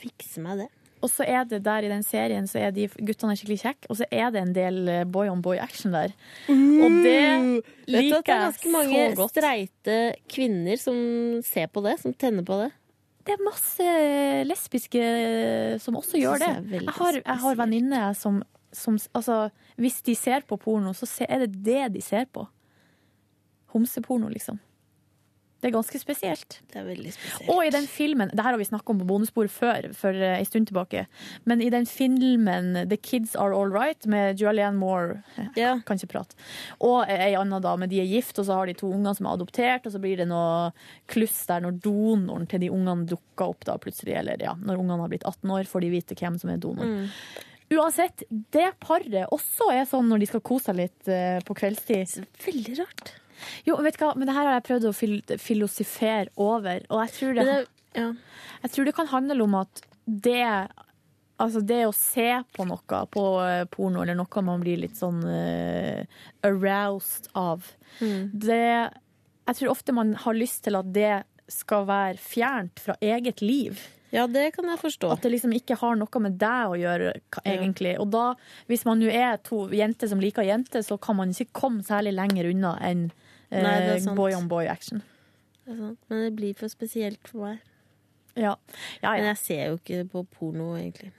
Speaker 7: fikse meg det.
Speaker 4: Og så er det der i den serien så er de guttene er skikkelig kjekke, og så er det en del eh, boy on boy action der. Og det
Speaker 7: Mm. Vet du at
Speaker 4: liker
Speaker 7: det er
Speaker 4: jeg
Speaker 7: ganske mange
Speaker 4: så godt.
Speaker 7: streite kvinner som ser på det, som tenner på det.
Speaker 4: Det er masse lesbiske eh, som også gjør det.
Speaker 7: Synes jeg er veldig
Speaker 4: Jeg har, jeg har venninner som, som altså, Hvis de ser på porno, så se- er det det de ser på. Homseporno, liksom. Det er ganske spesielt.
Speaker 7: Det er veldig spesielt.
Speaker 4: Og i den filmen, det her har vi snakket om på bonusbord før, for eh, en stund tilbake, men i den filmen The Kids Are All Right med Julianne Moore,
Speaker 7: ja.
Speaker 4: kan ikke prate, og eh, ei anna dame, de er gift, og så har de to unger som er adoptert, og så blir det noe kluss der når donoren til de ungene dukker opp da plutselig, eller ja, når ungene har blitt 18 år, får de vite hvem som er donoren.
Speaker 7: Mm.
Speaker 4: Uansett, det paret også er sånn når de skal kose seg litt eh, på kveldstid.
Speaker 7: Veldig rart.
Speaker 4: Jo, vet du hva, men det her har jeg prøvd å fil filosofere over, og jeg tror det,
Speaker 7: Men det-
Speaker 4: jeg tror det kan handle om at det Altså det å se på noe på eh, porno, eller noe man blir litt sånn eh, aroused av,
Speaker 7: Mm.
Speaker 4: det Jeg tror ofte man har lyst til at det skal være fjernt fra eget liv.
Speaker 7: Ja, det kan jeg forstå.
Speaker 4: At det liksom ikke har noe med deg å gjøre, ka- egentlig. Og da, hvis man nå er to jenter som liker jenter, så kan man ikke komme særlig lenger unna enn eh,
Speaker 7: Nei, det er sant.
Speaker 4: boy on boy action.
Speaker 7: Det er sant. Men det blir for spesielt for meg.
Speaker 4: Ja.
Speaker 7: Men jeg ser jo ikke på porno, egentlig.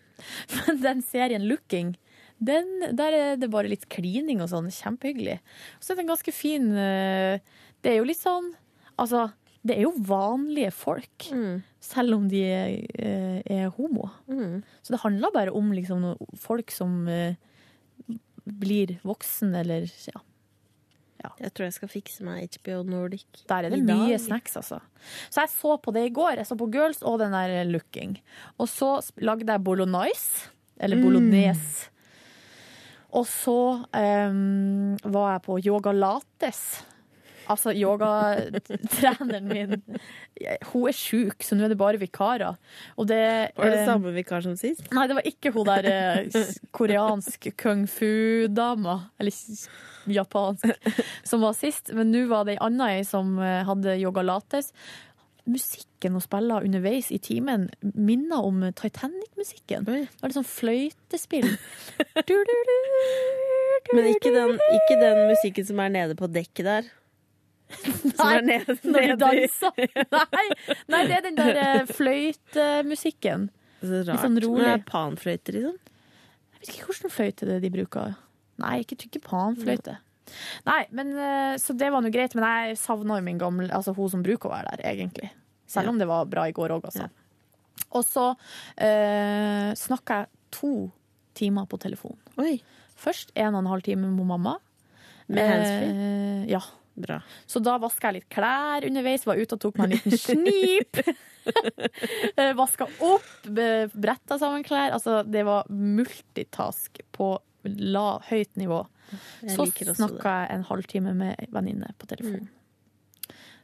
Speaker 4: Men den serien Looking, den, der er det bare litt klining og sånn. Kjempehyggelig. Og så er den ganske fin eh, Det er jo litt sånn Altså, det er jo vanlige folk.
Speaker 7: Mm.
Speaker 4: Selv om de eh, er homo. Så det handler bare om liksom no- folk som eh, blir voksen, eller ja.
Speaker 7: Jeg tror jeg skal fikse meg HBO Nordic.
Speaker 4: Der er det
Speaker 7: I dag.
Speaker 4: mye snacks, altså. Så jeg så på det i går. Jeg så på Girls og den der Looking. Og så sp- lagde jeg bolognese. Eller
Speaker 7: Mm.
Speaker 4: bolognese. Og så em, var jeg på yoga lates. Altså yogatreneren min jeg- Hun er sjuk, så nå er det bare vikarer. Og det eh,
Speaker 7: Var det
Speaker 4: em,
Speaker 7: samme vikar som sist?
Speaker 4: Nei, det var ikke hun der eh, s- koreansk kung fu-dama, eller s- japansk, som var sist. Men nå var det ei anna ei som eh, hadde yoga lates. Musikken hun spiller underveis i timen, minner om Titanic-musikken. Det var litt sånn fløytespill.
Speaker 7: Men ikke den, ikke den musikken som er nede på dekket der. Som er nede,
Speaker 4: Når de
Speaker 7: nede i-
Speaker 4: danser. Nei, nei, det er den der eh, fløytemusikken.
Speaker 7: Så rart.
Speaker 4: Litt sånn rolig.
Speaker 7: Men det er panfløyte, liksom.
Speaker 4: Jeg vet ikke hvilken fløyte det er de bruker. Nei, ikke, ikke panfløyte. Nei, men, eh, så det var nå greit, men jeg savna jo min gamle, altså hun som bruker å være der, egentlig. Selv om det var bra i går òg, altså. Og så eh, snakka jeg to timer på telefon. Først en og en halv time med mamma.
Speaker 7: Med
Speaker 4: Eh,
Speaker 7: handsfree?
Speaker 4: ja.
Speaker 7: Bra.
Speaker 4: Så da vaska jeg litt klær underveis, var ute og tok meg en liten snip. vaska opp, be- bretta sammen klær. Altså, det var multitask på la, høyt nivå.
Speaker 7: Jeg
Speaker 4: Så
Speaker 7: liker også det.
Speaker 4: snakka jeg en halvtime med ei venninne på telefon.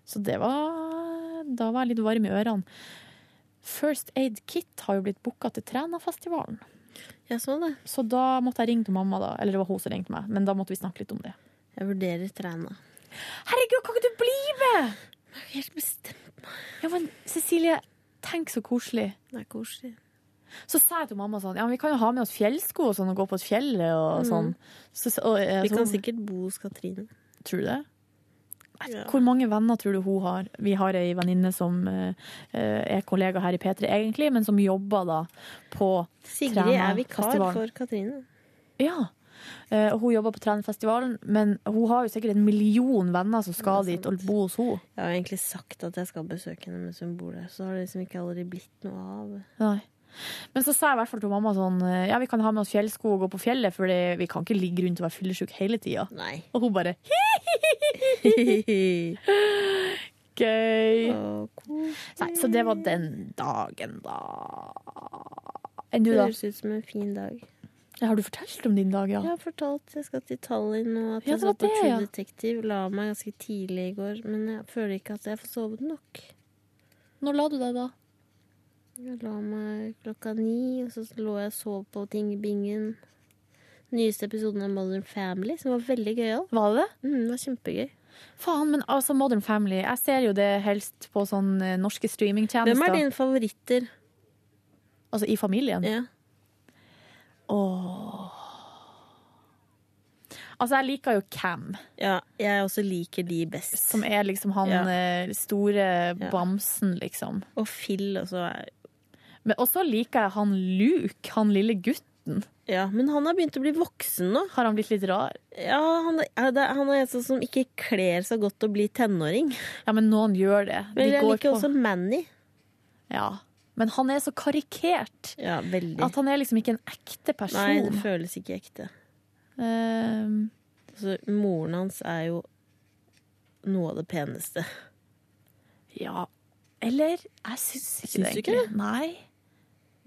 Speaker 4: Så det var Da var jeg litt varm i ørene. First Aid Kit har jo blitt booka til Trænafestivalen.
Speaker 7: så
Speaker 4: da måtte jeg ringe til mamma, da. Eller det var hun som ringte meg, men da måtte vi snakke litt om det.
Speaker 7: Jeg vurderer Træna.
Speaker 4: Herregud, kan ikke du bli med?! Jeg har helt bestemt meg. Ja, men Cecilie, tenk så koselig.
Speaker 7: Det er koselig.
Speaker 4: Så sa jeg til mamma sånn Ja, men vi kan jo ha med oss fjellsko og sånn og gå på et fjell og
Speaker 7: Mm.
Speaker 4: sånn. Så, så- og, eh,
Speaker 7: Vi
Speaker 4: så
Speaker 7: kan
Speaker 4: hun-
Speaker 7: sikkert bo hos Katrine.
Speaker 4: Tror du det? Hvor mange venner tror du hun har? Vi har ei venninne som eh, eh, er kollega her i P3 egentlig, men som jobber da på
Speaker 7: Sigrid er vikar
Speaker 4: Trænafestivalen.
Speaker 7: for Katrine.
Speaker 4: Ja. Eh, og hun jobber på Trænafestivalen, men hun har jo sikkert en million venner som skal dit og bo hos henne.
Speaker 7: Jeg har egentlig sagt at jeg skal besøke henne mens hun bor der, så har det liksom ikke aldri blitt noe av.
Speaker 4: Nei. Men så sa jeg i hvert fall til mamma sånn eh, Ja, vi kan ha med oss fjellsko og gå på fjellet, for vi kan ikke ligge rundt og være fyllesyke hele tida. Og hun bare Gøy. Nei, så det var den dagen, da. Enn du,
Speaker 7: Det
Speaker 4: da?
Speaker 7: høres ut som en fin dag.
Speaker 4: Ja, Har du fortalt om din dag, ja?
Speaker 7: Jeg har fortalt jeg skal til Tallinn, og at
Speaker 4: Ja,
Speaker 7: jeg
Speaker 4: det var
Speaker 7: så på
Speaker 4: det,
Speaker 7: True
Speaker 4: ja.
Speaker 7: Detective. La meg ganske tidlig i går, men jeg føler ikke at jeg får sovet nok.
Speaker 4: Når la du deg, da?
Speaker 7: Jeg la meg klokka ni, og så lå jeg og sov på ting i bingen. Nyeste episoden av Modern Family, som var veldig gøyal.
Speaker 4: Var det det?
Speaker 7: Mm, det var kjempegøy.
Speaker 4: Faen, men altså Modern Family. Jeg ser jo det helst på sånn eh, norske streamingtjenester.
Speaker 7: Hvem er dine favoritter?
Speaker 4: Altså i familien?
Speaker 7: Ja.
Speaker 4: Åh. Altså, jeg liker jo Cam.
Speaker 7: Ja, jeg også liker de best.
Speaker 4: Som er liksom han
Speaker 7: Ja.
Speaker 4: eh, store bamsen, liksom.
Speaker 7: Og Phil også er
Speaker 4: Men også liker jeg han Luke, han lille gutten.
Speaker 7: Ja, men han har begynt å bli voksen nå.
Speaker 4: Har han blitt litt rar?
Speaker 7: Ja, han er, ja, det er- han er en sånn som ikke kler så godt å bli tenåring.
Speaker 4: Ja, men noen gjør det. De
Speaker 7: Men jeg
Speaker 4: går
Speaker 7: liker
Speaker 4: på-
Speaker 7: også Manny.
Speaker 4: Ja. Men han er så karikert.
Speaker 7: Ja, veldig.
Speaker 4: At han er liksom ikke en ekte person.
Speaker 7: Nei, det føles ikke ekte.
Speaker 4: Ehm,
Speaker 7: Altså, moren hans er jo noe av det peneste.
Speaker 4: ja. Eller jeg syns ikke det.
Speaker 7: Syns du ikke
Speaker 4: egentlig. Nei.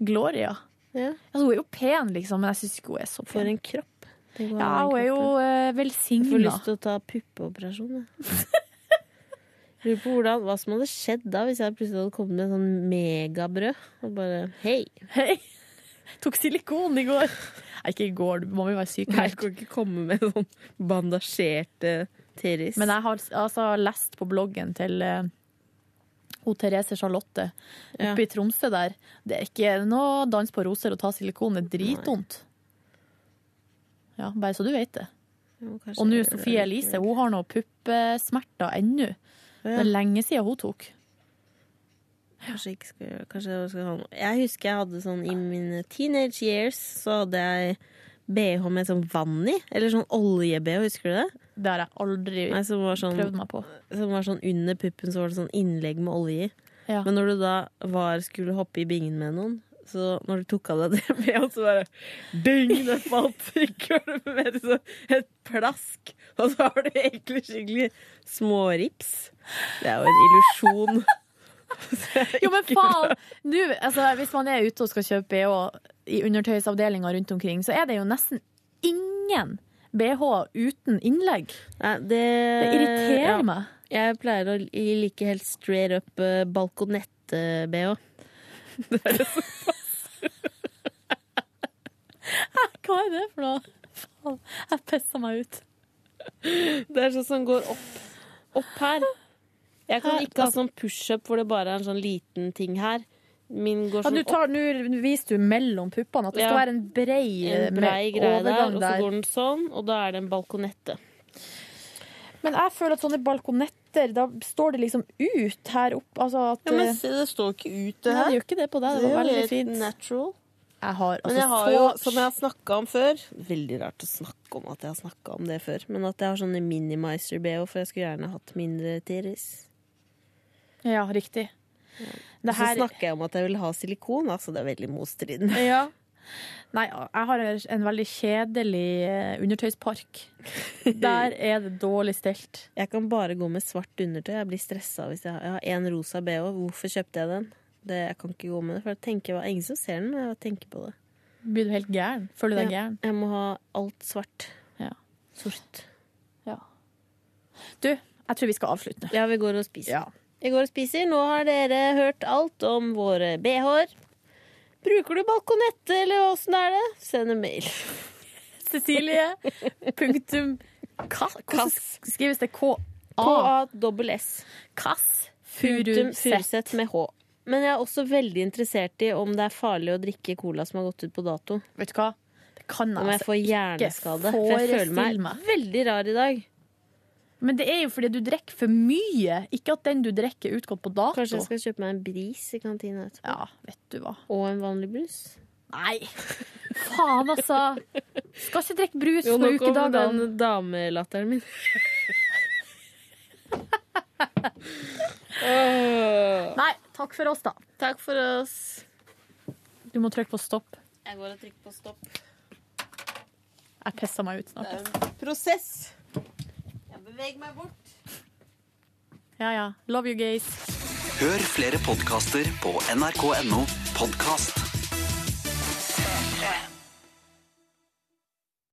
Speaker 4: Gloria.
Speaker 7: Ja.
Speaker 4: Altså, hun er jo pen, liksom, men jeg syns ikke hun er så pen.
Speaker 7: For en kropp. Tenk
Speaker 4: Ja,
Speaker 7: å ha den
Speaker 4: hun er jo
Speaker 7: kroppen.
Speaker 4: eh,
Speaker 7: Jeg får
Speaker 4: velsigna.
Speaker 7: lyst til å ta puppeoperasjon, jeg. Lurer på hvordan, hva som hadde skjedd da hvis jeg plutselig hadde kommet med en sånn megabrød. Og bare hei.
Speaker 4: Hei! Tok silikon i går. Nei, ikke i går, du må jo være syk.
Speaker 7: Nei, jeg kan ikke komme med sånn bandasjerte Teris.
Speaker 4: Men jeg har altså lest på bloggen til eh, hun Therese Charlotte oppe
Speaker 7: Ja.
Speaker 4: i Tromsø der. Det er ikke noe dans på roser å ta silikon. Det er dritvondt. Ja, bare så du vet det.
Speaker 7: Jo, kanskje
Speaker 4: Og nå
Speaker 7: jeg gjør det
Speaker 4: Sofie Elise, hun har noe puppesmerter ennå. Det er lenge siden hun tok.
Speaker 7: Kanskje jeg ikke skal gjøre kanskje jeg skal ha noe. Jeg husker jeg hadde sånn i mine teenage years, så hadde jeg BH med sånn vann i. Eller sånn olje-BH, husker du det?
Speaker 4: Det har jeg aldri
Speaker 7: Nei, som var sånn,
Speaker 4: prøvd meg på.
Speaker 7: Som var sånn under puppen, så var det sånn innlegg med olje i.
Speaker 4: Ja.
Speaker 7: Men når du da var, skulle hoppe i bingen med noen, så når du tok av deg det BH, så bare ding, det falt i gulvet med så et plask. Og så har du egentlig skikkelig smårips. Det er jo en illusjon.
Speaker 4: Jo, men faen! Nå, altså, hvis man er ute og skal kjøpe BH i undertøysavdelinga rundt omkring, så er det jo nesten ingen BH uten innlegg.
Speaker 7: Nei, det,
Speaker 4: Det irriterer
Speaker 7: Eh, ja.
Speaker 4: meg.
Speaker 7: Jeg pleier å like helt straight up eh, balkonett-BH.
Speaker 4: Hva er det for noe? Faen, jeg pissa meg ut.
Speaker 7: Det er sånn som går opp, opp her. Jeg kan
Speaker 4: Her,
Speaker 7: ikke ha sånn pushup hvor det bare er en sånn liten ting her. Min går
Speaker 4: Ja,
Speaker 7: sånn
Speaker 4: du tar, Nå viser du mellom puppene at det skal
Speaker 7: Ja.
Speaker 4: være en brei, eh,
Speaker 7: opp en brei
Speaker 4: med
Speaker 7: greie der,
Speaker 4: overgang
Speaker 7: og så
Speaker 4: der.
Speaker 7: går den sånn, og da er det en balkonette.
Speaker 4: Men jeg føler at sånne balkonetter, da står det liksom ut her oppe. Altså at eh,
Speaker 7: det står ikke ut,
Speaker 4: Nei, det gjør ikke det på deg. Det var veldig fint.
Speaker 7: natural.
Speaker 4: Jeg har
Speaker 7: Men jeg
Speaker 4: altså
Speaker 7: har jo, sånn
Speaker 4: så
Speaker 7: som jeg har snakka om før Veldig rart å snakke om at jeg har snakka om det før. Men at jeg har sånne Minimizer-BH, for jeg skulle gjerne hatt mindre Tiris.
Speaker 4: Ja, riktig.
Speaker 7: Og
Speaker 4: Det
Speaker 7: så
Speaker 4: her
Speaker 7: snakker jeg om at jeg vil ha silikon. Altså, det er veldig motstridende.
Speaker 4: Ja. Nei, jeg har en veldig kjedelig eh, undertøyspark. Der er det dårlig stelt.
Speaker 7: Jeg kan bare gå med svart undertøy. Jeg blir stressa hvis jeg har- jeg har én rosa bh. Hvorfor kjøpte jeg den? Det, jeg kan ikke gå med det, for jeg tenker, det er ingen som ser den, men jeg tenker på det.
Speaker 4: Blir du helt gæren? Føler du deg
Speaker 7: Ja,
Speaker 4: gæren?
Speaker 7: jeg må ha alt svart.
Speaker 4: Ja.
Speaker 7: Sort.
Speaker 4: Du, jeg tror vi skal avslutte nå.
Speaker 7: Ja, vi går og spiser.
Speaker 4: Ja.
Speaker 7: Vi går og spiser. Nå har dere hørt alt om våre bh-er. Bruker du balkonette, eller åssen er det? Send en mail.
Speaker 4: Cecilie. Punktum. Kass. Hvordan sk- skrives det? K-A.
Speaker 7: K-a-s.
Speaker 4: Kass.
Speaker 7: Punktum
Speaker 4: Furuseth.
Speaker 7: Furuseth med h. Men jeg er også veldig interessert i om det er farlig å drikke cola som har gått ut på dato.
Speaker 4: Vet du hva? Det kan
Speaker 7: Om jeg
Speaker 13: altså
Speaker 7: får
Speaker 13: ikke
Speaker 7: hjerneskade. For jeg føler meg,
Speaker 13: forestille meg.
Speaker 7: veldig rar i dag.
Speaker 13: Men det er jo fordi du drikker for mye. Ikke at den du drikker er utgått på dato.
Speaker 7: Kanskje jeg skal kjøpe meg en bris i kantina etterpå.
Speaker 13: Ja, vet du hva.
Speaker 7: Og en vanlig brus.
Speaker 4: Nei! Faen, altså! Skal ikke drikke brus
Speaker 7: Jo,
Speaker 4: på
Speaker 7: nok om den
Speaker 4: ukedagene.
Speaker 7: damelatteren min. Åh.
Speaker 4: Nei, takk for oss, da.
Speaker 7: Takk for oss.
Speaker 4: Du må trykke på stopp.
Speaker 7: Jeg går og trykker på stopp.
Speaker 4: Jeg pisser meg ut snart.
Speaker 7: Prosess. Jeg beveger meg bort.
Speaker 4: Ja, ja. Love you, gays.
Speaker 14: Hør flere podkaster på nrk.no podkast.